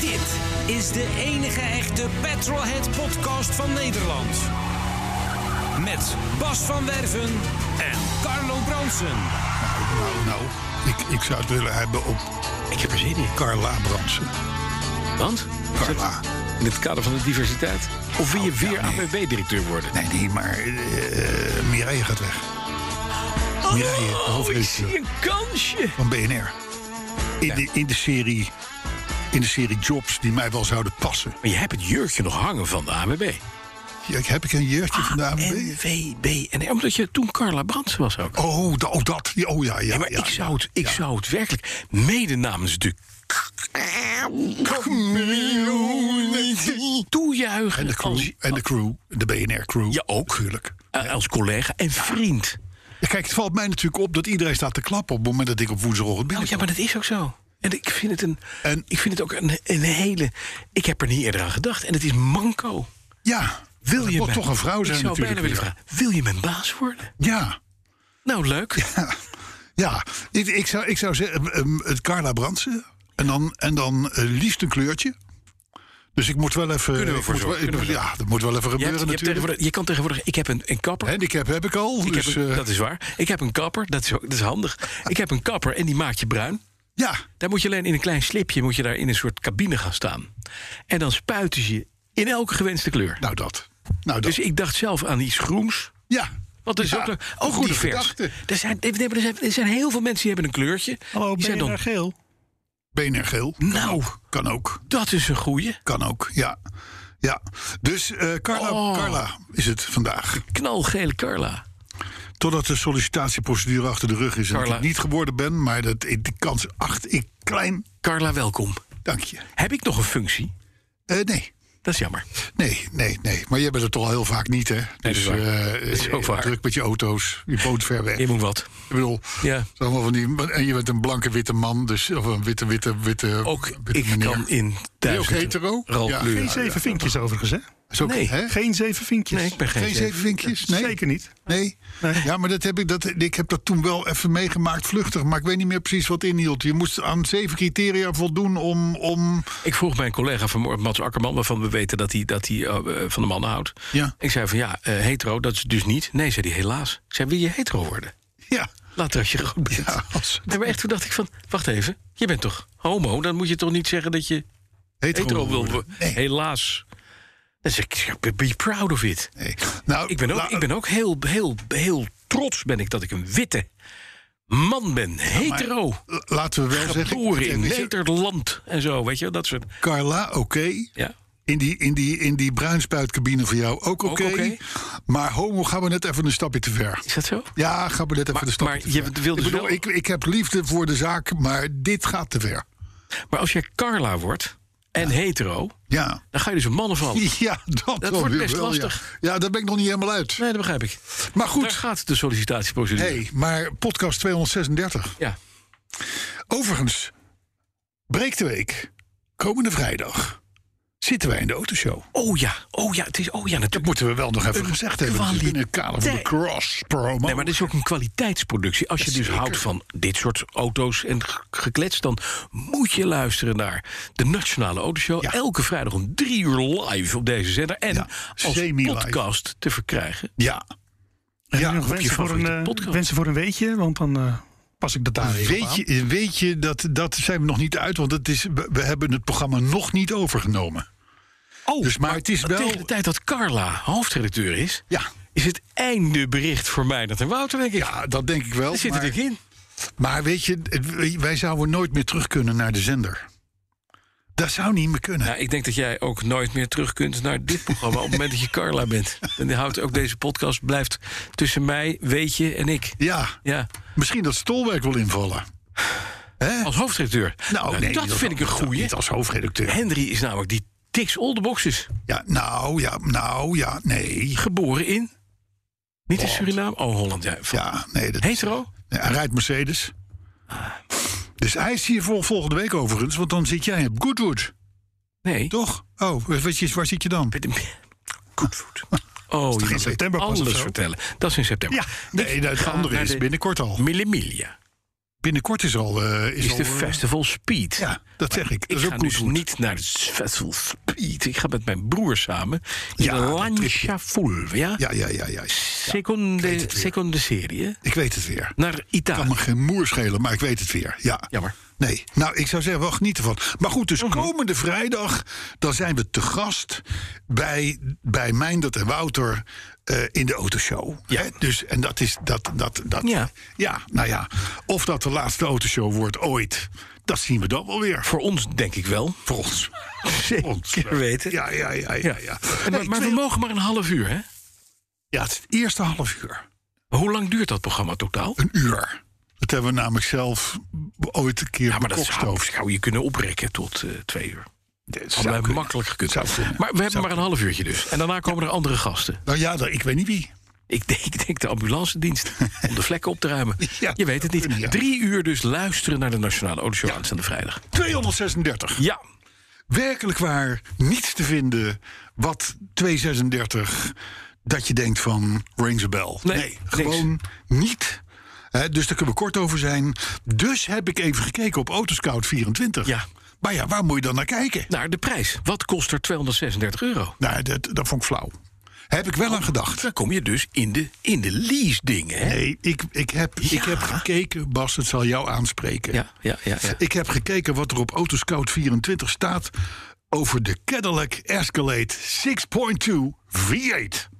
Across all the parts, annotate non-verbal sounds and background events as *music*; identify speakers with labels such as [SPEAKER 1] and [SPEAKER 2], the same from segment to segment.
[SPEAKER 1] Dit is de enige echte Petrolhead podcast van Nederland. Met Bas van Werven en Carlo Bronsen.
[SPEAKER 2] Nou, ik, ik zou het willen hebben op
[SPEAKER 3] Ik heb er zin in.
[SPEAKER 2] Carla Brandsen.
[SPEAKER 3] Want?
[SPEAKER 2] Carla.
[SPEAKER 3] In het kader van de diversiteit? Of wil je
[SPEAKER 2] Oh, ja,
[SPEAKER 3] weer
[SPEAKER 2] nee.
[SPEAKER 3] APB-directeur worden?
[SPEAKER 2] Nee, nee, maar eh Mireille gaat weg. Mireille, de
[SPEAKER 3] Oh, ik
[SPEAKER 2] hoofdredacteur
[SPEAKER 3] zie een kansje.
[SPEAKER 2] van BNR. In, de, in, de serie, in de serie jobs die mij wel zouden passen.
[SPEAKER 3] Maar je hebt het jurkje nog hangen van de ABB.
[SPEAKER 2] Ja, ik- heb ik een jeugdje
[SPEAKER 3] Ah,
[SPEAKER 2] van de ANWB?
[SPEAKER 3] NVB. En omdat je toen Carla Brands was ook.
[SPEAKER 2] Oh, da- oh, dat. Ja, Oh ja, ja.
[SPEAKER 3] Ja, maar
[SPEAKER 2] ja,
[SPEAKER 3] ik, zou het, ik
[SPEAKER 2] ja.
[SPEAKER 3] zou het werkelijk mede namens de...
[SPEAKER 2] En de
[SPEAKER 3] Toejuichen
[SPEAKER 2] crew,
[SPEAKER 3] als,
[SPEAKER 2] en de crew, de BNR-crew.
[SPEAKER 3] Ja, ook.
[SPEAKER 2] Natuurlijk.
[SPEAKER 3] eh, als collega en vriend.
[SPEAKER 2] Ja, Kijk, het valt mij natuurlijk op dat iedereen staat te klappen... op het moment dat ik op woensdagochtend
[SPEAKER 3] Oh, ja,
[SPEAKER 2] binnenkom.
[SPEAKER 3] maar dat is ook zo. En ik vind het, een,
[SPEAKER 2] En-
[SPEAKER 3] ik vind het ook een, een hele... Ik heb er niet eerder aan gedacht. En het is manco.
[SPEAKER 2] Ja, wil je
[SPEAKER 3] mijn-
[SPEAKER 2] toch een vrouw zijn
[SPEAKER 3] Ik zou
[SPEAKER 2] natuurlijk.
[SPEAKER 3] bijna willen
[SPEAKER 2] weer.
[SPEAKER 3] vragen, wil je mijn baas worden?
[SPEAKER 2] Ja.
[SPEAKER 3] Nou, leuk.
[SPEAKER 2] Ja, ik, ik, zou, ik zou zeggen, ehm, het Carla Brandsen. En dan, en dan eh, liefst een kleurtje. Dus ik moet wel even...
[SPEAKER 3] Kunnen we
[SPEAKER 2] ik
[SPEAKER 3] voor
[SPEAKER 2] moet wel-
[SPEAKER 3] zorgen,
[SPEAKER 2] ik
[SPEAKER 3] kunnen we
[SPEAKER 2] moet- Ja, dat moet wel even
[SPEAKER 3] Je,
[SPEAKER 2] gebeuren
[SPEAKER 3] hebt, je, hebt
[SPEAKER 2] natuurlijk.
[SPEAKER 3] tegenwoordig- je kan tegenwoordig... Ik heb een, een kapper.
[SPEAKER 2] Handicap heb ik al,
[SPEAKER 3] ik
[SPEAKER 2] dus...
[SPEAKER 3] heb een-
[SPEAKER 2] eh,
[SPEAKER 3] dat is waar. Ik heb een kapper, dat is, ook- dat is handig. ik heb een kapper en die maakt je bruin.
[SPEAKER 2] Ja,
[SPEAKER 3] Daar moet je alleen in een klein slipje... moet je daar in een soort cabine gaan staan. En dan spuiten ze je in elke gewenste kleur.
[SPEAKER 2] nou dat. Nou dat.
[SPEAKER 3] Dus ik dacht zelf aan iets groens...
[SPEAKER 2] ja.
[SPEAKER 3] Want er is
[SPEAKER 2] Ja,
[SPEAKER 3] ook,
[SPEAKER 2] een
[SPEAKER 3] ook
[SPEAKER 2] goede
[SPEAKER 3] divers.
[SPEAKER 2] gedachte.
[SPEAKER 3] Er zijn, er, zijn, er zijn heel veel mensen die hebben een kleurtje.
[SPEAKER 4] Hallo,
[SPEAKER 3] die zijn dan,
[SPEAKER 4] BNR Geel.
[SPEAKER 2] BNR geel.
[SPEAKER 3] Nou.
[SPEAKER 2] Kan ook,
[SPEAKER 3] dat is een goeie.
[SPEAKER 2] kan ook, ja. Ja, dus eh, Carla,
[SPEAKER 3] Oh.
[SPEAKER 2] Carla is het vandaag.
[SPEAKER 3] Knalgele Carla.
[SPEAKER 2] Totdat de sollicitatieprocedure achter de rug is en
[SPEAKER 3] Carla.
[SPEAKER 2] ik het niet geworden ben... maar dat, de kans acht ik klein.
[SPEAKER 3] Carla, welkom.
[SPEAKER 2] Dank je.
[SPEAKER 3] Heb ik nog een functie?
[SPEAKER 2] Eh, nee.
[SPEAKER 3] Dat is jammer.
[SPEAKER 2] Nee, nee, nee. Maar jij bent er toch al heel vaak niet, hè?
[SPEAKER 3] dat is waar.
[SPEAKER 2] eh,
[SPEAKER 3] is ook
[SPEAKER 2] eh,
[SPEAKER 3] waar.
[SPEAKER 2] druk met je auto's. Je woont ver weg.
[SPEAKER 3] Je moet wat.
[SPEAKER 2] Ik bedoel,
[SPEAKER 3] Ja.
[SPEAKER 2] het is allemaal van die, en je bent een blanke witte man, dus, of een witte, witte, witte,
[SPEAKER 3] Ook
[SPEAKER 2] witte
[SPEAKER 3] ik kan
[SPEAKER 2] Ben je
[SPEAKER 3] in
[SPEAKER 2] ook
[SPEAKER 3] duizend
[SPEAKER 2] hetero? Ja.
[SPEAKER 4] Geen zeven vinkjes overigens, hè?
[SPEAKER 2] Zo,
[SPEAKER 3] Nee.
[SPEAKER 2] hè? Geen,
[SPEAKER 4] Geen zeven vinkjes.
[SPEAKER 3] Nee, ik ben geen,
[SPEAKER 2] geen
[SPEAKER 3] zeven.
[SPEAKER 2] zeven vinkjes? Nee?
[SPEAKER 4] Zeker niet.
[SPEAKER 2] Nee? Ja, maar dat heb ik, dat, ik heb dat toen wel even meegemaakt, vluchtig. Maar ik weet niet meer precies wat inhield. Je moest aan zeven criteria voldoen om... om
[SPEAKER 3] Ik vroeg mijn collega van Mats Akkerman, waarvan we weten dat hij, dat hij eh, van de man houdt.
[SPEAKER 2] Ja.
[SPEAKER 3] Ik zei van ja, eh, hetero, dat is dus niet. Nee, zei hij helaas. Ik zei, wil je hetero worden?
[SPEAKER 2] ja,
[SPEAKER 3] Later als je groot bent.
[SPEAKER 2] ja, als
[SPEAKER 3] Nee, maar echt, toen dacht ik van, wacht even, je bent toch homo? Dan moet je toch niet zeggen dat je
[SPEAKER 2] hetero,
[SPEAKER 3] hetero wil
[SPEAKER 2] worden.
[SPEAKER 3] worden?
[SPEAKER 2] Nee,
[SPEAKER 3] Helaas. Dan zeg ik, be proud of it.
[SPEAKER 2] nee. Nou,
[SPEAKER 3] Ik ben ook,
[SPEAKER 2] la-
[SPEAKER 3] ik ben ook heel, heel, heel trots ben ik dat ik een witte man ben.
[SPEAKER 2] maar-
[SPEAKER 3] Hetero.
[SPEAKER 2] la- Laten we wel zeggen...
[SPEAKER 3] Geboren in
[SPEAKER 2] weet je,
[SPEAKER 3] Nederland en zo, weet je, dat soort.
[SPEAKER 2] Carla, oké.
[SPEAKER 3] Ja.
[SPEAKER 2] In die, in die, in die bruinspuitcabine voor jou ook oké.
[SPEAKER 3] oké.
[SPEAKER 2] Maar homo gaan we net even een stapje te ver.
[SPEAKER 3] Is dat zo?
[SPEAKER 2] Ja, gaan we net even
[SPEAKER 3] Maar-
[SPEAKER 2] een stapje
[SPEAKER 3] maar
[SPEAKER 2] te
[SPEAKER 3] je
[SPEAKER 2] ver.
[SPEAKER 3] wilde
[SPEAKER 2] ik, bedoel,
[SPEAKER 3] dus
[SPEAKER 2] ik,
[SPEAKER 3] wel-
[SPEAKER 2] ik heb liefde voor de zaak, maar dit gaat te ver.
[SPEAKER 3] Maar als jij Carla wordt en hetero,
[SPEAKER 2] Ja.
[SPEAKER 3] dan ga je dus een mannen vallen. Nee,
[SPEAKER 2] *laughs* Ja, dat, wel
[SPEAKER 3] wordt
[SPEAKER 2] weer
[SPEAKER 3] best
[SPEAKER 2] wel, ja.
[SPEAKER 3] lastig.
[SPEAKER 2] Ja. daar ben ik nog niet helemaal uit.
[SPEAKER 3] dat begrijp ik.
[SPEAKER 2] Maar
[SPEAKER 3] Daar
[SPEAKER 2] goed,
[SPEAKER 3] gaat de sollicitatieprocedure.
[SPEAKER 2] hey, maar podcast 236.
[SPEAKER 3] Ja.
[SPEAKER 2] Overigens, breek de week. Komende vrijdag zitten wij in de autoshow.
[SPEAKER 3] Oh ja, oh ja, het is, oh ja,
[SPEAKER 2] Dat
[SPEAKER 3] natuurlijk.
[SPEAKER 2] moeten we wel nog even gezegd hebben. natuurlijk In het kader van de cross-promo.
[SPEAKER 3] Nee, maar dit is ook een kwaliteitsproductie. Als je dus
[SPEAKER 2] Zeker.
[SPEAKER 3] houdt van dit soort auto's en ge- geklets... dan moet je luisteren naar de Nationale Autoshow.
[SPEAKER 2] Ja.
[SPEAKER 3] Elke vrijdag om drie uur live op deze zender. En
[SPEAKER 2] Ja,
[SPEAKER 3] als
[SPEAKER 2] semi-live.
[SPEAKER 3] podcast te verkrijgen.
[SPEAKER 2] Ja.
[SPEAKER 4] Ja, nog
[SPEAKER 3] op je
[SPEAKER 4] wensen, voor een,
[SPEAKER 3] favoriete
[SPEAKER 4] eh,
[SPEAKER 3] podcast.
[SPEAKER 4] wensen voor een weetje, want dan eh, pas ik dat
[SPEAKER 3] Ah,
[SPEAKER 4] daar weer op
[SPEAKER 2] Weet
[SPEAKER 4] aan.
[SPEAKER 2] je, weet je dat, dat zijn we nog niet uit, want het is, we, we hebben het programma nog niet overgenomen.
[SPEAKER 3] Oh,
[SPEAKER 2] Dus, maar het is wel-
[SPEAKER 3] Tegen de tijd dat Carla hoofdredacteur is...
[SPEAKER 2] Ja,
[SPEAKER 3] is het einde bericht voor mij dat en Wouter, denk ik.
[SPEAKER 2] ja dat denk ik wel.
[SPEAKER 3] Daar zit
[SPEAKER 2] Maar,
[SPEAKER 3] het ik in.
[SPEAKER 2] maar weet je, het- wij zouden nooit meer terug kunnen naar de zender. Dat zou niet meer kunnen.
[SPEAKER 3] Nou, ik denk dat jij ook nooit meer terug kunt naar dit programma... op het moment dat je Carla
[SPEAKER 2] *laughs*
[SPEAKER 3] bent. En die houdt ook deze podcast blijft tussen mij, weet je en ik.
[SPEAKER 2] Ja,
[SPEAKER 3] Ja,
[SPEAKER 2] misschien dat Stolwerk wil invallen. Hè?
[SPEAKER 3] als hoofdredacteur. Nou,
[SPEAKER 2] nee,
[SPEAKER 3] dat vind ik een goeie.
[SPEAKER 2] Niet als hoofdredacteur.
[SPEAKER 3] Henry is namelijk die tiks all the boxes.
[SPEAKER 2] Ja, nou, ja, nou, ja, nee.
[SPEAKER 3] Geboren in... Niet in Suriname? Oh, Holland, ja. Van-
[SPEAKER 2] Ja, nee. Dat,
[SPEAKER 3] Hetero?
[SPEAKER 2] Nee, hij rijdt Mercedes.
[SPEAKER 3] Ah.
[SPEAKER 2] Dus hij is hier voor volgende week overigens, want dan zit jij op Goodwood,
[SPEAKER 3] Nee.
[SPEAKER 2] toch? Oh, wat je- waar zit je dan? *laughs*
[SPEAKER 3] Goodwood. Oh, je
[SPEAKER 2] in
[SPEAKER 3] moet
[SPEAKER 2] september pas of
[SPEAKER 3] alles
[SPEAKER 2] zo?
[SPEAKER 3] vertellen. Dat is in september.
[SPEAKER 2] Ja, nee, dat
[SPEAKER 3] ga
[SPEAKER 2] andere
[SPEAKER 3] naar
[SPEAKER 2] is
[SPEAKER 3] de-
[SPEAKER 2] binnenkort al.
[SPEAKER 3] Millimilia
[SPEAKER 2] Binnenkort is al... eh, is
[SPEAKER 3] is
[SPEAKER 2] al,
[SPEAKER 3] de
[SPEAKER 2] eh,
[SPEAKER 3] Festival Speed.
[SPEAKER 2] Ja, dat zeg ik.
[SPEAKER 3] Ik
[SPEAKER 2] Dat is
[SPEAKER 3] ga
[SPEAKER 2] ook
[SPEAKER 3] dus
[SPEAKER 2] Goodwood.
[SPEAKER 3] niet naar het Festival Speed. Ik ga met mijn broer samen. In
[SPEAKER 2] Ja,
[SPEAKER 3] ja,
[SPEAKER 2] dat
[SPEAKER 3] Lancia Full. Ja?
[SPEAKER 2] Ja, ja, ja, ja. ja. weet
[SPEAKER 3] Seconde,
[SPEAKER 2] het weer.
[SPEAKER 3] seconde serie. hè?
[SPEAKER 2] Ik weet het weer.
[SPEAKER 3] Naar
[SPEAKER 2] Kan me
[SPEAKER 3] Italië.
[SPEAKER 2] geen moer schelen, maar ik weet het weer. Ja.
[SPEAKER 3] Nou, Jammer. Mhm.
[SPEAKER 2] Nee, nou, ik zou zeggen, wel genieten van. Maar goed, dus komende vrijdag, dan zijn we te gast bij, bij Mijndert en Wouter eh, in de autoshow.
[SPEAKER 3] Ja.
[SPEAKER 2] Hè? Dus, en dat is, dat, dat, dat.
[SPEAKER 3] Ja.
[SPEAKER 2] ja, nou ja. Of dat de laatste autoshow wordt ooit, dat zien we dan wel weer.
[SPEAKER 3] Voor ons denk ik wel.
[SPEAKER 2] Voor ons. ons.
[SPEAKER 3] Zeker weten.
[SPEAKER 2] Ja, ja, ja, ja.
[SPEAKER 3] Ja.
[SPEAKER 2] ja. Nee,
[SPEAKER 3] En maar, maar we
[SPEAKER 2] twee-
[SPEAKER 3] mogen maar een half uur, hè?
[SPEAKER 2] ja, het is het eerste half uur.
[SPEAKER 3] Hoe lang duurt dat programma totaal?
[SPEAKER 2] Een uur. Dat hebben we namelijk zelf ooit een keer
[SPEAKER 3] Ja, maar dat zou,
[SPEAKER 2] bekokstoofd.
[SPEAKER 3] zou je kunnen oprekken tot eh, twee uur.
[SPEAKER 2] Dat
[SPEAKER 3] Hadden
[SPEAKER 2] zou
[SPEAKER 3] wij
[SPEAKER 2] kunnen.
[SPEAKER 3] makkelijk gekund.
[SPEAKER 2] Zou kunnen.
[SPEAKER 3] Maar we hebben maar een half uurtje dus. En daarna komen er andere gasten.
[SPEAKER 2] Nou ja, dat- ik weet niet wie.
[SPEAKER 3] Ik denk, ik denk de
[SPEAKER 2] *laughs*
[SPEAKER 3] ambulance dienst om de vlekken op te ruimen.
[SPEAKER 2] Ja,
[SPEAKER 3] je weet het niet.
[SPEAKER 2] kunnen, ja.
[SPEAKER 3] Drie uur dus luisteren naar de Nationale Autoshow aanstaande vrijdag.
[SPEAKER 2] 236.
[SPEAKER 3] Ja,
[SPEAKER 2] Werkelijk waar niets te vinden wat 236 dat je denkt van rings a bell.
[SPEAKER 3] Nee,
[SPEAKER 2] gewoon niet. Hè, dus daar kunnen we kort over zijn. Dus heb ik even gekeken op Autoscout 24.
[SPEAKER 3] Ja.
[SPEAKER 2] Maar ja, waar moet je dan naar kijken?
[SPEAKER 3] naar Nou, de prijs. Wat kost er 236 euro?
[SPEAKER 2] Nou, dat, dat vond ik flauw. Heb ik wel aan gedacht.
[SPEAKER 3] Dan kom je dus in de, in de lease dingen. Hè?
[SPEAKER 2] Nee, ik, ik, heb, ik
[SPEAKER 3] Ja.
[SPEAKER 2] heb gekeken, Bas, het zal jou aanspreken.
[SPEAKER 3] Ja, ja, ja, ja.
[SPEAKER 2] Ik heb gekeken wat er op Autoscout 24 staat over de Cadillac Escalade 6.2 V8.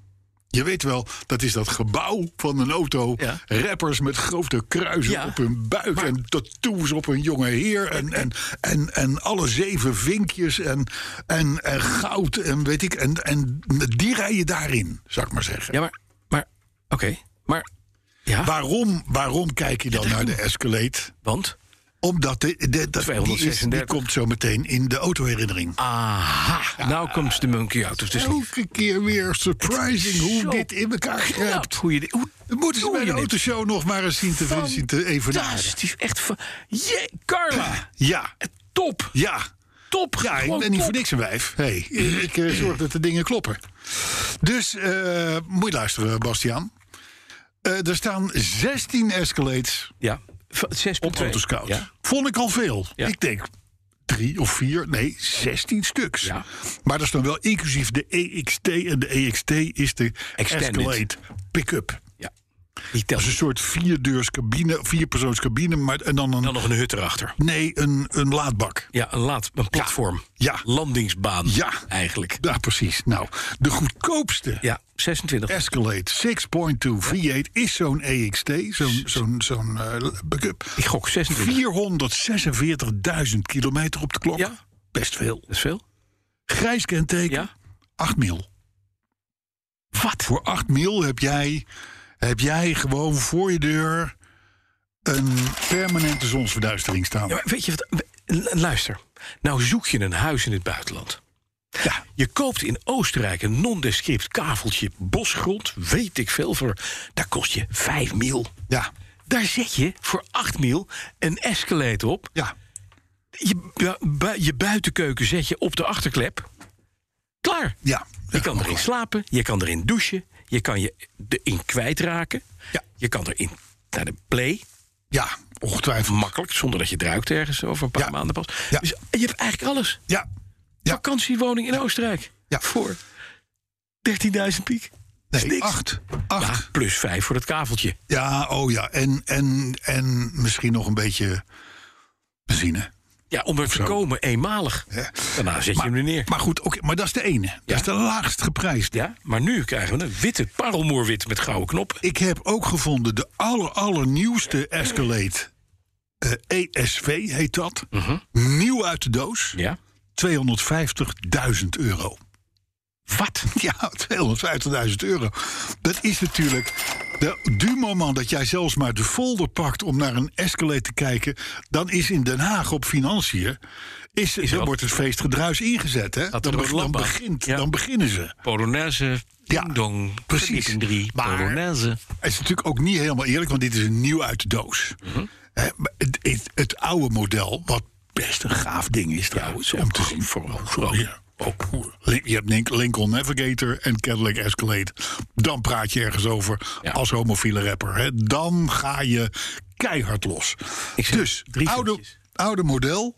[SPEAKER 2] Je weet wel, dat is dat gebouw van een auto.
[SPEAKER 3] Ja.
[SPEAKER 2] Rappers met grote kruisen
[SPEAKER 3] Ja.
[SPEAKER 2] op hun buik en tattoos op hun jonge heer. En, en, en, en alle zeven vinkjes en, en, en goud en weet ik. En, en die rijden daarin, zou ik maar zeggen.
[SPEAKER 3] Ja, maar, maar oké. Maar, ja,
[SPEAKER 2] Waarom, waarom kijk je dan naar de Escalade?
[SPEAKER 3] want,
[SPEAKER 2] Omdat de, de, dat- Die, is, die
[SPEAKER 3] 236.
[SPEAKER 2] komt zo meteen in de autoherinnering.
[SPEAKER 3] Ah. aha, nou komt de monkey out of the sleeve.
[SPEAKER 2] Elke keer weer surprising hoe
[SPEAKER 3] zo
[SPEAKER 2] dit in elkaar grijpt.
[SPEAKER 3] Knap hoe je dit- hoe
[SPEAKER 2] Dan moeten ze
[SPEAKER 3] doe
[SPEAKER 2] bij de
[SPEAKER 3] je dit?
[SPEAKER 2] autoshow nog maar eens zien te, zien te evenaren.
[SPEAKER 3] Fantastisch, echt van... Jee, Carla, Eh,
[SPEAKER 2] Ja,
[SPEAKER 3] top,
[SPEAKER 2] ja.
[SPEAKER 3] top.
[SPEAKER 2] Ja, ik
[SPEAKER 3] gewoon
[SPEAKER 2] ben niet voor
[SPEAKER 3] top.
[SPEAKER 2] niks een wijf. Hey, ik eh, zorg dat de dingen kloppen. Dus eh, moet je luisteren, Bastiaan. Eh, er staan 16 Escalades
[SPEAKER 3] Ja, v- 6.2.
[SPEAKER 2] op Autoscout.
[SPEAKER 3] Ja.
[SPEAKER 2] Vond ik al veel.
[SPEAKER 3] Ja.
[SPEAKER 2] Ik denk drie of vier, nee, 16 stuks.
[SPEAKER 3] Ja.
[SPEAKER 2] Maar dat is dan wel inclusief de EXT. En de EXT is de
[SPEAKER 3] Extended.
[SPEAKER 2] Escalade Pick-up.
[SPEAKER 3] Ja. Die
[SPEAKER 2] Dat
[SPEAKER 3] telt.
[SPEAKER 2] is een soort vierdeurs cabine, vierpersoons cabine, maar en dan een,
[SPEAKER 3] dan nog een hut erachter.
[SPEAKER 2] nee, een, een laadbak.
[SPEAKER 3] Ja, een, laad, een platform.
[SPEAKER 2] Ja.
[SPEAKER 3] Landingsbaan.
[SPEAKER 2] Ja.
[SPEAKER 3] Eigenlijk.
[SPEAKER 2] Ja, precies. Nou, de goedkoopste
[SPEAKER 3] Ja, 26.
[SPEAKER 2] Escalade 6.2 V8 is zo'n EXT, zo'n zo'n zo'n eh, pick-up.
[SPEAKER 3] Ik gok 26.
[SPEAKER 2] 446.000 kilometer op de klok.
[SPEAKER 3] Ja.
[SPEAKER 2] Best veel.
[SPEAKER 3] Dat is veel.
[SPEAKER 2] Grijs kenteken,
[SPEAKER 3] Ja.
[SPEAKER 2] 8 mil.
[SPEAKER 3] Wat?
[SPEAKER 2] Voor 8 mil heb jij, heb jij gewoon voor je deur een permanente zonsverduistering staan.
[SPEAKER 3] Ja, maar weet je wat? L- Luister. Nou zoek je een huis in het buitenland.
[SPEAKER 2] Ja.
[SPEAKER 3] Je koopt in Oostenrijk een nondescript kaveltje bosgrond. Weet ik veel voor. Daar kost je 5 mil.
[SPEAKER 2] Ja.
[SPEAKER 3] Daar zet je voor 8 mil een Escalade op.
[SPEAKER 2] ja.
[SPEAKER 3] Je, bu- bu- je buitenkeuken zet je op de achterklep. Klaar.
[SPEAKER 2] Ja.
[SPEAKER 3] Je kan erin slapen, je kan erin douchen, je kan je erin kwijtraken.
[SPEAKER 2] Ja.
[SPEAKER 3] Je kan erin naar de play,
[SPEAKER 2] Ja, ongetwijfeld.
[SPEAKER 3] makkelijk, zonder dat je het ruikt ergens over een paar
[SPEAKER 2] Ja.
[SPEAKER 3] maanden pas.
[SPEAKER 2] Ja.
[SPEAKER 3] Dus je hebt eigenlijk alles.
[SPEAKER 2] Ja. Ja.
[SPEAKER 3] Vakantiewoning in Oostenrijk.
[SPEAKER 2] Ja.
[SPEAKER 3] Voor 13.000 piek. Dat is
[SPEAKER 2] Nee,
[SPEAKER 3] niks.
[SPEAKER 2] 8. 8.
[SPEAKER 3] Ja, plus 5 voor dat kaveltje.
[SPEAKER 2] Ja, oh ja. En, en, en misschien nog een beetje benzine.
[SPEAKER 3] Ja, om er te komen, eenmalig.
[SPEAKER 2] Ja.
[SPEAKER 3] Daarna zet je hem er neer.
[SPEAKER 2] Maar goed, oké, maar dat is de ene. Dat
[SPEAKER 3] Ja.
[SPEAKER 2] is de laagst geprijsd.
[SPEAKER 3] Ja, maar nu krijgen we een witte parelmoerwit met gouden knoppen.
[SPEAKER 2] Ik heb ook gevonden de aller, allernieuwste E
[SPEAKER 3] Mhm.
[SPEAKER 2] Escalade. eh, ESV heet dat. Nieuw uit de doos.
[SPEAKER 3] Ja,
[SPEAKER 2] 250.000 euro. *laughs* Wat? Ja, 250.000 euro. Dat is natuurlijk. De, du moment dat jij zelfs maar de folder pakt om naar een Escalade te kijken, dan is in Den Haag op financiën. Is, dan
[SPEAKER 3] wel-
[SPEAKER 2] wordt het feestgedruis ingezet. Hè?
[SPEAKER 3] Gaat
[SPEAKER 2] Dan, be-
[SPEAKER 3] er door
[SPEAKER 2] dan,
[SPEAKER 3] het landbouw.
[SPEAKER 2] begint,
[SPEAKER 3] Ja.
[SPEAKER 2] dan beginnen ze.
[SPEAKER 3] Polonaise,
[SPEAKER 2] Ja,
[SPEAKER 3] ding-dong,
[SPEAKER 2] precies.
[SPEAKER 3] verdieping drie,
[SPEAKER 2] Maar-
[SPEAKER 3] Polonaise.
[SPEAKER 2] Het is natuurlijk ook niet helemaal eerlijk, want dit is een nieuw uit de doos.
[SPEAKER 3] Mhm.
[SPEAKER 2] Hè, maar het, het, het oude model, wat best een gaaf ding is trouwens, om te zien. Vooral, ja, ook, Lin- je hebt Lin- Lincoln Navigator en Cadillac Escalade. Dan praat je ergens over
[SPEAKER 3] Ja.
[SPEAKER 2] als homofiele rapper. Hè. Dan ga je keihard los.
[SPEAKER 3] Ik zeg
[SPEAKER 2] Dus,
[SPEAKER 3] drie
[SPEAKER 2] oude,
[SPEAKER 3] vinkjes.
[SPEAKER 2] oude model,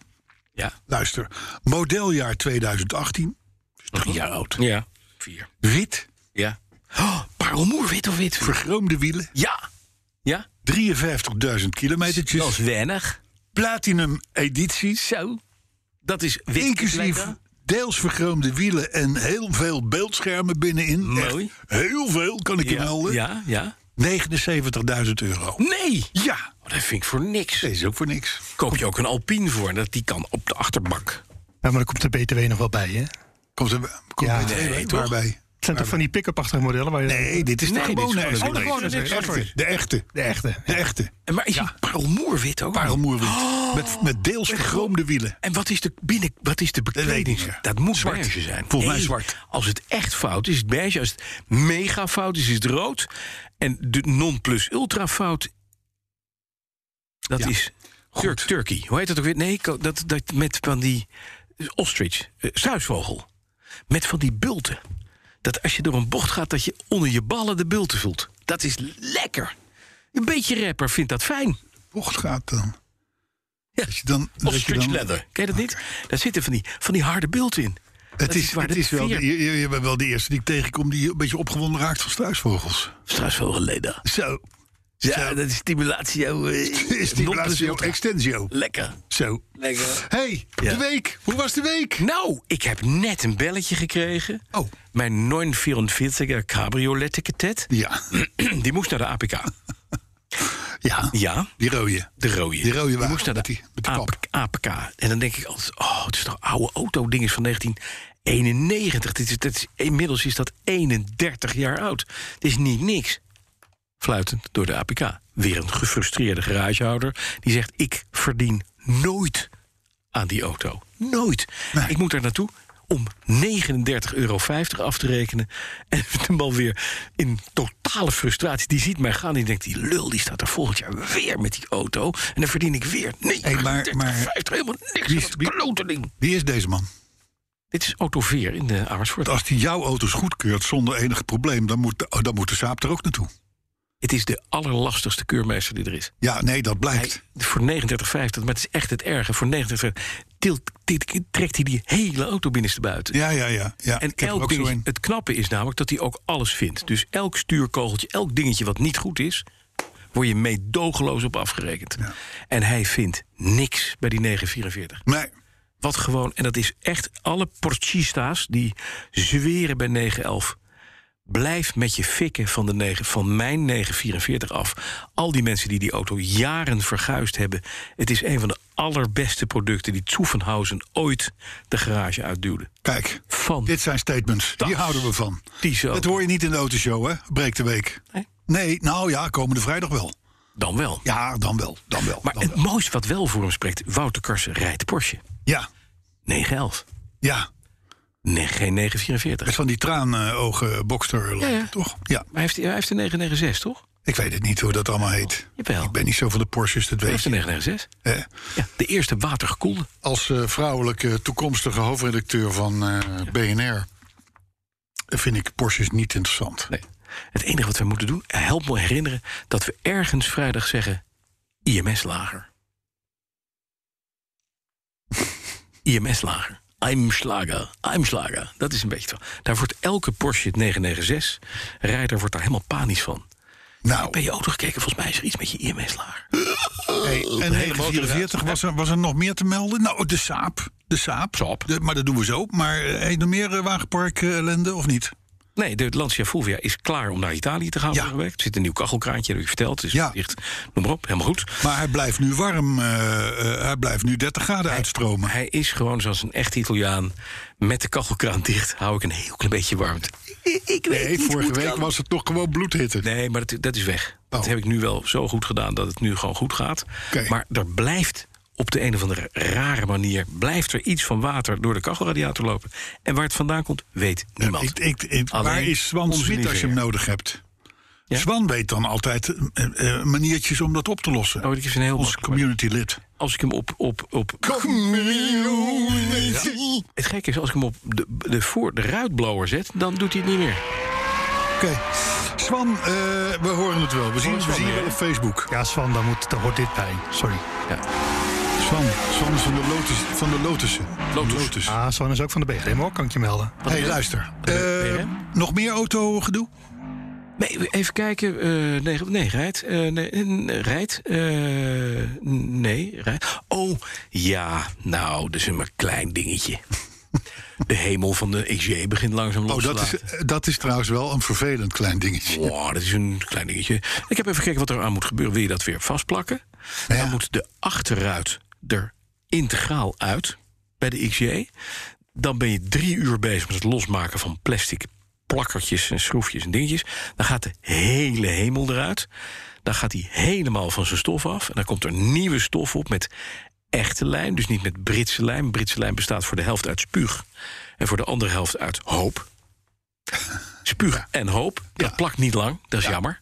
[SPEAKER 3] Ja.
[SPEAKER 2] luister, modeljaar 2018, drie jaar oud.
[SPEAKER 3] Ja. Vier.
[SPEAKER 2] Wit,
[SPEAKER 3] Ja. Oh, parelmoer, wit of wit?
[SPEAKER 2] vergroomde wielen,
[SPEAKER 3] Ja. Ja?
[SPEAKER 2] 53.000 kilometertjes.
[SPEAKER 3] Dat is weinig.
[SPEAKER 2] platinum edities.
[SPEAKER 3] Zo. Dat is wit.
[SPEAKER 2] Inclusief
[SPEAKER 3] Lekker.
[SPEAKER 2] deels vergroomde wielen en heel veel beeldschermen binnenin.
[SPEAKER 3] Mooi.
[SPEAKER 2] Echt heel veel, kan ik je
[SPEAKER 3] Ja,
[SPEAKER 2] melden.
[SPEAKER 3] ja, ja.
[SPEAKER 2] 79.000 euro.
[SPEAKER 3] Nee!
[SPEAKER 2] Ja,
[SPEAKER 3] Oh, dat vind ik voor niks.
[SPEAKER 2] dat is ook voor niks.
[SPEAKER 3] Koop je ook een Alpine voor, dat die kan op de achterbak.
[SPEAKER 4] Ja, maar dan komt de BTW nog wel bij, hè? Het
[SPEAKER 2] Komt er komt
[SPEAKER 4] Ja,
[SPEAKER 2] er nee,
[SPEAKER 3] nee, toch?
[SPEAKER 2] waarbij?
[SPEAKER 4] zijn toch van die pick-up-achtige modellen? Waar je
[SPEAKER 2] Nee, dit is de
[SPEAKER 3] Nee, dit is
[SPEAKER 2] gewone.
[SPEAKER 3] gewoon een
[SPEAKER 2] Escalade.
[SPEAKER 3] gewone
[SPEAKER 2] De
[SPEAKER 3] Escalade.
[SPEAKER 2] echte, De echte.
[SPEAKER 4] de echte.
[SPEAKER 2] De echte.
[SPEAKER 3] En Maar is die parelmoer wit ook?
[SPEAKER 2] Parelmoerwiel.
[SPEAKER 3] Oh.
[SPEAKER 2] Met, met deels vergroomde wielen.
[SPEAKER 3] En wat is de binnen, wat is de bekleding?
[SPEAKER 2] weet ik niet.
[SPEAKER 3] Dat moet
[SPEAKER 2] Zwart.
[SPEAKER 3] beige zijn.
[SPEAKER 2] Volgens mij zwart.
[SPEAKER 3] Als het echt fout is, is het beige. Als het mega fout is, is het rood. En de non plus ultra fout, dat
[SPEAKER 2] Ja.
[SPEAKER 3] is Turk, Turkey. Hoe heet dat ook weer? Nee, ko- dat, dat met van die ostrich, eh, struisvogel. Met van die bulten. Dat als je door een bocht gaat, dat je onder je ballen de bulten voelt. Dat is lekker. Een beetje rapper vindt dat fijn.
[SPEAKER 2] Bocht gaat dan.
[SPEAKER 3] Ja.
[SPEAKER 2] Dat je dan, dat je
[SPEAKER 3] Ostrich
[SPEAKER 2] dan-
[SPEAKER 3] leather. Ken je dat niet? Daar zitten van die, van die harde bulten in.
[SPEAKER 2] Het is,
[SPEAKER 3] waar
[SPEAKER 2] het
[SPEAKER 3] de
[SPEAKER 2] is wel,
[SPEAKER 3] veer-
[SPEAKER 2] de- je, je, je bent wel de eerste die ik tegenkom die een beetje opgewonden raakt van struisvogels.
[SPEAKER 3] Struisvogelleden.
[SPEAKER 2] Zo.
[SPEAKER 3] Ja,
[SPEAKER 2] Zo.
[SPEAKER 3] dat is
[SPEAKER 2] *laughs*
[SPEAKER 3] stimulatio. eh,
[SPEAKER 2] Is die Lazio
[SPEAKER 3] non-plus-ultra.
[SPEAKER 2] Extensio.
[SPEAKER 3] Lekker.
[SPEAKER 2] Zo.
[SPEAKER 3] Lekker.
[SPEAKER 2] Hey,
[SPEAKER 3] Ja.
[SPEAKER 2] de week. Hoe was de week?
[SPEAKER 3] Nou, ik heb net een belletje gekregen.
[SPEAKER 2] Oh.
[SPEAKER 3] Mijn 944er cabriolet-ticket,
[SPEAKER 2] Ja,
[SPEAKER 3] *clears throat* die moest naar de APK.
[SPEAKER 2] ja.
[SPEAKER 3] Ja,
[SPEAKER 2] die rode.
[SPEAKER 3] de rode.
[SPEAKER 2] Die rode
[SPEAKER 3] die
[SPEAKER 2] wagen
[SPEAKER 3] moest naar de
[SPEAKER 2] met die- met die
[SPEAKER 3] AP- APK. En dan denk ik altijd, oh, het is toch oude auto, ding is van 1991. Dit is, dit is, inmiddels is dat 31 jaar oud. Het is niet niks. Fluitend door de APK. Weer een gefrustreerde garagehouder die zegt: Ik verdien nooit aan die auto. Nooit. Ik moet daar naartoe om 39,50 euro af te rekenen. En de man weer in totale frustratie. Die ziet mij gaan. Die denkt, die lul die staat er volgend jaar weer met die auto. En dan verdien ik weer 39,50
[SPEAKER 2] maar- maar-
[SPEAKER 3] helemaal niks.
[SPEAKER 2] Wie is-
[SPEAKER 3] Wat een
[SPEAKER 2] wie-
[SPEAKER 3] klote ding.
[SPEAKER 2] Wie is deze man?
[SPEAKER 3] Dit is autoveer in de Amersfoort.
[SPEAKER 2] Want als hij jouw auto's goedkeurt zonder enig probleem, dan moet de, oh, dan moet de Saab er ook naartoe.
[SPEAKER 3] Het is de allerlastigste keurmeester die er is.
[SPEAKER 2] Ja, nee, dat blijkt.
[SPEAKER 3] Hij- voor 39,50, maar het is echt het erge. Voor 39,50 tilt- tilt- trekt hij die hele auto binnenstebuiten.
[SPEAKER 2] Ja, ja, ja. ja.
[SPEAKER 3] En
[SPEAKER 2] ik heb er
[SPEAKER 3] elk
[SPEAKER 2] ook zo
[SPEAKER 3] dingetje,
[SPEAKER 2] een.
[SPEAKER 3] het knappe is namelijk dat hij ook alles vindt. Dus elk stuurkogeltje, elk dingetje wat niet goed is, word je meedogenloos op afgerekend. En hij vindt niks bij die 944.
[SPEAKER 2] Nee,
[SPEAKER 3] Wat gewoon, en dat is echt alle portista's die zweren bij 911. Blijf met je fikken van, de 9, van mijn 944 af. Al die mensen die die auto jaren verguisd hebben. Het is een van de allerbeste producten die Zuffenhausen ooit de garage uitduwde.
[SPEAKER 2] kijk.
[SPEAKER 3] Van
[SPEAKER 2] Dit zijn statements.
[SPEAKER 3] Dat-
[SPEAKER 2] Die houden we van.
[SPEAKER 3] die zo.
[SPEAKER 2] Dat hoor je niet in de autoshow, hè? Breek de week.
[SPEAKER 3] Nee.
[SPEAKER 2] Nee, nou ja, komende vrijdag wel.
[SPEAKER 3] Dan wel.
[SPEAKER 2] Ja, dan wel. Dan wel.
[SPEAKER 3] Maar
[SPEAKER 2] dan
[SPEAKER 3] het
[SPEAKER 2] wel.
[SPEAKER 3] mooiste wat wel voor hem spreekt... Wouter Karsen rijdt Porsche.
[SPEAKER 2] Ja,
[SPEAKER 3] 911.
[SPEAKER 2] ja.
[SPEAKER 3] Nee, geen
[SPEAKER 2] Met
[SPEAKER 3] 944.
[SPEAKER 2] van die traanogen boxster,
[SPEAKER 3] Ja, ja.
[SPEAKER 2] toch? Ja,
[SPEAKER 3] Maar hij heeft, hij heeft een 996, toch?
[SPEAKER 2] ik weet het niet hoe dat allemaal heet.
[SPEAKER 3] Jawel.
[SPEAKER 2] Ik ben niet zo van de Porsches, dat
[SPEAKER 3] Hij
[SPEAKER 2] weet
[SPEAKER 3] heeft
[SPEAKER 2] je.
[SPEAKER 3] een 996.
[SPEAKER 2] hè.
[SPEAKER 3] Ja, de eerste watergekoelde.
[SPEAKER 2] als eh, vrouwelijke toekomstige hoofdredacteur van eh, BNR vind ik Porsches niet interessant.
[SPEAKER 3] Nee. Het enige wat wij moeten doen, help me herinneren... dat we ergens vrijdag zeggen... IMS
[SPEAKER 2] *laughs*
[SPEAKER 3] lager. IMS lager. I'm Schlager, I'm Schlager. Dat is een beetje het verhaal. Daar wordt elke Porsche 996 rijder wordt daar helemaal panisch van.
[SPEAKER 2] Nou,
[SPEAKER 3] Ben je auto gekeken? Volgens mij is er iets met je IMS lager.
[SPEAKER 2] hey, en 44 was er, was er nog meer te melden? Nou, de Saap. De Saap.
[SPEAKER 3] Saab.
[SPEAKER 2] De- maar dat doen we zo. Maar eh, hey, nog meer eh, wagenpark eh, ellende of niet?
[SPEAKER 3] Nee, de Lancia Fulvia is klaar om naar Italië te gaan.
[SPEAKER 2] Ja.
[SPEAKER 3] vorige week. Er zit een nieuw kachelkraantje, dat heb ik verteld. Dus
[SPEAKER 2] Ja.
[SPEAKER 3] echt, noem maar op, helemaal goed.
[SPEAKER 2] Maar hij blijft nu warm. eh, eh, hij blijft nu 30 graden uitstromen.
[SPEAKER 3] Hij is gewoon zoals een echte Italiaan. Met de kachelkraan dicht hou ik een heel klein beetje warmte. Ik, ik weet
[SPEAKER 2] Nee,
[SPEAKER 3] niet hoe
[SPEAKER 2] vorige
[SPEAKER 3] het
[SPEAKER 2] week
[SPEAKER 3] kan.
[SPEAKER 2] was het nog gewoon bloedhitte.
[SPEAKER 3] Nee, maar dat, dat is weg. Dat
[SPEAKER 2] Oh.
[SPEAKER 3] heb ik nu wel zo goed gedaan dat het nu gewoon goed gaat.
[SPEAKER 2] Oké.
[SPEAKER 3] Maar er blijft op de een of andere rare manier... blijft er iets van water door de kachelradiator lopen. En waar het vandaan komt, weet niemand.
[SPEAKER 2] Ik, ik, ik-
[SPEAKER 3] Alleen
[SPEAKER 2] waar is Swan
[SPEAKER 3] onze
[SPEAKER 2] Smit als je hem
[SPEAKER 3] lieve
[SPEAKER 2] nodig hebt?
[SPEAKER 3] Ja?
[SPEAKER 2] Swan weet dan altijd eh, eh, maniertjes om dat op te lossen.
[SPEAKER 3] Oh, dat is een heel
[SPEAKER 2] Ons
[SPEAKER 3] makkelijk-
[SPEAKER 2] community lid.
[SPEAKER 3] Als ik hem op, op, op...
[SPEAKER 2] Community.
[SPEAKER 3] Het gekke is, als ik hem op de, de, voor, de ruitblower zet... dan doet hij het niet meer.
[SPEAKER 2] Oké. Swan, eh, we horen het wel. We zien, we
[SPEAKER 3] Swan
[SPEAKER 2] zien
[SPEAKER 3] weer,
[SPEAKER 2] je wel
[SPEAKER 3] hè?
[SPEAKER 2] op Facebook.
[SPEAKER 4] Ja, Swan, daar, moet, daar hoort dit bij. Sorry.
[SPEAKER 2] Swan, Swan is van de, lotus, van de Lotussen.
[SPEAKER 3] Lotus.
[SPEAKER 4] Ah, Swan is ook van de BRM hoor, kan ik je melden.
[SPEAKER 2] hey, luister.
[SPEAKER 3] ben je,
[SPEAKER 2] Eh, nog meer autogedoe?
[SPEAKER 3] Nee, even kijken. eh nee, nee, rijdt. eh, nee, eh, rijdt. eh, nee, rijdt. Oh, ja. Nou, dat is een maar klein dingetje. *laughs* De hemel van de XJ begint langzaam los
[SPEAKER 2] Oh,
[SPEAKER 3] te
[SPEAKER 2] dat is,
[SPEAKER 3] laten.
[SPEAKER 2] eh, dat is trouwens wel een vervelend klein dingetje.
[SPEAKER 3] Wow, dat is een klein dingetje. Ik heb even gekeken wat er aan moet gebeuren. Wil je dat weer vastplakken?
[SPEAKER 2] Ja.
[SPEAKER 3] Dan moet de achterruit er integraal uit bij de XJ. Dan ben je drie uur bezig met het losmaken van plastic plakkertjes en schroefjes en dingetjes. Dan gaat de hele hemel eruit. Dan gaat hij helemaal van zijn stof af. En dan komt er nieuwe stof op met echte lijm. Dus niet met Britse lijm. Britse lijm bestaat voor de helft uit spuug. En voor de andere helft uit hoop. Spuug en hoop. Dat plakt niet lang, dat is jammer.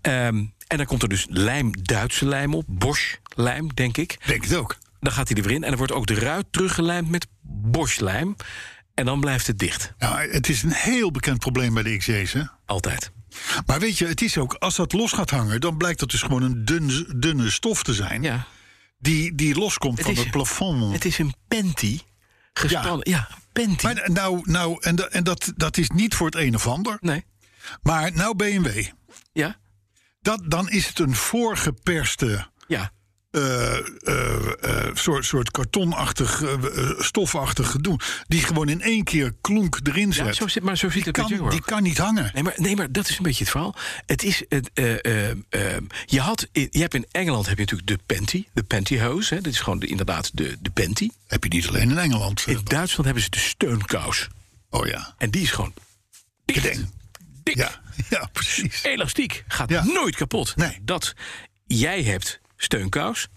[SPEAKER 3] Ehm, en dan komt er dus lijm, Duitse lijm op. Bosch lijm, denk ik.
[SPEAKER 2] Denk het ook.
[SPEAKER 3] Dan gaat hij er weer in. En dan wordt ook de ruit teruggelijmd met Bosch lijm. En dan blijft het dicht.
[SPEAKER 2] Nou, het is een heel bekend probleem bij de XJ's, hè?
[SPEAKER 3] Altijd.
[SPEAKER 2] Maar weet je, het is ook, als dat los gaat hangen... dan blijkt dat dus gewoon een dun, dunne stof te zijn...
[SPEAKER 3] Ja.
[SPEAKER 2] die, die loskomt
[SPEAKER 3] Het
[SPEAKER 2] van
[SPEAKER 3] is-
[SPEAKER 2] het plafond.
[SPEAKER 3] Het is een panty. Gespannen. Ja, een panty.
[SPEAKER 2] maar nou, nou, en, da- en dat, dat is niet voor het een of ander.
[SPEAKER 3] nee.
[SPEAKER 2] Maar nou BMW,
[SPEAKER 3] Ja.
[SPEAKER 2] dat, dan is het een voorgeperste
[SPEAKER 3] Ja.
[SPEAKER 2] eh, eh, eh, soort, soort kartonachtig, eh, eh, stofachtig gedoe... die gewoon in één keer klonk erin
[SPEAKER 3] ja
[SPEAKER 2] zet.
[SPEAKER 3] zo zit, maar zo zit het bij
[SPEAKER 2] kan,
[SPEAKER 3] Jaguar.
[SPEAKER 2] die kan niet hangen.
[SPEAKER 3] Nee maar, nee, maar dat is een beetje het verhaal. Het is, het, eh, eh, eh, je, had, in- je hebt in Engeland heb je natuurlijk de panty, de pantyhose. Hè? Dat is gewoon de, inderdaad de, de panty.
[SPEAKER 2] Heb je niet alleen in Engeland. eh,
[SPEAKER 3] In Duitsland hebben ze de steunkous.
[SPEAKER 2] oh
[SPEAKER 3] *laughs*
[SPEAKER 2] ja.
[SPEAKER 3] En die is gewoon dicht.
[SPEAKER 2] Gedeng.
[SPEAKER 3] Dik.
[SPEAKER 2] Ja, ja, precies.
[SPEAKER 3] Elastiek. Gaat
[SPEAKER 2] Ja.
[SPEAKER 3] nooit kapot.
[SPEAKER 2] Nee.
[SPEAKER 3] Dat jij hebt steunkous,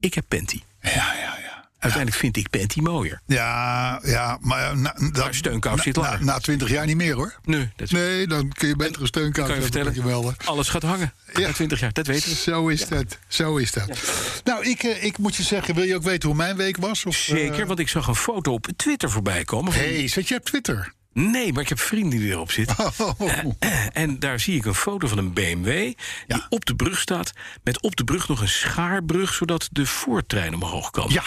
[SPEAKER 3] ik heb panty.
[SPEAKER 2] Ja, ja, ja.
[SPEAKER 3] Uiteindelijk vind ik panty mooier.
[SPEAKER 2] Ja, ja, maar ja, na, na-
[SPEAKER 3] Maar steunkous
[SPEAKER 2] na-
[SPEAKER 3] zit langer.
[SPEAKER 2] Na twintig jaar niet meer hoor.
[SPEAKER 3] Nee, dat is,
[SPEAKER 2] Nee, dan kun je beter een steunkous
[SPEAKER 3] kan je
[SPEAKER 2] hebben.
[SPEAKER 3] vertellen.
[SPEAKER 2] moet je melden.
[SPEAKER 3] Alles gaat hangen.
[SPEAKER 2] Ja.
[SPEAKER 3] Na 20 jaar, dat weten we.
[SPEAKER 2] Zo is dat. Zo is dat. Nou, ik, eh, ik moet je zeggen, wil je ook weten hoe mijn week was? Of,
[SPEAKER 3] Zeker, want ik zag een foto op Twitter voorbij komen. van-
[SPEAKER 2] Hé, Eh. hey, Oh. zet je op Twitter?
[SPEAKER 3] Nee, maar ik heb vrienden die erop zitten. Eh, En daar zie ik een foto van een BMW die
[SPEAKER 2] Ja.
[SPEAKER 3] op de brug staat... met op de brug nog een schaarbrug, zodat de voortrein omhoog kan.
[SPEAKER 2] Ja,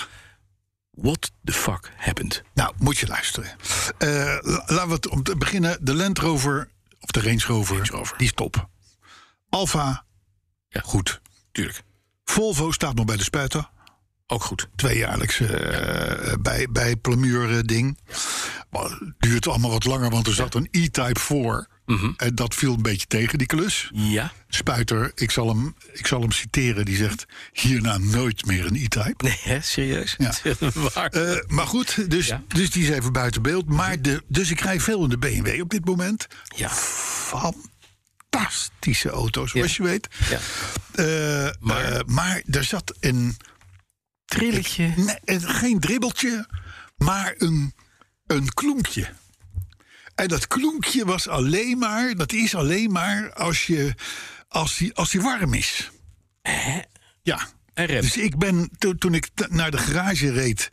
[SPEAKER 3] What the fuck happened?
[SPEAKER 2] nou, moet je luisteren. Eh, la- laten we het om te beginnen. De Land Rover, of de Range Rover, die is top. Alfa,
[SPEAKER 3] Ja.
[SPEAKER 2] goed.
[SPEAKER 3] Tuurlijk,
[SPEAKER 2] Volvo staat nog bij de spuiter.
[SPEAKER 3] ook goed.
[SPEAKER 2] tweejaarlijkse eh, bij, bij Plamuur eh, ding. Maar het duurt allemaal wat langer, want er zat een E-Type voor.
[SPEAKER 3] Mhm.
[SPEAKER 2] En dat viel een beetje tegen, die klus.
[SPEAKER 3] Ja,
[SPEAKER 2] Spuiter, ik zal hem, ik zal hem citeren, die zegt... hierna nooit meer een E-Type.
[SPEAKER 3] nee, hè? serieus?
[SPEAKER 2] Ja.
[SPEAKER 3] *laughs*
[SPEAKER 2] *laughs*
[SPEAKER 3] Waar?
[SPEAKER 2] Eh, maar goed, dus,
[SPEAKER 3] Ja.
[SPEAKER 2] dus die is even buiten beeld. Maar de, dus ik rij veel in de BMW op dit moment.
[SPEAKER 3] ja.
[SPEAKER 2] Fantastische auto's, zoals je weet.
[SPEAKER 3] Ja.
[SPEAKER 2] Eh,
[SPEAKER 3] Maar?
[SPEAKER 2] eh, maar er zat een...
[SPEAKER 3] Trilletje.
[SPEAKER 2] Nee, het- geen dribbeltje, maar een, een kloempje. En dat kloempje was alleen maar, dat is alleen maar als je als die, als die warm is. Ja.
[SPEAKER 3] En rem.
[SPEAKER 2] Dus ik ben, to- toen ik t- naar de garage reed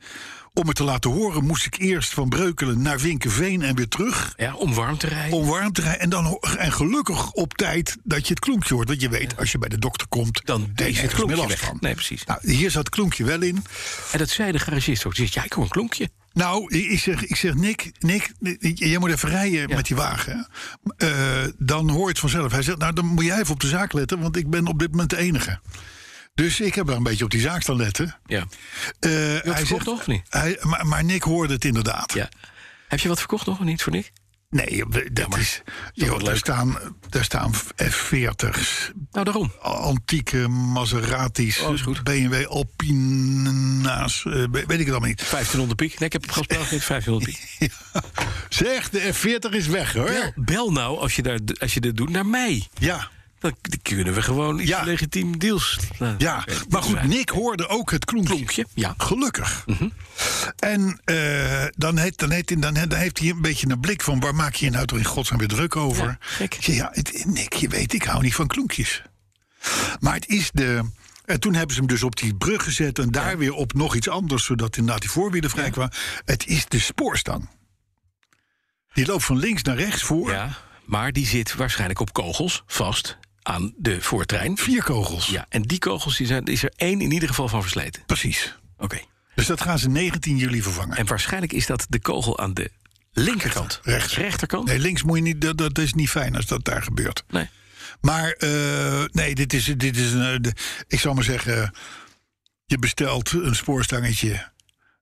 [SPEAKER 2] om het te laten horen, moest ik eerst van Breukelen naar Vinkenveen en weer terug.
[SPEAKER 3] Ja, om warm te rijden.
[SPEAKER 2] Om warm te rijden. En, dan, ho- en gelukkig op tijd dat je het kloempje hoort. Want je weet, als je bij de dokter komt,
[SPEAKER 3] Dan
[SPEAKER 2] heb je
[SPEAKER 3] is het
[SPEAKER 2] ergens
[SPEAKER 3] klompje
[SPEAKER 2] meer last
[SPEAKER 3] weg.
[SPEAKER 2] van.
[SPEAKER 3] Nee, precies.
[SPEAKER 2] Nou, hier zat het kloempje wel in.
[SPEAKER 3] En dat zei de garagist ook. Die zegt, ja, ik hoor een klonkje.
[SPEAKER 2] Nou, ik ik zeg, ik zeg Nick, Nick, Nick, jij moet even rijden met die wagen. Eh, dan hoor je het vanzelf. Hij zegt, nou, dan moet jij even op de zaak letten, want ik ben op dit moment de enige. Dus ik heb daar een beetje op die zaak staan letten.
[SPEAKER 3] Ja.
[SPEAKER 2] Eh,
[SPEAKER 3] verkocht
[SPEAKER 2] zegt-
[SPEAKER 3] nog of niet?
[SPEAKER 2] Hij, maar, maar Nick hoorde het inderdaad.
[SPEAKER 3] ja. Heb je wat verkocht nog of niet voor Nick?
[SPEAKER 2] Nee, we- dat is. Joh, daar, staan, daar staan F40's,
[SPEAKER 3] Nou, daarom.
[SPEAKER 2] antieke Maseratis,
[SPEAKER 3] Oh, is goed.
[SPEAKER 2] BMW Alpina's, eh, we- weet ik het allemaal niet.
[SPEAKER 3] 1500 piek. Nee, ik heb het gespeeld. 1500
[SPEAKER 2] *laughs*
[SPEAKER 3] piek.
[SPEAKER 2] Zeg, de F40 is weg hoor.
[SPEAKER 3] Bel, bel nou, als je, daar, als je dit doet, naar mij.
[SPEAKER 2] Ja,
[SPEAKER 3] Dan kunnen we gewoon iets
[SPEAKER 2] Ja.
[SPEAKER 3] legitiem deals. laten-
[SPEAKER 2] ja. Maar goed, Nick hoorde ook het klonkje.
[SPEAKER 3] Klonkje, ja. Mhm.
[SPEAKER 2] Gelukkig. En eh, dan, heeft, dan, heeft, hij- dan, he- dan heeft hij een beetje een blik van... waar maak je je nou toch in godsnaam weer druk over?
[SPEAKER 3] Ja, gek.
[SPEAKER 2] Ik zeg, ja, het- Nick, je weet, ik hou niet van klonkjes. Maar het is de... En toen hebben ze hem dus op die brug gezet... en daar weer op nog iets anders... zodat inderdaad die voorwielen vrij kwamen. Het is de spoorstang. Die loopt van links naar rechts voor.
[SPEAKER 3] Ja, maar die zit waarschijnlijk op kogels vast aan de voortrein.
[SPEAKER 2] Vier kogels.
[SPEAKER 3] Ja, en die kogels die zijn, is er één in ieder geval van versleten.
[SPEAKER 2] Precies.
[SPEAKER 3] Oké.
[SPEAKER 2] Dus dat gaan ze 19 juli vervangen.
[SPEAKER 3] En waarschijnlijk is dat de kogel aan de linkerkant.
[SPEAKER 2] Rechts.
[SPEAKER 3] Rechterkant?
[SPEAKER 2] Nee, links moet je niet... Dat, dat is niet fijn als dat daar gebeurt.
[SPEAKER 3] Nee.
[SPEAKER 2] Maar eh, nee, dit is, dit is een. eh, de- ik zou maar zeggen. Je bestelt een spoorstangetje.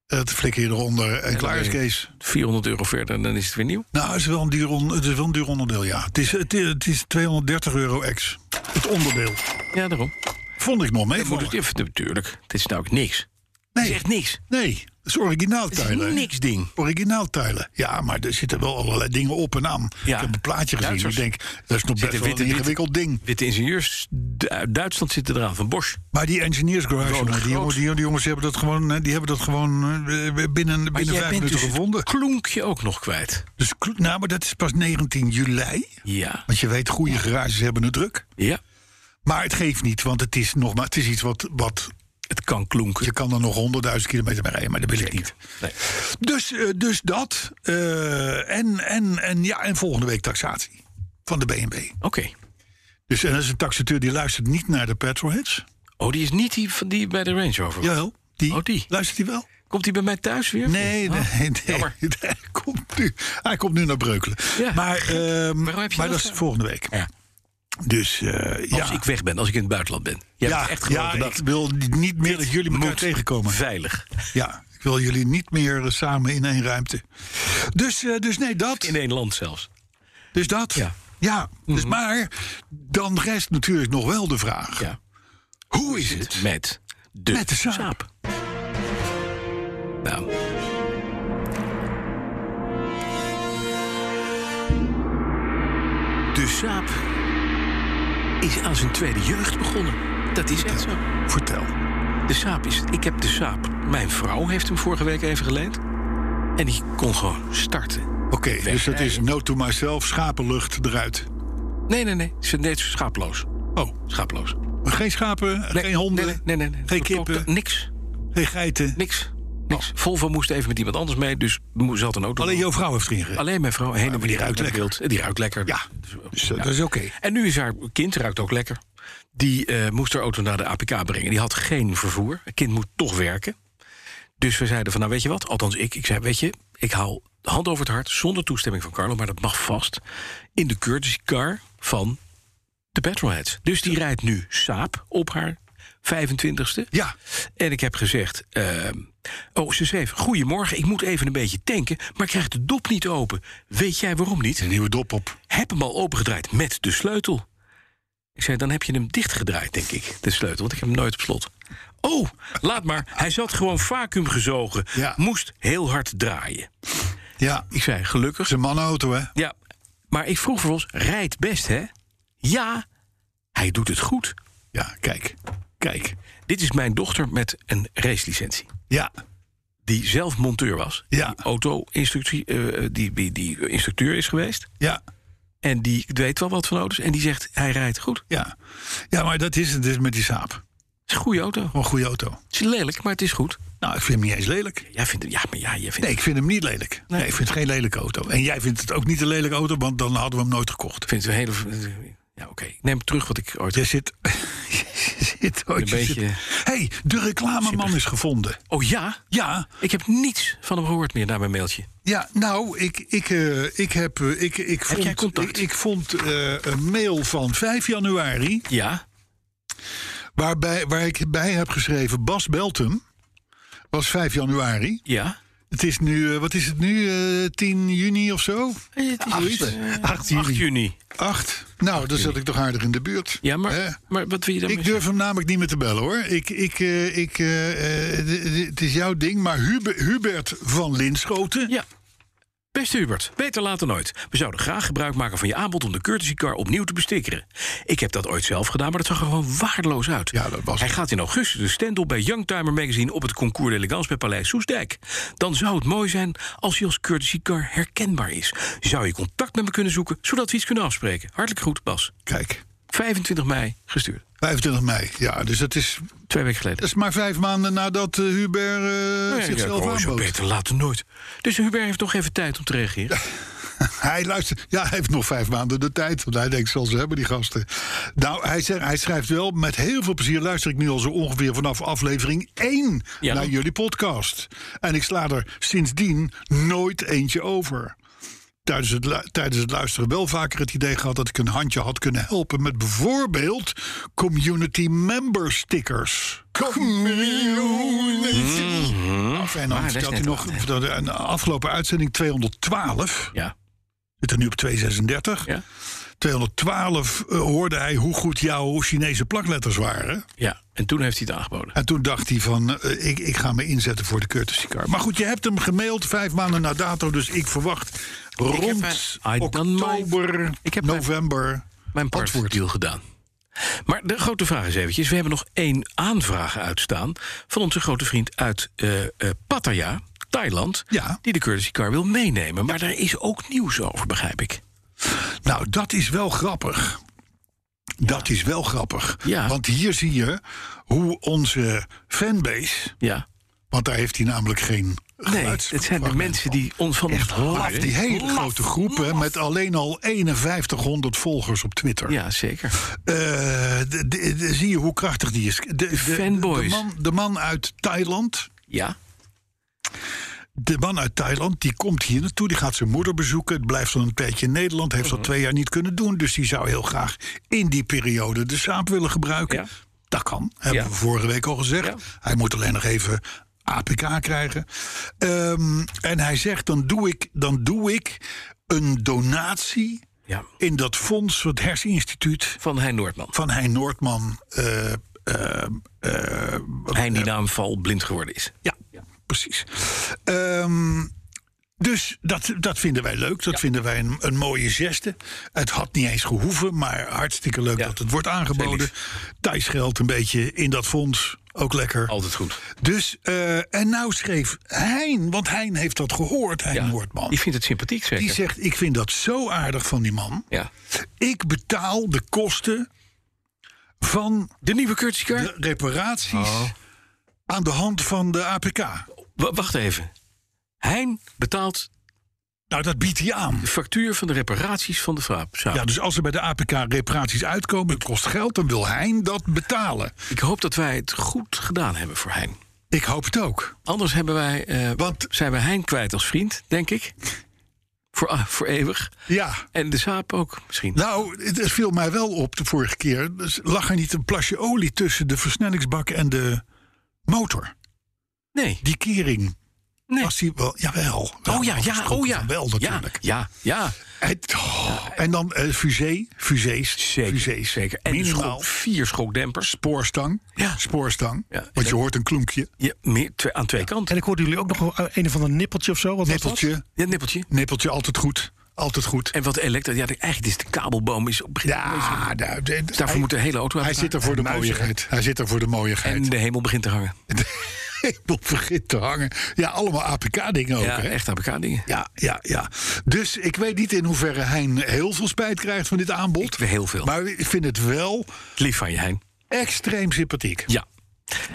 [SPEAKER 2] eh, Dat flikker je eronder. En klaar is
[SPEAKER 3] ben je-
[SPEAKER 2] Kees.
[SPEAKER 3] 400 euro verder en dan is het weer nieuw.
[SPEAKER 2] Nou, het is wel een duur, on- het is wel een duur onderdeel, ja. Het is, het, is, het is 230 euro ex. Het onderdeel.
[SPEAKER 3] Ja, daarom.
[SPEAKER 2] Vond ik nog mee.
[SPEAKER 3] Moet het
[SPEAKER 2] vallen.
[SPEAKER 3] even, natuurlijk. Het is nou ook niks. Het is
[SPEAKER 2] Nee,
[SPEAKER 3] echt niks.
[SPEAKER 2] nee. Het is originaal
[SPEAKER 3] Het is
[SPEAKER 2] tuilen.
[SPEAKER 3] niks ding.
[SPEAKER 2] Originaal tuilen. Ja, maar er zitten wel allerlei dingen op en aan.
[SPEAKER 3] Ja.
[SPEAKER 2] Ik heb een plaatje gezien.
[SPEAKER 3] Duitsers.
[SPEAKER 2] Ik denk, dat is nog
[SPEAKER 3] Zitten
[SPEAKER 2] best wel
[SPEAKER 3] witte-
[SPEAKER 2] een
[SPEAKER 3] witte-
[SPEAKER 2] ingewikkeld ding.
[SPEAKER 3] Witte ingenieurs Du- uit Duitsland zitten eraan van Bosch.
[SPEAKER 2] Maar die engineers garage,
[SPEAKER 3] Gewoon
[SPEAKER 2] jongen, die,
[SPEAKER 3] groot.
[SPEAKER 2] jongens, die, die jongens hebben dat gewoon, eh, die hebben dat gewoon eh, binnen,
[SPEAKER 3] Maar dus
[SPEAKER 2] binnen vijf minuten
[SPEAKER 3] het
[SPEAKER 2] gevonden.
[SPEAKER 3] klonkje ook nog kwijt.
[SPEAKER 2] Dus, kl- nou, maar dat is pas 19 juli.
[SPEAKER 3] Ja.
[SPEAKER 2] Want je weet, goede garages hebben het druk.
[SPEAKER 3] Ja.
[SPEAKER 2] Maar het geeft niet, want het is, nog maar, het is iets wat, wat...
[SPEAKER 3] Het kan klonken.
[SPEAKER 2] Je kan er nog 100.000 kilometer mee rijden, maar dat wil ik niet.
[SPEAKER 3] Nee.
[SPEAKER 2] Dus, eh, dus dat. eh, en, en, en, ja, en volgende week taxatie van de BNB.
[SPEAKER 3] Oké.
[SPEAKER 2] Dus en dat is een taxateur die luistert niet naar de petrolheads.
[SPEAKER 3] Oh, die is niet die, van die bij de Range Rover.
[SPEAKER 2] Jawel. Die,
[SPEAKER 3] Oh, die.
[SPEAKER 2] Luistert hij wel?
[SPEAKER 3] Komt hij bij mij thuis weer?
[SPEAKER 2] Nee,
[SPEAKER 3] Oh,
[SPEAKER 2] nee, *laughs* nee.
[SPEAKER 3] jammer.
[SPEAKER 2] Hij, komt nu, hij komt nu naar Breukelen.
[SPEAKER 3] Ja.
[SPEAKER 2] Maar, ehm,
[SPEAKER 3] Waarom heb je
[SPEAKER 2] maar
[SPEAKER 3] dat
[SPEAKER 2] dat is
[SPEAKER 3] gedaan?
[SPEAKER 2] volgende week.
[SPEAKER 3] Ja.
[SPEAKER 2] Dus eh,
[SPEAKER 3] Als
[SPEAKER 2] ja.
[SPEAKER 3] ik weg ben, als ik in het buitenland ben. Jij hebt echt gewoon
[SPEAKER 2] ja,
[SPEAKER 3] gedacht,
[SPEAKER 2] ik wil niet- niet meer dat jullie elkaar
[SPEAKER 3] moet
[SPEAKER 2] tegenkomen.
[SPEAKER 3] Veilig.
[SPEAKER 2] Ja, ik wil jullie niet meer eh, samen in één ruimte. Dus, eh, dus nee, dat.
[SPEAKER 3] In één land zelfs.
[SPEAKER 2] Dus dat.
[SPEAKER 3] Ja. Mhm.
[SPEAKER 2] Ja, dus maar dan rest natuurlijk nog wel de vraag.
[SPEAKER 3] Ja.
[SPEAKER 2] Hoe is het?
[SPEAKER 3] Met de,
[SPEAKER 2] Met de saap.
[SPEAKER 3] Nou. De saap is aan zijn tweede jeugd begonnen. Dat is echt zo.
[SPEAKER 2] Vertel.
[SPEAKER 3] De saap is. Ik heb de saap. Mijn vrouw heeft hem vorige week even geleend. En die kon gewoon starten.
[SPEAKER 2] Oké, dus dat is no to myself, schapenlucht eruit.
[SPEAKER 3] Nee, nee, nee. Ze deed schaaploos.
[SPEAKER 2] Oh,
[SPEAKER 3] Schaaploos.
[SPEAKER 2] geen schapen,
[SPEAKER 3] Nee,
[SPEAKER 2] geen honden,
[SPEAKER 3] Nee, nee, nee. nee.
[SPEAKER 2] geen kippen,
[SPEAKER 3] Niks.
[SPEAKER 2] geen geiten.
[SPEAKER 3] Niks. Niks. Volvo moest even met iemand anders mee, dus mo- ze had een auto.
[SPEAKER 2] Alleen jouw vrouw heeft erin gereden.
[SPEAKER 3] Alleen mijn vrouw. Heen en
[SPEAKER 2] maar die
[SPEAKER 3] weer
[SPEAKER 2] ruikt
[SPEAKER 3] naar het
[SPEAKER 2] lekker.
[SPEAKER 3] wild. Die ruikt lekker.
[SPEAKER 2] Ja, dus eh, dat is oké.
[SPEAKER 3] En nu is haar kind, ruikt ook lekker. Die eh, moest haar auto naar de APK brengen. Die had geen vervoer. Het kind moet toch werken. Dus we zeiden van, nou weet je wat? Althans ik, ik zei, weet je, ik haal de hand over het hart... zonder toestemming van Carlo, maar dat mag vast... in de courtesy car van de Petrolheads. Dus die rijdt nu saap op haar 25ste.
[SPEAKER 2] Ja,
[SPEAKER 3] En ik heb gezegd... ehm, oh, ze schreef, goedemorgen, ik moet even een beetje tanken... maar ik krijg de dop niet open. Weet jij waarom niet?
[SPEAKER 2] een nieuwe dop op.
[SPEAKER 3] heb hem al opengedraaid met de sleutel. Ik zei, dan heb je hem dichtgedraaid, denk ik, de sleutel. Want ik heb hem nooit op slot. Oh, laat maar. Hij zat gewoon vacuüm gezogen.
[SPEAKER 2] Ja.
[SPEAKER 3] Moest heel hard draaien.
[SPEAKER 2] Ja,
[SPEAKER 3] Ik zei,
[SPEAKER 2] Het
[SPEAKER 3] gelukkig.
[SPEAKER 2] is een mannenauto, hè?
[SPEAKER 3] Ja, maar ik vroeg vervolgens, rijdt best, hè? Ja, hij doet het goed.
[SPEAKER 2] Ja, kijk. Kijk.
[SPEAKER 3] Dit is mijn dochter met een racelicentie.
[SPEAKER 2] Ja,
[SPEAKER 3] Die zelf monteur was.
[SPEAKER 2] Ja.
[SPEAKER 3] Die auto-instructie, eh, die, die, die instructeur is geweest.
[SPEAKER 2] ja,
[SPEAKER 3] En die weet wel wat van auto's. En die zegt, hij rijdt goed. Het
[SPEAKER 2] ja. Ja, maar dat is het dus met die saap. Gewoon
[SPEAKER 3] is een goede auto.
[SPEAKER 2] een goede auto.
[SPEAKER 3] Het is lelijk, maar het is goed.
[SPEAKER 2] Nou, ik vind hem niet eens lelijk.
[SPEAKER 3] Jij vindt het, ja, maar ja, jij vindt
[SPEAKER 2] Nee, ik vind hem niet lelijk. Nee, ik vind het geen lelijke auto. En jij vindt het ook niet een lelijke auto, want dan hadden we hem nooit gekocht.
[SPEAKER 3] ik vind het een hele. Ja, oké. Ik neem terug wat ik ooit.
[SPEAKER 2] Je zit... *laughs* je zit ooit...
[SPEAKER 3] Een
[SPEAKER 2] je zit-
[SPEAKER 3] beetje-
[SPEAKER 2] hey, de reclameman is gevonden.
[SPEAKER 3] Oh ja,
[SPEAKER 2] Ja,
[SPEAKER 3] ik heb niets van hem gehoord meer naar mijn mailtje.
[SPEAKER 2] Ja, nou, ik, ik, eh, ik heb. eh, Ik, ik vond,
[SPEAKER 3] jij contact?
[SPEAKER 2] Ik, ik vond eh, een mail van 5 januari.
[SPEAKER 3] Ja,
[SPEAKER 2] Waarbij, waar ik bij heb geschreven: Bas Beltum. Was 5 januari.
[SPEAKER 3] ja.
[SPEAKER 2] Het is nu, eh, wat is het nu? eh, 10 juni of zo?
[SPEAKER 3] Het is zoiets.
[SPEAKER 2] Achtste.
[SPEAKER 4] 8
[SPEAKER 3] 8
[SPEAKER 4] juli.
[SPEAKER 3] juni.
[SPEAKER 2] 8. Nou, dan zat ik toch aardig in de buurt.
[SPEAKER 3] Ja,
[SPEAKER 2] Hè?
[SPEAKER 3] maar, maar wat wil je dan
[SPEAKER 2] Eh. Ik durf hem namelijk niet meer te bellen hoor. Ik, ik, eh, ik, eh, eh, d- d- het is jouw ding, maar Hube- Hubert van Linschoten.
[SPEAKER 3] Ja. Beste Hubert, beter later nooit. We zouden graag gebruik maken van je aanbod om de courtesy car opnieuw te bestikkeren. Ik heb dat ooit zelf gedaan, maar dat zag er gewoon waardeloos uit.
[SPEAKER 2] Ja, dat was
[SPEAKER 3] Hij
[SPEAKER 2] het.
[SPEAKER 3] gaat in augustus de stand-up bij Youngtimer Magazine op het concours d'élégance bij Paleis Soesdijk. Dan zou het mooi zijn als hij als courtesy car herkenbaar is. Zou je contact met me kunnen zoeken, zodat we iets kunnen afspreken? Hartelijk groet, Bas.
[SPEAKER 2] Kijk,
[SPEAKER 3] 25 mei gestuurd.
[SPEAKER 2] 25 mei. Ja, dus dat is,
[SPEAKER 3] Twee weken geleden.
[SPEAKER 2] dat is maar vijf maanden nadat eh, Hubert Dus, eh,
[SPEAKER 3] Nou ja, ik
[SPEAKER 2] zichzelf
[SPEAKER 3] denk, oh, zo
[SPEAKER 2] aanbood.
[SPEAKER 3] beter later nooit. Dus Hubert heeft nog even tijd om te reageren.
[SPEAKER 2] Hij luistert. Ja, hij heeft nog vijf maanden de tijd. Want hij denkt, zal ze hebben, die gasten. Nou, hij, zegt, hij schrijft wel. Met heel veel plezier luister ik nu al zo ongeveer vanaf aflevering 1
[SPEAKER 3] Ja.
[SPEAKER 2] naar jullie podcast. En ik sla er sindsdien nooit eentje over. Tijdens het, lu- tijdens het luisteren wel vaker het idee gehad dat ik een handje had kunnen helpen met bijvoorbeeld community member stickers. Community. Af en dan
[SPEAKER 3] dat is
[SPEAKER 2] vertelt hij
[SPEAKER 3] net
[SPEAKER 2] nog,
[SPEAKER 3] wat, hè.
[SPEAKER 2] vertelde een afgelopen uitzending 212
[SPEAKER 3] Ja.
[SPEAKER 2] zit er nu op 236.
[SPEAKER 3] Ja.
[SPEAKER 2] 212 eh, hoorde hij hoe goed jouw Chinese plakletters waren.
[SPEAKER 3] ja, en toen heeft hij het aangeboden.
[SPEAKER 2] En toen dacht hij van, eh, ik, ik ga me inzetten voor de courtesy car. Maar goed, je hebt hem gemaild vijf maanden na dato. Dus ik verwacht rond
[SPEAKER 3] I done my-
[SPEAKER 2] oktober,
[SPEAKER 3] Ik heb eh, mijn-
[SPEAKER 2] november...
[SPEAKER 3] mijn partnerdeal gedaan. Maar de grote vraag is eventjes... we hebben nog één aanvraag uitstaan... van onze grote vriend uit eh, eh, Pattaya, Thailand...
[SPEAKER 2] Ja.
[SPEAKER 3] die de courtesy car wil meenemen. Maar daar is ook nieuws over, begrijp ik.
[SPEAKER 2] Nou, dat is wel grappig. Dat is wel grappig.
[SPEAKER 3] Ja.
[SPEAKER 2] Want hier zie je hoe onze fanbase...
[SPEAKER 3] Ja.
[SPEAKER 2] Want daar heeft hij namelijk geen
[SPEAKER 3] Nee, het zijn de
[SPEAKER 2] geluidsfragment
[SPEAKER 3] mensen
[SPEAKER 2] van.
[SPEAKER 3] die ons van ons
[SPEAKER 2] Laf,
[SPEAKER 3] houden.
[SPEAKER 2] die hele
[SPEAKER 3] Laf,
[SPEAKER 2] grote groepen
[SPEAKER 3] laf.
[SPEAKER 2] met alleen al 5100 volgers op Twitter.
[SPEAKER 3] Ja, zeker.
[SPEAKER 2] Eh, de- de- de- zie je hoe krachtig die is. De, de-
[SPEAKER 3] fanboys.
[SPEAKER 2] De man, de man uit Thailand.
[SPEAKER 3] Ja.
[SPEAKER 2] De man uit Thailand die komt hier naartoe. Die gaat zijn moeder bezoeken. Het blijft dan een tijdje in Nederland. Heeft
[SPEAKER 3] Mhm.
[SPEAKER 2] dat twee jaar niet kunnen doen. Dus die zou heel graag in die periode de saap willen gebruiken.
[SPEAKER 3] Ja.
[SPEAKER 2] Dat kan. Hebben
[SPEAKER 3] Ja.
[SPEAKER 2] we vorige week al gezegd.
[SPEAKER 3] Ja.
[SPEAKER 2] Hij moet alleen nog even APK krijgen. Ehm, en hij zegt: dan doe, ik, dan doe ik een donatie
[SPEAKER 3] ja.
[SPEAKER 2] in dat fonds, het herseninstituut
[SPEAKER 3] Van Hein Noordman.
[SPEAKER 2] van Hein Noordman. eh, eh, eh,
[SPEAKER 3] Hein die na een val blind geworden is.
[SPEAKER 2] ja, precies. Ehm, dus dat, dat vinden wij leuk. Dat vinden wij een, een mooie geste. Het had niet eens gehoeven, maar hartstikke leuk
[SPEAKER 3] Ja.
[SPEAKER 2] dat het wordt aangeboden. Thijs geldt een beetje in dat fonds. Ook lekker.
[SPEAKER 3] Altijd goed.
[SPEAKER 2] Dus, eh, en nou schreef Hein, want Hein heeft dat gehoord, Hein
[SPEAKER 3] Ja.
[SPEAKER 2] Noordman.
[SPEAKER 3] Die vindt het sympathiek, zeker.
[SPEAKER 2] Die zegt, ik vind dat zo aardig van die man.
[SPEAKER 3] ja.
[SPEAKER 2] Ik betaal de kosten van
[SPEAKER 3] De nieuwe courtesy car?
[SPEAKER 2] de reparaties
[SPEAKER 3] Oh.
[SPEAKER 2] aan de hand van de APK.
[SPEAKER 3] Wa- Wacht even. Hein betaalt
[SPEAKER 2] Nou, dat biedt hij aan.
[SPEAKER 3] de factuur van de reparaties van de Saab. Saab.
[SPEAKER 2] Ja, dus als er bij de APK reparaties uitkomen, het kost geld, dan wil Hein dat betalen.
[SPEAKER 3] Ik hoop dat wij het goed gedaan hebben voor Hein.
[SPEAKER 2] Ik hoop het ook.
[SPEAKER 3] Anders hebben wij, eh,
[SPEAKER 2] Want-
[SPEAKER 3] zijn we Hein kwijt als vriend, denk ik. Voor, ah, voor eeuwig.
[SPEAKER 2] Ja.
[SPEAKER 3] En de Saab ook misschien.
[SPEAKER 2] Nou, het viel mij wel op de vorige keer. Dus lag er niet een plasje olie tussen de versnellingsbak en de motor?
[SPEAKER 3] Nee.
[SPEAKER 2] Die kering.
[SPEAKER 3] Nee.
[SPEAKER 2] Was die wel? Jawel.
[SPEAKER 3] Oh ja, ja, oh ja.
[SPEAKER 2] Wel natuurlijk.
[SPEAKER 3] Ja, ja, ja.
[SPEAKER 2] En, oh, en dan eh fusee, fusees,
[SPEAKER 3] Zeker.
[SPEAKER 2] fusees.
[SPEAKER 3] zeker. En
[SPEAKER 2] minimaal.
[SPEAKER 3] schok- vier schokdempers.
[SPEAKER 2] Spoorstang.
[SPEAKER 3] Ja.
[SPEAKER 2] Spoorstang.
[SPEAKER 3] Ja,
[SPEAKER 2] Want
[SPEAKER 3] en-
[SPEAKER 2] je hoort een kloempje.
[SPEAKER 3] Ja, meer, twee- aan twee kanten.
[SPEAKER 4] En ik hoorde jullie ook nog wel eh, een of ander nippeltje of zo. Wat was dat?
[SPEAKER 2] Nippeltje.
[SPEAKER 3] Ja, nippeltje.
[SPEAKER 2] Nippeltje, altijd goed. Altijd goed.
[SPEAKER 3] En wat elektro... Ja, de- eigenlijk is de kabelboom... Is op,
[SPEAKER 2] Ja, nou, de-
[SPEAKER 3] Dus daarvoor
[SPEAKER 2] hij,
[SPEAKER 3] moet de hele auto uit
[SPEAKER 2] hij
[SPEAKER 3] elkaar.
[SPEAKER 2] zit er voor de mooiigheid. Hij zit er voor de mooiigheid.
[SPEAKER 3] En de hemel begint te hangen.
[SPEAKER 2] *laughs* Ik moet vergeten te hangen. Ja, allemaal APK-dingen ook,
[SPEAKER 3] ja,
[SPEAKER 2] hè?
[SPEAKER 3] echt APK-dingen.
[SPEAKER 2] Ja, ja, ja. Dus ik weet niet in hoeverre Hein heel veel spijt krijgt van dit aanbod.
[SPEAKER 3] Ik- heel veel.
[SPEAKER 2] Maar ik vind het wel
[SPEAKER 3] Lief van je, Hein.
[SPEAKER 2] extreem sympathiek.
[SPEAKER 3] Ja.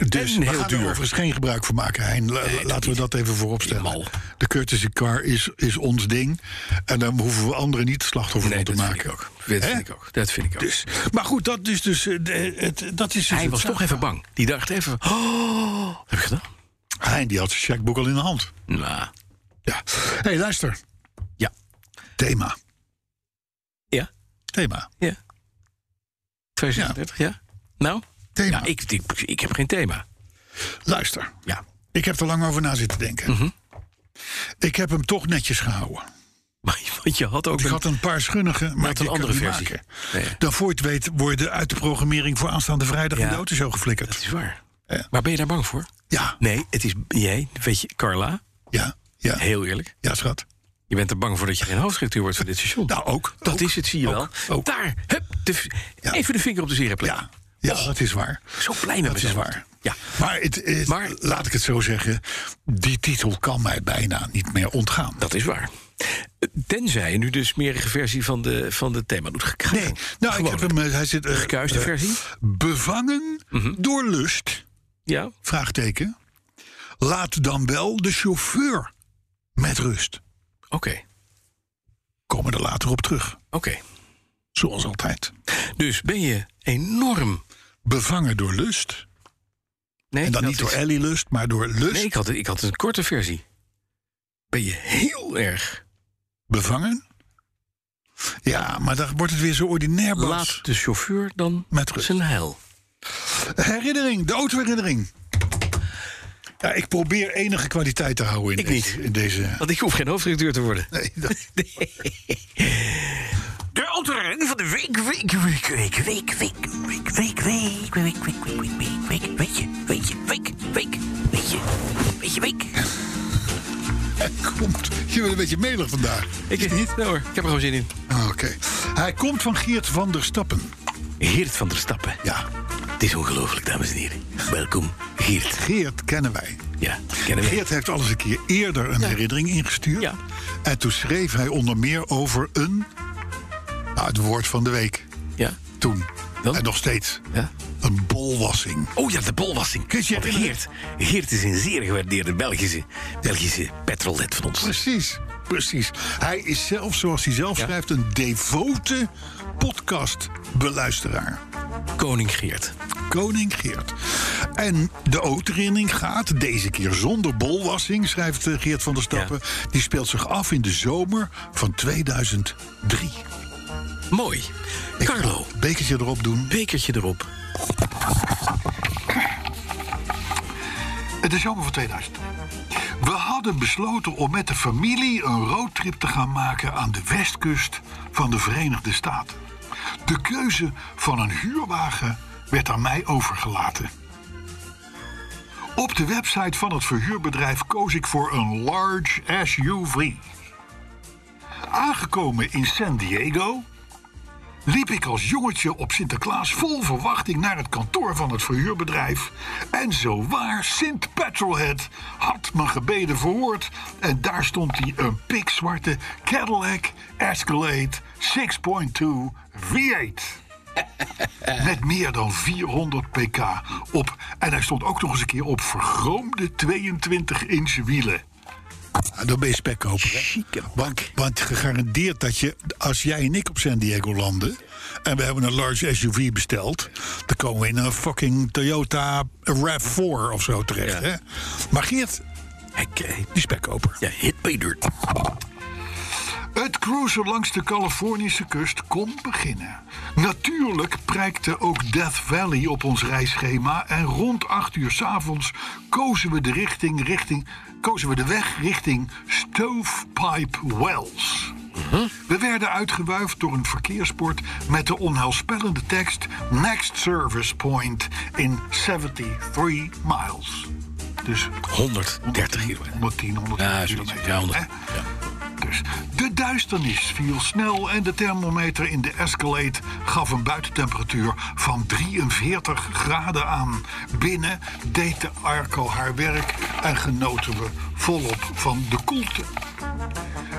[SPEAKER 2] Dus
[SPEAKER 3] en
[SPEAKER 2] we
[SPEAKER 3] heel
[SPEAKER 2] gaan er
[SPEAKER 3] duur.
[SPEAKER 2] overigens geen gebruik van maken, Hein. La- laten we dat even vooropstellen.
[SPEAKER 3] Mal.
[SPEAKER 2] De courtesy car is, is ons ding. En daar hoeven we anderen niet slachtoffer
[SPEAKER 3] Nee,
[SPEAKER 2] van
[SPEAKER 3] dat
[SPEAKER 2] te
[SPEAKER 3] vind
[SPEAKER 2] maken.
[SPEAKER 3] ik ook. Dat
[SPEAKER 2] Hè?
[SPEAKER 3] vind ik ook. Dat vind ik ook.
[SPEAKER 2] Dus, maar goed, dat, dus, dus, eh, de- het, dat is dus
[SPEAKER 3] hij
[SPEAKER 2] het
[SPEAKER 3] was toch
[SPEAKER 2] zaakverhaal.
[SPEAKER 3] even bang. Die dacht even, oh, wat heb ik gedaan?
[SPEAKER 2] Hein die had zijn checkboek al in de hand.
[SPEAKER 3] Nou,
[SPEAKER 2] Ja. hey, luister.
[SPEAKER 3] Ja.
[SPEAKER 2] Thema.
[SPEAKER 3] Ja.
[SPEAKER 2] Thema.
[SPEAKER 3] ja. 236, ja. Nou,
[SPEAKER 2] Thema.
[SPEAKER 3] nou ik, ik, ik heb geen thema.
[SPEAKER 2] Luister.
[SPEAKER 3] Ja. Mhm.
[SPEAKER 2] Ik heb er lang over na zitten denken. Ik heb hem toch netjes gehouden.
[SPEAKER 3] Maar- *laughs* Want Dus je had ook
[SPEAKER 2] Ik
[SPEAKER 3] een-
[SPEAKER 2] had een paar schunnige, maar
[SPEAKER 3] had een
[SPEAKER 2] die kan
[SPEAKER 3] andere
[SPEAKER 2] ik
[SPEAKER 3] versie.
[SPEAKER 2] maken.
[SPEAKER 3] Nee.
[SPEAKER 2] Dan voor je het weet worden uit de programmering voor aanstaande vrijdag
[SPEAKER 3] Ja.
[SPEAKER 2] in de autoshow geflikkerd.
[SPEAKER 3] Dat is waar.
[SPEAKER 2] Ja.
[SPEAKER 3] Maar ben je daar bang voor?
[SPEAKER 2] Ja,
[SPEAKER 3] Nee, het is... Jij, weet je, Carla,
[SPEAKER 2] ja, ja,
[SPEAKER 3] heel eerlijk.
[SPEAKER 2] ja, schat.
[SPEAKER 3] Je bent er bang voor dat je geen hoofdredacteur wordt van dit station.
[SPEAKER 2] Nou, ook.
[SPEAKER 3] dat
[SPEAKER 2] ook.
[SPEAKER 3] is het, zie je
[SPEAKER 2] ook,
[SPEAKER 3] wel.
[SPEAKER 2] ook.
[SPEAKER 3] Daar, hup, de-
[SPEAKER 2] Ja.
[SPEAKER 3] even de vinger op de zere plek.
[SPEAKER 2] Ja, ja dat is waar.
[SPEAKER 3] Zo blij met
[SPEAKER 2] Dat is
[SPEAKER 3] mezelf.
[SPEAKER 2] waar.
[SPEAKER 3] Ja.
[SPEAKER 2] Maar, het, het-
[SPEAKER 3] Maar-
[SPEAKER 2] laat ik het zo zeggen, die titel kan mij bijna niet meer ontgaan.
[SPEAKER 3] Dat is waar. Tenzij je nu de smerige versie van de, van de thema doet
[SPEAKER 2] nee,
[SPEAKER 3] gekregen.
[SPEAKER 2] nou, ik heb hem, eh, hij zit eh,
[SPEAKER 3] Gekuiste
[SPEAKER 2] eh,
[SPEAKER 3] versie? Mhm.
[SPEAKER 2] Bevangen door lust,
[SPEAKER 3] Ja,
[SPEAKER 2] vraagteken. Laat dan wel de chauffeur met rust.
[SPEAKER 3] oké.
[SPEAKER 2] Komen er later op terug,
[SPEAKER 3] Oké.
[SPEAKER 2] zoals altijd.
[SPEAKER 3] Dus ben je enorm...
[SPEAKER 2] Bevangen door lust.
[SPEAKER 3] Nee,
[SPEAKER 2] En dan
[SPEAKER 3] dat
[SPEAKER 2] niet door
[SPEAKER 3] is-
[SPEAKER 2] Ellie Lust, maar door Lust.
[SPEAKER 3] Nee, ik had, ik had een korte versie. Ben je heel erg...
[SPEAKER 2] Bevangen? Ja, maar dan wordt het weer zo ordinair, Bas.
[SPEAKER 3] Laat de chauffeur dan
[SPEAKER 2] Met rust.
[SPEAKER 3] zijn heil.
[SPEAKER 2] Herinnering, de autoherinnering. Ja, ik probeer enige kwaliteit te houden in
[SPEAKER 3] Ik
[SPEAKER 2] deze...
[SPEAKER 3] niet.
[SPEAKER 2] In
[SPEAKER 3] *laughs*
[SPEAKER 2] deze
[SPEAKER 3] Want ik hoef geen hoofdredacteur te worden.
[SPEAKER 2] nee, dat- *laughs*
[SPEAKER 1] De autoren van de week, week, week, week, week, week, week, week, week, week, week, week, week, week, week, weet je, weet je, week, week, weet je, weet je, week.
[SPEAKER 2] hij komt... Je bent een beetje melig vandaag.
[SPEAKER 3] Ik weet niet. Nee hoor, ik heb er gewoon zin in.
[SPEAKER 2] Ah, Oké. Hij komt van Geert van der Stappen.
[SPEAKER 3] Geert van der Stappen.
[SPEAKER 2] Ja,
[SPEAKER 3] Het is ongelooflijk, dames en heren. Welkom, Geert.
[SPEAKER 2] Geert kennen wij.
[SPEAKER 3] Ja, kennen we.
[SPEAKER 2] Geert heeft al eens een keer eerder een herinnering ingestuurd.
[SPEAKER 3] Ja.
[SPEAKER 2] En toen schreef hij onder meer over een... Nou, het woord van de week
[SPEAKER 3] Ja.
[SPEAKER 2] toen.
[SPEAKER 3] Dan?
[SPEAKER 2] En nog steeds.
[SPEAKER 3] ja.
[SPEAKER 2] Een bolwassing.
[SPEAKER 3] Oh ja, de bolwassing.
[SPEAKER 2] Kun je
[SPEAKER 3] Want
[SPEAKER 2] herinneren?
[SPEAKER 3] Geert, Geert is een zeer gewaardeerde Belgische, Belgische petrolhead van ons.
[SPEAKER 2] Precies, precies. Hij is zelf, zoals hij zelf
[SPEAKER 3] Ja.
[SPEAKER 2] schrijft, een devote podcastbeluisteraar.
[SPEAKER 3] Koning Geert.
[SPEAKER 2] Koning Geert. En de autorinning gaat, deze keer zonder bolwassing, schrijft eh, Geert van der Stappen. Die speelt zich af in de zomer van 2003.
[SPEAKER 3] Mooi.
[SPEAKER 2] Ik ga
[SPEAKER 3] Carlo,
[SPEAKER 2] een Bekertje erop doen.
[SPEAKER 3] bekertje erop.
[SPEAKER 2] De zomer van 2000. We hadden besloten om met de familie een roadtrip te gaan maken aan de westkust van de Verenigde Staten. De keuze van een huurwagen werd aan mij overgelaten. Op de website van het verhuurbedrijf koos ik voor een large SUV. Aangekomen in San Diego liep ik als jongetje op Sinterklaas vol verwachting naar het kantoor van het verhuurbedrijf. En zo waar, Sint Petrolhead had mijn gebeden verhoord. En daar stond hij, een pikzwarte Cadillac Escalade 6.2 V8. Met meer dan 400 pk op. En hij stond ook nog eens een keer op vergroomde 22-inch wielen. Ah, dan ben je spekkoper, hè? Want, want gegarandeerd dat je, als jij en ik op San Diego landen... en we hebben een large SUV besteld... dan komen we in een fucking Toyota RAV4 of zo terecht,
[SPEAKER 3] Ja.
[SPEAKER 2] hè? Maar Geert,
[SPEAKER 3] Hij kreeg...
[SPEAKER 2] die spekkoper.
[SPEAKER 3] Ja, hit me dirt.
[SPEAKER 2] Het cruisen langs de Californische kust kon beginnen. Natuurlijk prijkte ook Death Valley op ons reisschema en rond 8 uur 's avonds kozen we de richting, richting kozen we de weg richting Stovepipe Wells. We werden uitgewuifd door een verkeersbord met de onheilspellende tekst Next Service Point in 73 miles. Dus
[SPEAKER 3] 130 euro.
[SPEAKER 2] 110, 120
[SPEAKER 3] Ja, zoiets.
[SPEAKER 2] kilometer.
[SPEAKER 3] Ja, 100.
[SPEAKER 2] hè? Dus de duisternis viel snel en de thermometer in de Escalade gaf een buitentemperatuur van 43 graden aan. Binnen deed de Arco haar werk en genoten we volop van de koelte.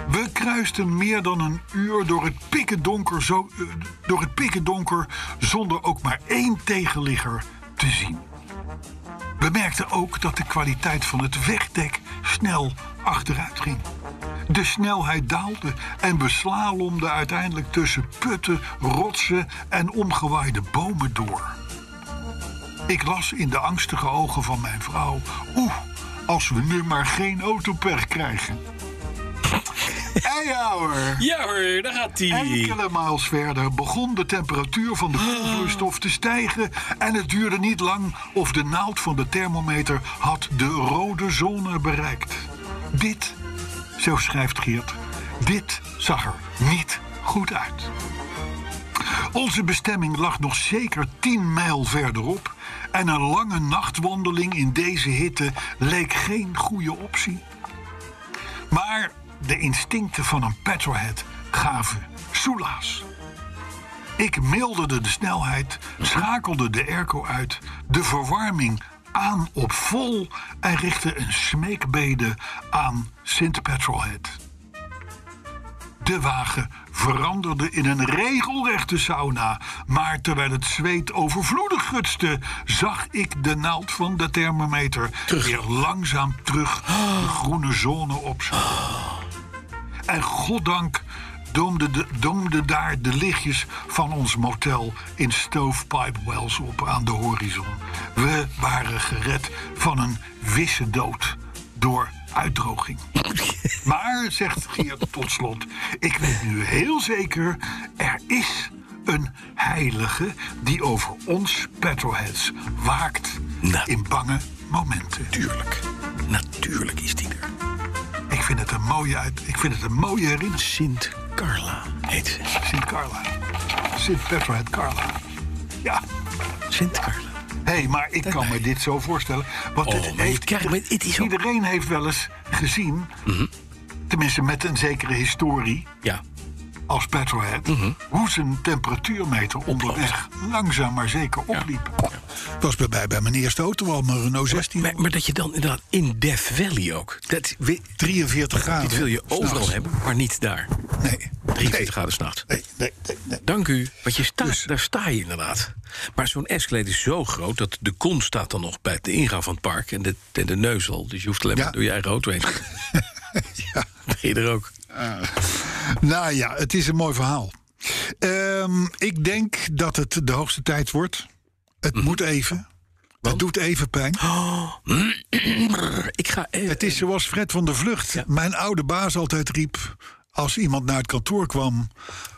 [SPEAKER 2] We kruisten meer dan een uur door het pikken donker, zo, eh, door het pikken donker zonder ook maar één tegenligger te zien. We merkten ook dat de kwaliteit van het wegdek snel achteruit ging. De snelheid daalde en we slalomden uiteindelijk tussen putten, rotsen en omgewaaide bomen door. Ik las in de angstige ogen van mijn vrouw: Oeh, als we nu maar geen autoper krijgen. Ei, hoor.
[SPEAKER 3] Ja hoor, Eh, daar gaat hij.
[SPEAKER 2] Enkele miles verder begon de temperatuur van de koelvloeistof te stijgen. En het duurde niet lang of de naald van de thermometer had de rode zone bereikt. Dit Zo schrijft Geert. Dit zag er niet goed uit. Onze bestemming lag nog zeker 10 mijl verderop. En een lange nachtwandeling in deze hitte leek geen goede optie. Maar de instincten van een petrolhead gaven soelaas. Ik milderde de snelheid, schakelde de airco uit, de verwarming aan op vol en richtte een smeekbede aan Sint Petrolhead. De wagen veranderde in een regelrechte sauna. Maar terwijl het zweet overvloedig gutste, zag ik de naald van de thermometer weer langzaam terug de groene zone opzoeken. En goddank doemden de, doemden daar de lichtjes van ons motel in Stovepipe Wells op aan de horizon. We waren gered van een wisse dood door uitdroging.
[SPEAKER 3] *laughs*
[SPEAKER 2] Maar, zegt Geert tot slot, ik weet nu heel zeker, er is een heilige die over ons petrolheads waakt
[SPEAKER 3] Nou.
[SPEAKER 2] in bange momenten.
[SPEAKER 3] Tuurlijk. Natuurlijk is die er.
[SPEAKER 2] Ik vind het een mooie, uit, ik vind het een mooie herinnering.
[SPEAKER 3] Sint Carla heet ze.
[SPEAKER 2] Sint Carla. Sint Petrolhead Carla. Ja.
[SPEAKER 3] Sint Carla.
[SPEAKER 2] Hé, hey, maar ik kan me dit zo voorstellen. Want
[SPEAKER 3] Oh,
[SPEAKER 2] dit
[SPEAKER 3] maar je
[SPEAKER 2] heeft,
[SPEAKER 3] krijgt- maar het is ook- Mhm.
[SPEAKER 2] iedereen heeft wel eens gezien, tenminste met een zekere historie,
[SPEAKER 3] Ja.
[SPEAKER 2] als petrolhead...
[SPEAKER 3] Mhm.
[SPEAKER 2] hoe zijn temperatuurmeter onderweg langzaam maar zeker opliep. Was bij mij bij mijn eerste auto al, mijn Renault 16.
[SPEAKER 3] Maar, maar dat je dan inderdaad in Death Valley ook. Dat, wi-
[SPEAKER 2] 43 graden.
[SPEAKER 3] dit wil je
[SPEAKER 2] s'nachts.
[SPEAKER 3] overal hebben, maar niet daar.
[SPEAKER 2] Nee.
[SPEAKER 3] 23
[SPEAKER 2] Nee.
[SPEAKER 3] graden s'nachts.
[SPEAKER 2] Nee, nee, nee, nee.
[SPEAKER 3] Dank u. Want je staat,
[SPEAKER 2] Dus-
[SPEAKER 3] daar sta je inderdaad. Maar zo'n Escalade is zo groot dat de kom staat dan nog bij de ingang van het park. En de, en de neus al. Dus je hoeft alleen maar
[SPEAKER 2] Ja.
[SPEAKER 3] door je eigen auto
[SPEAKER 2] *laughs*
[SPEAKER 3] heen. *laughs*
[SPEAKER 2] Ja.
[SPEAKER 3] Ben je er ook.
[SPEAKER 2] Nou ja, het is een mooi verhaal. Ehm, ik denk dat het de hoogste tijd wordt. Het moet even. Het doet even pijn.
[SPEAKER 3] Ik ga eh,
[SPEAKER 2] Het is zoals Fred van der Vlucht, mijn oude baas, altijd riep... als iemand naar het kantoor kwam...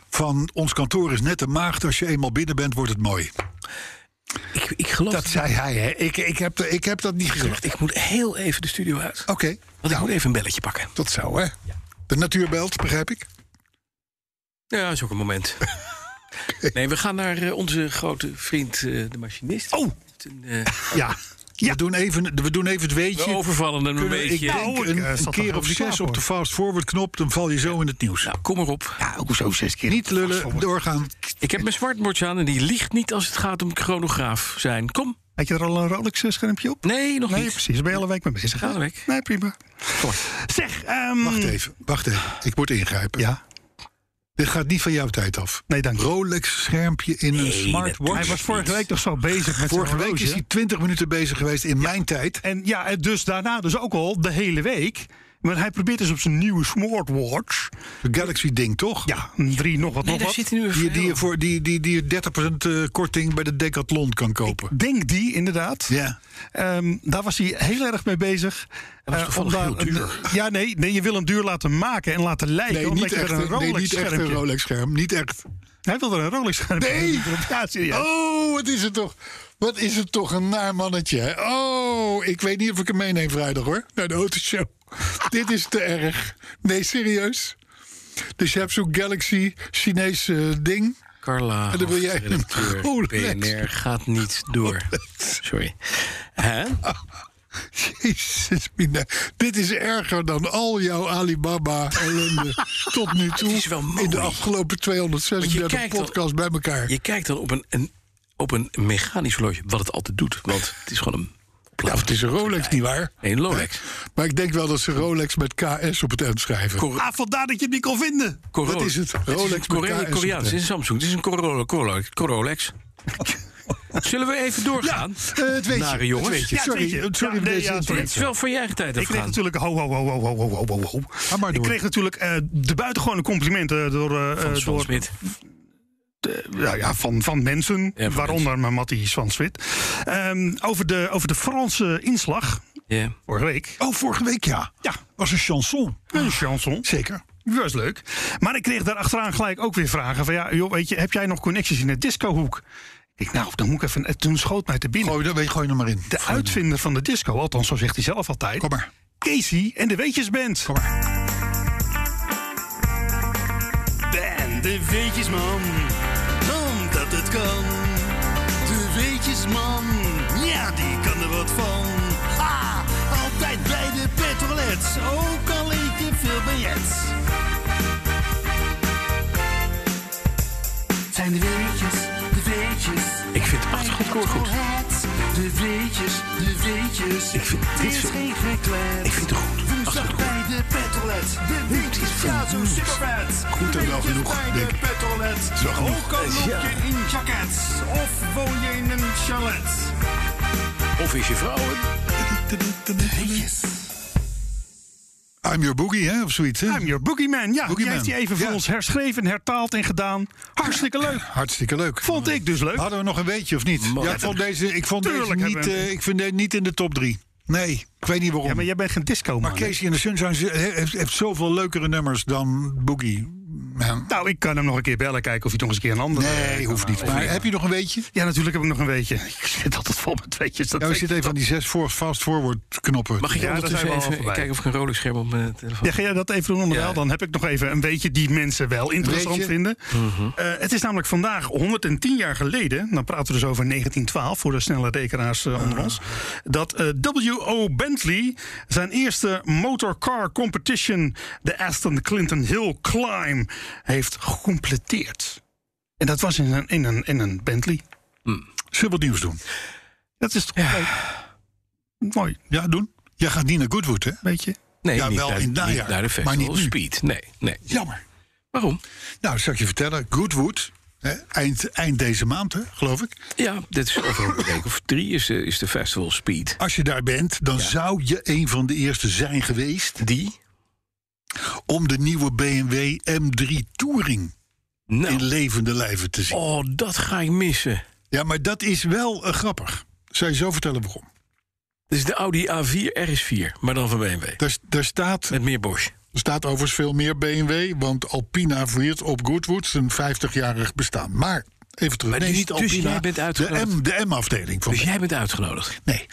[SPEAKER 2] van ons kantoor is net een maagd, als je eenmaal binnen bent, wordt het mooi.
[SPEAKER 3] ik, ik geloof
[SPEAKER 2] Dat zei hij, hè? Ik, ik, heb, de- ik heb dat niet gezegd.
[SPEAKER 3] Ik moet heel even de studio uit.
[SPEAKER 2] Oké,
[SPEAKER 3] Want
[SPEAKER 2] Nou.
[SPEAKER 3] ik moet even een belletje pakken.
[SPEAKER 2] tot zo, hè? De natuur belt, begrijp ik.
[SPEAKER 3] Ja, is ook een
[SPEAKER 2] *laughs*
[SPEAKER 3] moment. Nee, we gaan naar eh, onze grote vriend, eh, de machinist. Oh!
[SPEAKER 2] *laughs* Ja. We, doen even, we doen even het
[SPEAKER 3] we
[SPEAKER 2] weetje.
[SPEAKER 3] overvallen hem een
[SPEAKER 2] Kunnen we-
[SPEAKER 3] beetje.
[SPEAKER 2] Ik denk
[SPEAKER 4] Nou, ik, eh,
[SPEAKER 2] een, een
[SPEAKER 4] zat er
[SPEAKER 2] keer
[SPEAKER 4] heel
[SPEAKER 2] of
[SPEAKER 4] te
[SPEAKER 2] zes
[SPEAKER 4] slapen,
[SPEAKER 2] op de
[SPEAKER 4] hoor.
[SPEAKER 2] fast-forward knop, dan val je zo in het nieuws.
[SPEAKER 3] Nou, kom maar op.
[SPEAKER 5] Ja, ook zo zes keer.
[SPEAKER 2] Niet lullen, doorgaan.
[SPEAKER 3] Ik heb mijn smartwatch aan en die liegt niet als het gaat om chronograaf zijn. Kom.
[SPEAKER 4] Had je er al een Rolex-schermpje op?
[SPEAKER 3] Nee, nog
[SPEAKER 4] Nee,
[SPEAKER 3] niet.
[SPEAKER 4] precies. Ben je alle week mee bezig? hè?
[SPEAKER 3] Alle week.
[SPEAKER 4] Nee, prima. Zeg, ehm,
[SPEAKER 2] Wacht even, wacht even. Ik moet ingrijpen.
[SPEAKER 4] Ja,
[SPEAKER 2] Dit gaat niet van jouw tijd af.
[SPEAKER 4] nee, dank je.
[SPEAKER 2] Rolex-schermpje in een smartwatch.
[SPEAKER 4] Hij was vorige week nog zo bezig met
[SPEAKER 2] Vorige
[SPEAKER 4] zijn
[SPEAKER 2] week
[SPEAKER 4] horloge.
[SPEAKER 2] is hij 20 minuten bezig geweest in mijn tijd.
[SPEAKER 4] En ja, en dus daarna dus ook al de hele week. Maar hij probeert dus op zijn nieuwe smartwatch.
[SPEAKER 2] De Galaxy-ding, toch?
[SPEAKER 4] Ja, een drie nog wat
[SPEAKER 3] Nee,
[SPEAKER 4] nog
[SPEAKER 3] daar
[SPEAKER 4] wat.
[SPEAKER 3] zit hij nu
[SPEAKER 2] Die,
[SPEAKER 3] even.
[SPEAKER 2] die, je voor, die, die, die je 30% eh, korting bij de Decathlon kan kopen.
[SPEAKER 4] Denk die inderdaad.
[SPEAKER 2] Ja.
[SPEAKER 4] Ehm, daar was hij heel erg mee bezig.
[SPEAKER 3] was
[SPEAKER 4] Eh,
[SPEAKER 3] toevallig
[SPEAKER 4] om daar
[SPEAKER 3] heel
[SPEAKER 4] een-
[SPEAKER 3] duur.
[SPEAKER 4] ja, nee, nee, je wil hem duur laten maken en laten lijken.
[SPEAKER 2] Nee,
[SPEAKER 4] omdat
[SPEAKER 2] niet
[SPEAKER 4] je er
[SPEAKER 2] echt,
[SPEAKER 4] een
[SPEAKER 2] een- nee,
[SPEAKER 4] Rolex
[SPEAKER 2] niet echt een
[SPEAKER 4] schermpje-
[SPEAKER 2] Rolex-scherm. Niet echt.
[SPEAKER 4] Hij wil er een Rolex schermpje.
[SPEAKER 2] Nee!
[SPEAKER 4] Ja, serieus.
[SPEAKER 2] Oh, wat is het toch? Wat is het toch een naar mannetje? hè? Oh, ik weet niet of ik hem meeneem vrijdag hoor. Naar de
[SPEAKER 3] *laughs*
[SPEAKER 2] autoshow. Dit is te erg. Nee, serieus. Dus je hebt zo'n Galaxy Chinees eh, ding. *laughs*
[SPEAKER 3] Carla,
[SPEAKER 2] En dan wil jij een
[SPEAKER 3] hoofdredacteur,
[SPEAKER 2] Rolex.
[SPEAKER 3] BNR gaat niet door. Sorry. Hè?
[SPEAKER 2] Jezus, mina. Dit is erger dan al jouw Alibaba
[SPEAKER 3] *laughs*
[SPEAKER 2] ellende tot nu toe.
[SPEAKER 3] is wel mooi.
[SPEAKER 2] In de afgelopen
[SPEAKER 3] Want je
[SPEAKER 2] 236
[SPEAKER 3] kijkt al-
[SPEAKER 2] podcasts bij elkaar.
[SPEAKER 3] Je kijkt dan op een, een, op een mechanisch horloge, wat het altijd doet. Want het is gewoon een...
[SPEAKER 2] Ja, of Nou, het is een Rolex, nietwaar?
[SPEAKER 3] Nee, een Rolex.
[SPEAKER 2] Maar ik denk wel dat ze Rolex met KS op het eind schrijven.
[SPEAKER 3] Cor-
[SPEAKER 4] Ah, vandaar dat je het niet kon vinden.
[SPEAKER 3] Corolla.
[SPEAKER 2] Wat is het? Rolex
[SPEAKER 3] het is een
[SPEAKER 2] met
[SPEAKER 3] Korea-
[SPEAKER 2] KS op
[SPEAKER 3] Koreaans.
[SPEAKER 2] de-
[SPEAKER 3] Het is een Samsung. Het is een Corolla. Corolla-
[SPEAKER 2] *laughs*
[SPEAKER 3] Corolex. Zullen we even doorgaan?
[SPEAKER 2] Eh, het weet
[SPEAKER 3] Nare
[SPEAKER 2] je.
[SPEAKER 3] jongens.
[SPEAKER 2] Het weet je.
[SPEAKER 4] Ja, het
[SPEAKER 2] Sorry, sorry voor
[SPEAKER 4] weet je. Ja, nee,
[SPEAKER 2] deze
[SPEAKER 4] ja,
[SPEAKER 2] interruptie.
[SPEAKER 3] Het is wel van je eigen tijd
[SPEAKER 4] Ik kreeg
[SPEAKER 3] afgaan.
[SPEAKER 4] natuurlijk, ho, ho, ho, ho, ho, ho, ho, ho, ho.
[SPEAKER 2] Ga maar
[SPEAKER 4] Ik
[SPEAKER 2] door.
[SPEAKER 4] kreeg natuurlijk eh, de buitengewone complimenten door, eh, eh,
[SPEAKER 3] Van Swan
[SPEAKER 4] door,
[SPEAKER 3] Smit.
[SPEAKER 4] ja, ja, van, van mensen,
[SPEAKER 3] van
[SPEAKER 4] waaronder mijn Mattie Zwanswit. Ehm over, de, over de Franse inslag,
[SPEAKER 3] Ja.
[SPEAKER 4] vorige week.
[SPEAKER 2] Oh, vorige week ja.
[SPEAKER 4] Ja,
[SPEAKER 2] Was een chanson.
[SPEAKER 4] een chanson.
[SPEAKER 2] Zeker.
[SPEAKER 4] Die was leuk. Maar ik kreeg daar achteraan gelijk ook weer vragen van... ja, joh, weet je, heb jij nog connecties in de discohoek? Ik nou, dan moet ik even... en Toen schoot mij te binnen.
[SPEAKER 2] Gooi, weet, gooi hem maar in.
[SPEAKER 4] De uitvinder van de disco, althans zo zegt hij zelf altijd...
[SPEAKER 2] Kom maar.
[SPEAKER 4] Casey en de Weetjesband.
[SPEAKER 2] Kom maar.
[SPEAKER 5] de Weetjesman. Omdat het kan. De Weetjesman. Ja, die kan er wat van. Ha! Altijd bij de petrolets. Ook al eet je veel billets. Het zijn de weetjes, de weetjes.
[SPEAKER 3] Ik vind het achtergrondkoor goed.
[SPEAKER 5] De weetjes, de weetjes.
[SPEAKER 3] Ik vind-
[SPEAKER 5] het
[SPEAKER 3] dit
[SPEAKER 5] is
[SPEAKER 3] vind-
[SPEAKER 5] geen geklet.
[SPEAKER 3] Ik vind het goed.
[SPEAKER 5] Woensdag
[SPEAKER 3] Achtergrond.
[SPEAKER 5] bij de petrolets. De weetjes, ja zo supervet.
[SPEAKER 2] Goed en wel
[SPEAKER 5] Weetjes
[SPEAKER 2] genoeg,
[SPEAKER 5] bij
[SPEAKER 2] denk
[SPEAKER 5] de
[SPEAKER 2] ik.
[SPEAKER 5] petrolets.
[SPEAKER 2] is wel genoeg.
[SPEAKER 5] Ook al loop
[SPEAKER 3] Ja.
[SPEAKER 5] je in jackets. Of woon je in een chalet.
[SPEAKER 3] Of is je vrouw het?
[SPEAKER 2] I'm your boogie, hè? Of zoiets, hè?
[SPEAKER 4] I'm your boogeyman. Ja, die
[SPEAKER 2] Boogeyman.
[SPEAKER 4] heeft hij even voor
[SPEAKER 2] Ja.
[SPEAKER 4] ons herschreven, hertaald en gedaan. Hartstikke leuk.
[SPEAKER 2] Hartstikke leuk.
[SPEAKER 4] Vond ik dus leuk.
[SPEAKER 2] Hadden we nog een weetje of niet?
[SPEAKER 3] Man.
[SPEAKER 2] Ja, ik vond deze, ik vond
[SPEAKER 4] Tuurlijk
[SPEAKER 2] deze
[SPEAKER 4] hebben
[SPEAKER 2] niet,
[SPEAKER 4] we hem.
[SPEAKER 2] eh, ik vind deze niet in de top drie. Nee, ik weet niet waarom.
[SPEAKER 4] Ja, maar
[SPEAKER 2] maar,
[SPEAKER 4] jij bent geen disco man. hè?
[SPEAKER 2] Casey en de Sunshine ze- he- heeft, heeft zoveel leukere nummers dan Boogie. Man.
[SPEAKER 4] Nou, ik kan hem nog een keer bellen, kijken of hij nog eens een keer een andere...
[SPEAKER 2] Nee, hoeft niet. Maar heb je nog een weetje?
[SPEAKER 4] Ja, natuurlijk heb ik nog een weetje. *laughs* Ik zit altijd vol met weetjes. Dat
[SPEAKER 2] Ja, we
[SPEAKER 4] weet je
[SPEAKER 2] zitten even aan die zes voor, fast forward knoppen.
[SPEAKER 3] Mag ik
[SPEAKER 4] Ja, daar
[SPEAKER 3] ondertussen
[SPEAKER 4] zijn we al
[SPEAKER 3] even
[SPEAKER 4] voorbij.
[SPEAKER 3] kijken of ik een Rolex-scherm op mijn telefoon...
[SPEAKER 4] Ja, ga jij dat even doen onderwijl?
[SPEAKER 3] Ja.
[SPEAKER 4] Dan heb ik nog even een weetje die mensen wel interessant
[SPEAKER 2] Weetje?
[SPEAKER 4] vinden. Eh, het is namelijk vandaag 110 jaar geleden, dan praten we dus over 1912 voor de snelle rekenaars eh, onder ons, dat eh, W.O. Bentley zijn eerste motorcar competition, de Aston Clinton Hill Climb, heeft gecompleteerd. En dat was in een, in een, in een Bentley.
[SPEAKER 2] Zullen we wat nieuws doen?
[SPEAKER 4] Dat is toch leuk? Mooi,
[SPEAKER 2] Ja, doen. Jij gaat niet naar Goodwood, hè?
[SPEAKER 4] weet je.
[SPEAKER 3] Nee,
[SPEAKER 2] Ja,
[SPEAKER 3] niet
[SPEAKER 2] wel in
[SPEAKER 3] naar,
[SPEAKER 2] het
[SPEAKER 3] niet
[SPEAKER 2] najaar,
[SPEAKER 3] naar de
[SPEAKER 2] maar
[SPEAKER 3] festival
[SPEAKER 2] niet nu.
[SPEAKER 3] Speed. Nee, nee.
[SPEAKER 2] Jammer.
[SPEAKER 3] Waarom?
[SPEAKER 2] Nou, zal ik je vertellen. Goodwood, hè, eind, eind deze maand, hè, geloof ik.
[SPEAKER 3] Ja, dit is over een week of drie is, eh, is de festival Speed.
[SPEAKER 2] Als je daar bent, dan zou je een van de eerste zijn geweest...
[SPEAKER 3] Die?
[SPEAKER 2] om de nieuwe BMW M3 Touring in
[SPEAKER 3] Nou,
[SPEAKER 2] levende lijven te zien.
[SPEAKER 3] oh, dat ga ik missen.
[SPEAKER 2] Ja, maar dat is wel eh, grappig. Zou je zo vertellen waarom?
[SPEAKER 3] Dit is de Audi A4 RS4, maar dan van BMW.
[SPEAKER 2] Daar, daar staat,
[SPEAKER 3] Met meer Bosch.
[SPEAKER 2] er staat overigens veel meer BMW... want Alpina viert op Goodwood zijn 50-jarig bestaan. Maar, even terug.
[SPEAKER 3] Maar
[SPEAKER 2] nee,
[SPEAKER 3] dus-
[SPEAKER 2] niet
[SPEAKER 3] dus
[SPEAKER 2] Alpina,
[SPEAKER 3] jij bent
[SPEAKER 2] de, M,
[SPEAKER 3] uitgenodigd?
[SPEAKER 2] de M-afdeling van
[SPEAKER 3] Dus jij bent uitgenodigd.
[SPEAKER 2] Nee.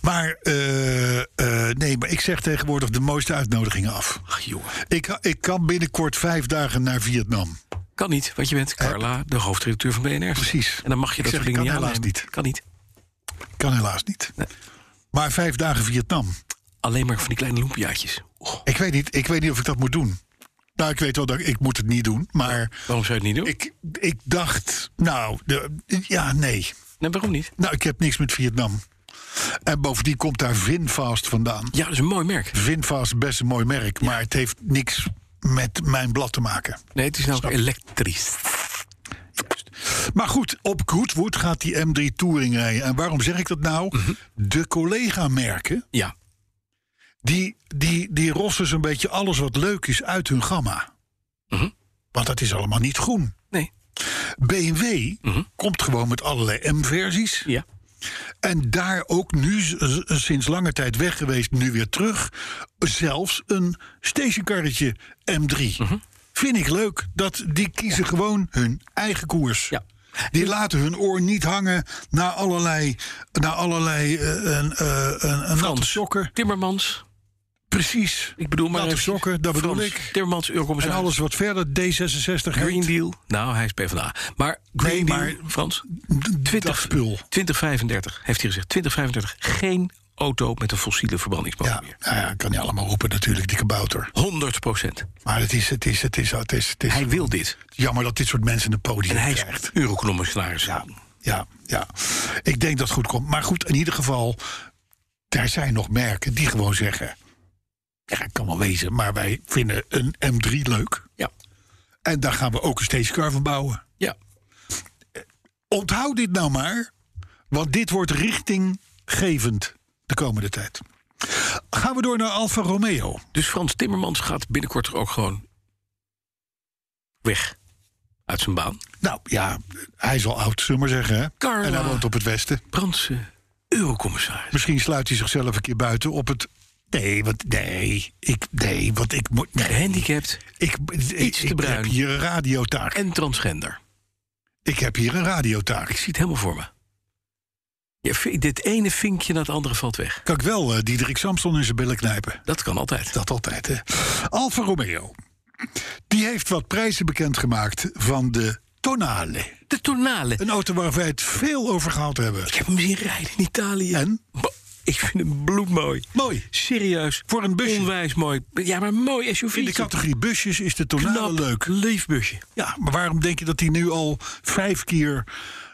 [SPEAKER 2] Maar, eh, eh, nee, maar ik zeg tegenwoordig de mooiste uitnodigingen af.
[SPEAKER 3] Ach jongen,
[SPEAKER 2] Ik, ik kan binnenkort vijf dagen naar Vietnam.
[SPEAKER 3] kan niet, want je bent Carla, de hoofdredacteur van BNR.
[SPEAKER 2] Eh, Precies.
[SPEAKER 3] En dan mag je
[SPEAKER 2] Ik
[SPEAKER 3] dat
[SPEAKER 2] zeg,
[SPEAKER 3] soort dingen
[SPEAKER 2] kan
[SPEAKER 3] niet
[SPEAKER 2] helaas
[SPEAKER 3] aannemen.
[SPEAKER 2] niet.
[SPEAKER 3] Kan niet.
[SPEAKER 2] Kan helaas niet. Maar vijf dagen Vietnam.
[SPEAKER 3] Alleen maar van die kleine loempiaatjes. Och,
[SPEAKER 2] Ik weet, niet, ik weet niet of ik dat moet doen. Nou, ik weet wel dat ik- ik moet het niet doen. Maar
[SPEAKER 3] waarom zou je het niet doen?
[SPEAKER 2] ik, ik dacht, nou, de, ja, nee.
[SPEAKER 3] Nee, waarom niet?
[SPEAKER 2] Nou, ik heb niks met Vietnam. En bovendien komt daar Vinfast vandaan.
[SPEAKER 3] Ja, dat is een mooi merk.
[SPEAKER 2] Vinfast is best een mooi merk, maar het heeft niks met mijn blad te maken.
[SPEAKER 3] Nee, het is namelijk elektrisch.
[SPEAKER 2] Maar goed, op Goodwood gaat die M3 Touring rijden. En waarom zeg ik dat nou?
[SPEAKER 3] Mhm.
[SPEAKER 2] De collega-merken,
[SPEAKER 3] Ja,
[SPEAKER 2] die, die, die rossen zo'n beetje alles wat leuk is uit hun gamma.
[SPEAKER 3] Mhm.
[SPEAKER 2] Want dat is allemaal niet groen.
[SPEAKER 3] nee.
[SPEAKER 2] BMW
[SPEAKER 3] Mhm.
[SPEAKER 2] komt gewoon met allerlei M-versies.
[SPEAKER 3] Ja.
[SPEAKER 2] En daar ook nu, s- s- sinds lange tijd weg geweest, nu weer terug... zelfs een stationcarretje M3.
[SPEAKER 3] Mhm.
[SPEAKER 2] Vind ik leuk, dat die kiezen gewoon hun eigen koers.
[SPEAKER 3] Ja.
[SPEAKER 2] Die laten hun oor niet hangen naar allerlei, naar allerlei eh, een, eh, een, een natte
[SPEAKER 3] Frans.
[SPEAKER 2] sokken.
[SPEAKER 3] Timmermans.
[SPEAKER 2] Precies.
[SPEAKER 3] Ik bedoel maar
[SPEAKER 2] Natte
[SPEAKER 3] even-
[SPEAKER 2] sokken, dat bedoel
[SPEAKER 3] Frans.
[SPEAKER 2] ik.
[SPEAKER 3] Timmermans,
[SPEAKER 2] En
[SPEAKER 3] Eurocommissaris.
[SPEAKER 2] alles wat verder D66
[SPEAKER 3] Green
[SPEAKER 2] heet,
[SPEAKER 3] Deal. Nou, hij is PvdA. Maar Green
[SPEAKER 2] Nee,
[SPEAKER 3] Deal,
[SPEAKER 2] maar-
[SPEAKER 3] Frans,
[SPEAKER 2] d-
[SPEAKER 3] 20,
[SPEAKER 2] dat spul.
[SPEAKER 3] 2035 heeft hij gezegd. 2035, geen auto met een fossiele verbrandingsmotor
[SPEAKER 2] Ja,
[SPEAKER 3] meer.
[SPEAKER 2] nou ja, kan niet allemaal roepen natuurlijk, die kabouter.
[SPEAKER 3] 100 procent.
[SPEAKER 2] Maar het is, het is, het is, het is, het is
[SPEAKER 3] Hij wil dit.
[SPEAKER 2] jammer dat dit soort mensen een podium
[SPEAKER 3] En hij is
[SPEAKER 2] krijgt.
[SPEAKER 3] eurocommissaris.
[SPEAKER 2] Ja, ja. Ik denk dat het goed komt. Maar goed, in ieder geval, daar zijn nog merken die gewoon zeggen... Ja, ik kan wel wezen, maar wij vinden een M3 leuk.
[SPEAKER 3] Ja.
[SPEAKER 2] En daar gaan we ook een stagecar van bouwen.
[SPEAKER 3] ja.
[SPEAKER 2] Onthoud dit nou maar, want dit wordt richtinggevend de komende tijd. Gaan we door naar Alfa Romeo.
[SPEAKER 3] Dus Frans Timmermans gaat binnenkort ook gewoon weg uit zijn baan.
[SPEAKER 2] Nou ja, hij is al oud, zullen we maar zeggen. Hè?
[SPEAKER 3] Carla.
[SPEAKER 2] En hij woont op het westen.
[SPEAKER 3] Brandse eurocommissaris.
[SPEAKER 2] Misschien sluit hij zichzelf een keer buiten op het... Nee, want nee, ik, nee, want ik moet... Nee,
[SPEAKER 3] Gehandicapt
[SPEAKER 2] ik, ik,
[SPEAKER 3] te
[SPEAKER 2] ik heb
[SPEAKER 3] bruin.
[SPEAKER 2] hier een radiotaak.
[SPEAKER 3] en transgender.
[SPEAKER 2] Ik heb hier een radiotaak.
[SPEAKER 3] Ik zie het helemaal voor me. Ja, vi- dit ene vinkje na het andere valt weg.
[SPEAKER 2] Kan ik wel eh, Diederik Samson in zijn billen knijpen.
[SPEAKER 3] Dat kan altijd.
[SPEAKER 2] Dat altijd, hè. Alfa Romeo. Die heeft wat prijzen bekendgemaakt van de Tonale.
[SPEAKER 3] De tonale.
[SPEAKER 2] Een auto waar wij het veel over gehad hebben.
[SPEAKER 3] Ik heb hem zien rijden in Italië.
[SPEAKER 2] En?
[SPEAKER 3] Bo- Ik vind hem bloedmooi.
[SPEAKER 2] Mooi.
[SPEAKER 3] Serieus.
[SPEAKER 2] Voor een busje.
[SPEAKER 3] Onwijs mooi. Ja, maar een mooi SUV.
[SPEAKER 2] In de categorie busjes is de Tonale
[SPEAKER 3] Knap,
[SPEAKER 2] leuk.
[SPEAKER 3] lief busje.
[SPEAKER 2] Ja, maar waarom denk je dat hij nu al vijf keer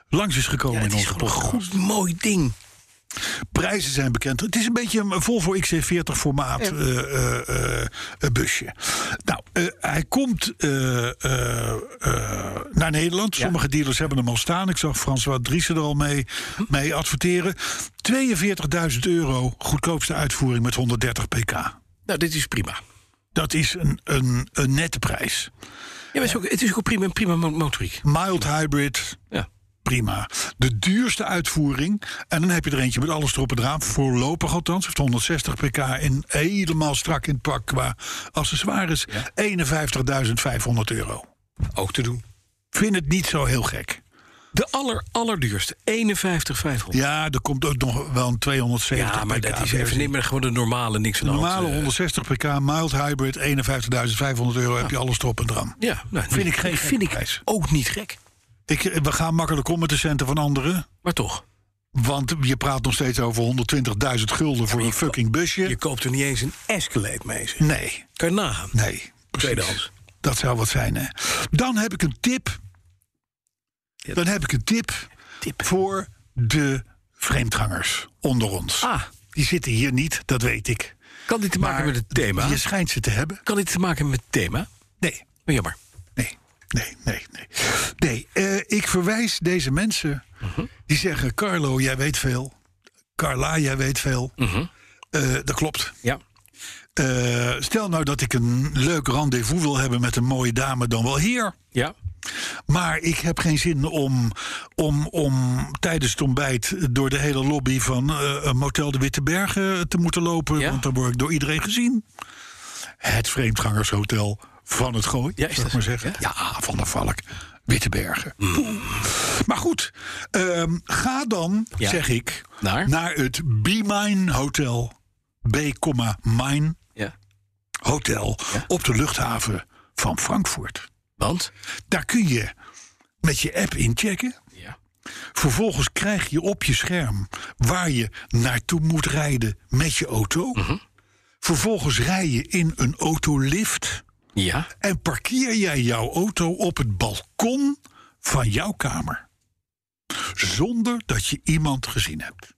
[SPEAKER 2] langs is gekomen
[SPEAKER 3] het
[SPEAKER 2] in
[SPEAKER 3] is
[SPEAKER 2] onze
[SPEAKER 3] gewoon een
[SPEAKER 2] podcast?
[SPEAKER 3] goed, mooi ding.
[SPEAKER 2] Prijzen zijn bekend. Het is een beetje een Volvo XC40 formaat eh, eh, eh, eh, busje. Nou, eh, hij komt eh, eh, eh, naar Nederland. Sommige dealers hebben hem al staan. Ik zag François Driessen er al mee, mee adverteren. 42.000 euro, goedkoopste uitvoering met 130 pk.
[SPEAKER 3] Nou, dit is prima.
[SPEAKER 2] Dat is een, een, een nette prijs.
[SPEAKER 3] Ja, maar het is ook, het is ook een prima, prima mo- motoriek.
[SPEAKER 2] Mild hybrid,
[SPEAKER 3] Ja.
[SPEAKER 2] prima. De duurste uitvoering. En dan heb je er eentje met alles erop en eraan. Voorlopig althans. Heeft 160 pk en helemaal strak in het pak qua accessoires. 51.500 euro.
[SPEAKER 3] Ook te doen.
[SPEAKER 2] Vind het niet zo heel gek.
[SPEAKER 3] De aller, allerduurste. 51,500.
[SPEAKER 2] Ja, er komt ook nog wel een 270
[SPEAKER 3] Ja, maar
[SPEAKER 2] pk
[SPEAKER 3] dat is
[SPEAKER 2] versie.
[SPEAKER 3] even niet meer gewoon de normale niks aan de hand,
[SPEAKER 2] Normale
[SPEAKER 3] eh,
[SPEAKER 2] 160 pk, mild hybrid, 51.500 euro. Heb je alles erop en eraan.
[SPEAKER 3] Ja, nou,
[SPEAKER 2] Vind ik geen
[SPEAKER 3] vind
[SPEAKER 2] gekke
[SPEAKER 3] ik
[SPEAKER 2] prijs.
[SPEAKER 3] ook niet gek.
[SPEAKER 2] Ik, eh, we gaan makkelijk om met de centen van anderen.
[SPEAKER 3] Maar toch,
[SPEAKER 2] Want je praat nog steeds over 120.000 gulden voor een fucking busje.
[SPEAKER 3] je koopt er niet eens een Escalade mee. Zeg.
[SPEAKER 2] Nee,
[SPEAKER 3] Kan je nagaan.
[SPEAKER 2] nee.
[SPEAKER 3] Tweedehands.
[SPEAKER 2] Dat zou wat zijn, hè? Dan heb ik een tip. Dan heb ik een tip,
[SPEAKER 3] Tip.
[SPEAKER 2] voor de vreemdgangers onder ons.
[SPEAKER 3] Ah,
[SPEAKER 2] Die zitten hier niet, dat weet ik.
[SPEAKER 3] kan dit te maken
[SPEAKER 2] Maar
[SPEAKER 3] met het thema?
[SPEAKER 2] Je schijnt ze te hebben.
[SPEAKER 3] Kan dit te maken met het thema?
[SPEAKER 2] Nee,
[SPEAKER 3] Maar jammer.
[SPEAKER 2] nee, nee, nee, nee. Nee, eh, ik verwijs deze mensen
[SPEAKER 3] Mhm.
[SPEAKER 2] die zeggen... Carlo, jij weet veel. Carla, jij weet veel.
[SPEAKER 3] Mhm.
[SPEAKER 2] Eh, dat klopt.
[SPEAKER 3] Ja.
[SPEAKER 2] Eh, stel nou dat ik een leuk rendezvous wil hebben met een mooie dame, dan wel hier.
[SPEAKER 3] Ja.
[SPEAKER 2] Maar ik heb geen zin om, om, om tijdens het ontbijt door de hele lobby van eh, een Motel de Witte Bergen te moeten lopen.
[SPEAKER 3] Ja.
[SPEAKER 2] Want dan word ik door iedereen gezien. Het vreemdgangershotel van het Gooi,
[SPEAKER 3] Ja, Mm.
[SPEAKER 2] ja,
[SPEAKER 3] is
[SPEAKER 2] zou ik
[SPEAKER 3] dat
[SPEAKER 2] maar
[SPEAKER 3] zo?
[SPEAKER 2] zeggen. Ja, van de Valk. Witte Bergen. Poeh. Maar goed, ehm, ga dan,
[SPEAKER 3] Ja.
[SPEAKER 2] zeg ik,
[SPEAKER 3] Naar?
[SPEAKER 2] het Be Mine Hotel. B, Mine
[SPEAKER 3] ja.
[SPEAKER 2] Hotel op de luchthaven van Frankfurt.
[SPEAKER 3] Want?
[SPEAKER 2] Daar kun je met je app inchecken.
[SPEAKER 3] Ja.
[SPEAKER 2] Vervolgens krijg je op je scherm waar je naartoe moet rijden met je auto. Vervolgens rij je in een autolift
[SPEAKER 3] Ja.
[SPEAKER 2] en parkeer jij jouw auto op het balkon van jouw kamer. Zonder dat je iemand gezien hebt.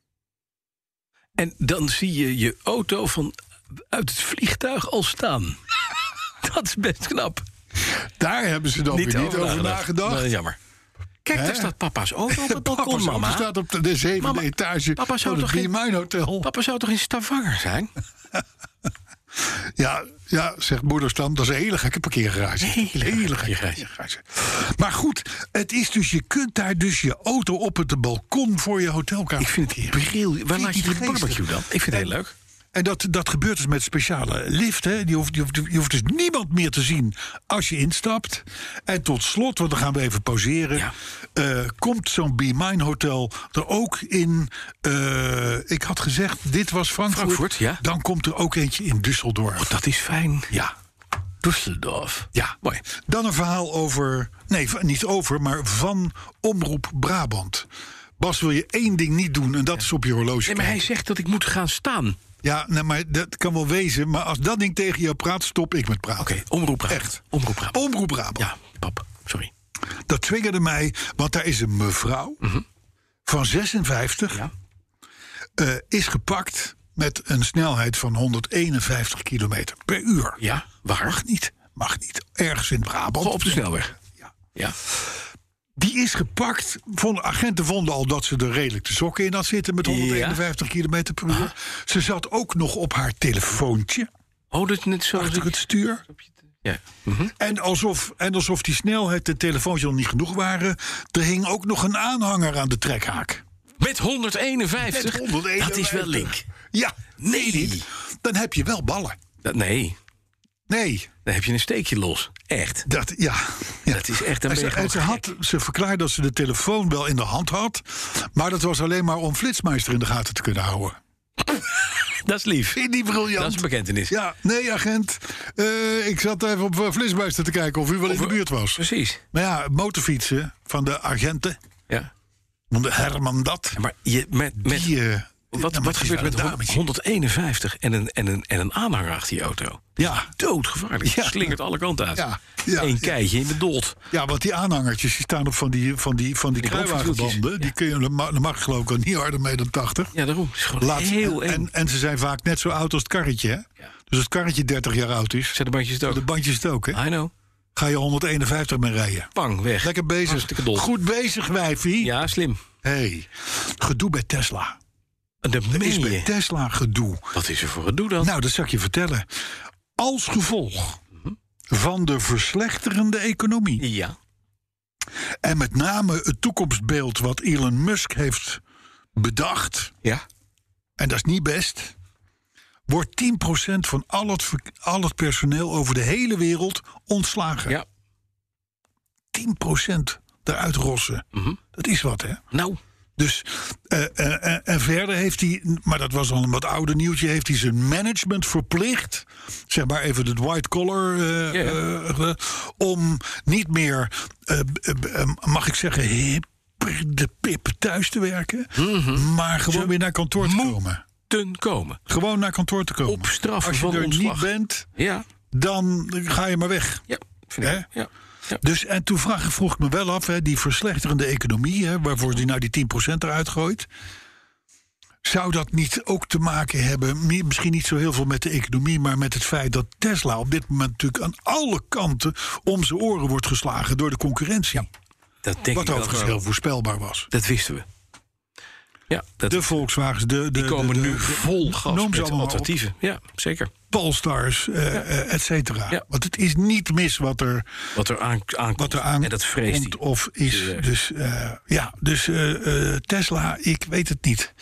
[SPEAKER 3] En dan zie je je auto van uit het vliegtuig al staan. *laughs* Dat is best knap.
[SPEAKER 2] Daar hebben ze dan weer niet over nagedacht.
[SPEAKER 3] Nee, Nou, jammer. Kijk,
[SPEAKER 2] Hè?
[SPEAKER 3] daar staat papa's
[SPEAKER 2] *laughs*
[SPEAKER 3] auto op het
[SPEAKER 2] Papa's
[SPEAKER 3] balkon,
[SPEAKER 2] auto
[SPEAKER 3] mama.
[SPEAKER 2] staat op de, de zevende
[SPEAKER 3] Mama,
[SPEAKER 2] etage
[SPEAKER 3] papa zou
[SPEAKER 2] van het
[SPEAKER 3] toch geen-
[SPEAKER 2] Biermijn Hotel.
[SPEAKER 3] Oh, Papa zou toch in Stavanger zijn?
[SPEAKER 2] Ja, ja, zegt moeder Stam, dat is een hele gekke parkeergarage.
[SPEAKER 3] Hele gekke parkeergarage.
[SPEAKER 2] parkeergarage. Maar goed, het is dus, je kunt daar dus je auto op het balkon voor je hotelkamer
[SPEAKER 3] Ik vind het
[SPEAKER 2] parkeren.
[SPEAKER 3] bril. Waar
[SPEAKER 2] ik
[SPEAKER 3] laat je
[SPEAKER 2] niet
[SPEAKER 3] die
[SPEAKER 2] geestig.
[SPEAKER 3] barbecue dan? Ik vind het heel leuk.
[SPEAKER 2] En dat, dat gebeurt dus met speciale lift. Hè. Die hoeft, die hoeft, je hoeft dus niemand meer te zien als je instapt. En tot slot, want dan gaan we even pauzeren...
[SPEAKER 3] Ja.
[SPEAKER 2] eh, komt zo'n Be Mine Hotel er ook in... eh, ik had gezegd, dit was Frankfurt.
[SPEAKER 3] Frankfurt, ja.
[SPEAKER 2] Dan komt er ook eentje in Düsseldorf.
[SPEAKER 3] Oh, Dat is fijn.
[SPEAKER 2] ja.
[SPEAKER 3] Düsseldorf.
[SPEAKER 2] Ja,
[SPEAKER 3] Mooi.
[SPEAKER 2] Dan een verhaal over. Nee, van- niet over, maar van Omroep Brabant. Bas wil je één ding niet doen en dat is op je horloge.
[SPEAKER 3] Nee, maar hij
[SPEAKER 2] kijken.
[SPEAKER 3] zegt dat ik moet gaan staan. Oké,
[SPEAKER 2] Ja, nee, maar dat kan wel wezen. Maar als dat ding tegen jou praat, stop ik met praten.
[SPEAKER 3] omroep Oh. Brabant.
[SPEAKER 2] Echt.
[SPEAKER 3] Omroep Brabant.
[SPEAKER 2] Omroep Brabant.
[SPEAKER 3] Ja, pap. Sorry.
[SPEAKER 2] Dat triggerde mij, want daar is een mevrouw van 56.
[SPEAKER 3] Mhm. Ja.
[SPEAKER 2] eh, is gepakt met een snelheid van 151 kilometer per uur.
[SPEAKER 3] Ja, waar?
[SPEAKER 2] Mag niet. Mag niet. Ergens in Brabant.
[SPEAKER 3] Gewoon op de snelweg.
[SPEAKER 2] Ja.
[SPEAKER 3] Ja.
[SPEAKER 2] Die is gepakt. Vonden, agenten vonden al dat ze er redelijk de sokken in had zitten met 151 km per uur.
[SPEAKER 3] Ah.
[SPEAKER 2] Ze zat ook nog op haar telefoontje
[SPEAKER 3] Oh, dat is net zo.
[SPEAKER 2] achter het stuur.
[SPEAKER 3] Ja.
[SPEAKER 2] En alsof, en alsof die snelheid en het telefoontje nog niet genoeg waren, er hing ook nog een aanhanger aan de trekhaak.
[SPEAKER 3] Met 151.
[SPEAKER 2] Met 151.
[SPEAKER 3] Dat is wel link.
[SPEAKER 2] Ja,
[SPEAKER 3] Nee.
[SPEAKER 2] niet. Dan heb je wel ballen.
[SPEAKER 3] Dat, nee,
[SPEAKER 2] Nee,
[SPEAKER 3] dan heb je een steekje los. Echt.
[SPEAKER 2] dat, ja. ja.
[SPEAKER 3] Dat is echt een
[SPEAKER 2] En ze,
[SPEAKER 3] beetje
[SPEAKER 2] en ze, had, ze verklaarde dat ze de telefoon wel in de hand had, maar dat was alleen maar om Flitsmeister in de gaten te kunnen houden.
[SPEAKER 3] Dat is lief.
[SPEAKER 2] Vind je die briljant?
[SPEAKER 3] Dat is een bekentenis.
[SPEAKER 2] Ja, nee, agent. Eh, ik zat even op eh, Flitsbuister te kijken of u wel in de buurt was.
[SPEAKER 3] Precies.
[SPEAKER 2] Maar ja, motorfietsen van de agenten,
[SPEAKER 3] Ja.
[SPEAKER 2] van de Herman dat.
[SPEAKER 3] Maar je, met, met,
[SPEAKER 2] Die, eh,
[SPEAKER 3] wat,
[SPEAKER 2] ja, maar
[SPEAKER 3] wat
[SPEAKER 2] het is
[SPEAKER 3] gebeurt
[SPEAKER 2] wel
[SPEAKER 3] met
[SPEAKER 2] een
[SPEAKER 3] hond-
[SPEAKER 2] dametje.
[SPEAKER 3] 151 en een, en, een, en een aanhanger achter die auto?
[SPEAKER 2] Ja.
[SPEAKER 3] Doodgevaarlijk.
[SPEAKER 2] Ja.
[SPEAKER 3] Slingert alle kanten uit.
[SPEAKER 2] Ja, ja,
[SPEAKER 3] Eén
[SPEAKER 2] ja.
[SPEAKER 3] keitje in de dood.
[SPEAKER 2] Ja, want die aanhangertjes die staan op van die, van die, van die
[SPEAKER 3] Die
[SPEAKER 2] kruiwagenbanden.
[SPEAKER 3] bovenwieltjes,
[SPEAKER 2] Die kun je, daar ma- daar mag je geloof ik al niet harder mee dan 80.
[SPEAKER 3] Ja, daarom. Het is gewoon
[SPEAKER 2] Laat-
[SPEAKER 3] heel eng.
[SPEAKER 2] en, en ze zijn vaak net zo oud als het karretje. Hè?
[SPEAKER 3] Ja.
[SPEAKER 2] Dus als het karretje 30 jaar oud is,
[SPEAKER 3] Zet de bandjes het ook.
[SPEAKER 2] de bandjes het ook. Hè?
[SPEAKER 3] I know.
[SPEAKER 2] Ga je 151 mee rijden.
[SPEAKER 3] Bang, weg.
[SPEAKER 2] Lekker bezig.
[SPEAKER 3] Hartstikke dol.
[SPEAKER 2] Goed bezig, wijfie.
[SPEAKER 3] Ja, slim.
[SPEAKER 2] Hey, gedoe bij Tesla.
[SPEAKER 3] Dat
[SPEAKER 2] Er is
[SPEAKER 3] meen
[SPEAKER 2] bij
[SPEAKER 3] je.
[SPEAKER 2] Tesla gedoe.
[SPEAKER 3] Wat is er voor gedoe dan?
[SPEAKER 2] Nou, dat zal ik je vertellen. Als gevolg van de verslechterende economie.
[SPEAKER 3] Ja.
[SPEAKER 2] En met name het toekomstbeeld wat Elon Musk heeft bedacht.
[SPEAKER 3] Ja.
[SPEAKER 2] En dat is niet best. Wordt 10% van al het, verk- al het personeel over de hele wereld ontslagen.
[SPEAKER 3] Ja.
[SPEAKER 2] 10% eruit rossen.
[SPEAKER 3] Mhm.
[SPEAKER 2] Dat is wat, hè?
[SPEAKER 3] Nou.
[SPEAKER 2] Dus, eh, eh, eh, en verder heeft hij, maar dat was al een wat ouder nieuwtje, heeft hij zijn management verplicht, zeg maar even het white collar, eh,
[SPEAKER 3] Ja, ja.
[SPEAKER 2] eh, eh, om niet meer, eh, eh, eh, mag ik zeggen, hipper de pip thuis te werken,
[SPEAKER 3] Mhm.
[SPEAKER 2] maar gewoon weer naar kantoor te komen.
[SPEAKER 3] Ten komen.
[SPEAKER 2] Gewoon naar kantoor te komen.
[SPEAKER 3] Op straf
[SPEAKER 2] Als je
[SPEAKER 3] van
[SPEAKER 2] er
[SPEAKER 3] ontslag.
[SPEAKER 2] niet bent,
[SPEAKER 3] Ja.
[SPEAKER 2] dan ga je maar weg.
[SPEAKER 3] Ja. Vind ik.
[SPEAKER 2] Hè?
[SPEAKER 3] Ja. ja.
[SPEAKER 2] Dus en toen vraag, vroeg ik me wel af, hè, die verslechterende economie, hè, waarvoor die nou die 10% eruit gooit. Zou dat niet ook te maken hebben, mi- misschien niet zo heel veel met de economie, maar met het feit dat Tesla op dit moment natuurlijk aan alle kanten om zijn oren wordt geslagen door de concurrentie?
[SPEAKER 3] Dat denk
[SPEAKER 2] wat
[SPEAKER 3] ik
[SPEAKER 2] overigens
[SPEAKER 3] dat wel.
[SPEAKER 2] heel voorspelbaar was.
[SPEAKER 3] Dat wisten we. Ja. Dat
[SPEAKER 2] De Volkswagens, de, de,
[SPEAKER 3] die komen
[SPEAKER 2] de- de-
[SPEAKER 3] nu vol gas
[SPEAKER 2] noem ze
[SPEAKER 3] met
[SPEAKER 2] allemaal maar op.
[SPEAKER 3] alternatieven. Ja, zeker.
[SPEAKER 2] Polstars, eh, eh, et cetera.
[SPEAKER 3] Ja.
[SPEAKER 2] Want het is niet mis wat er
[SPEAKER 3] Wat er aan, aankomt.
[SPEAKER 2] wat er aan
[SPEAKER 3] en dat vreest
[SPEAKER 2] komt
[SPEAKER 3] hij.
[SPEAKER 2] of is.
[SPEAKER 3] Dus, eh,
[SPEAKER 2] Dus eh, ja, dus eh, eh, Tesla, ik weet het niet.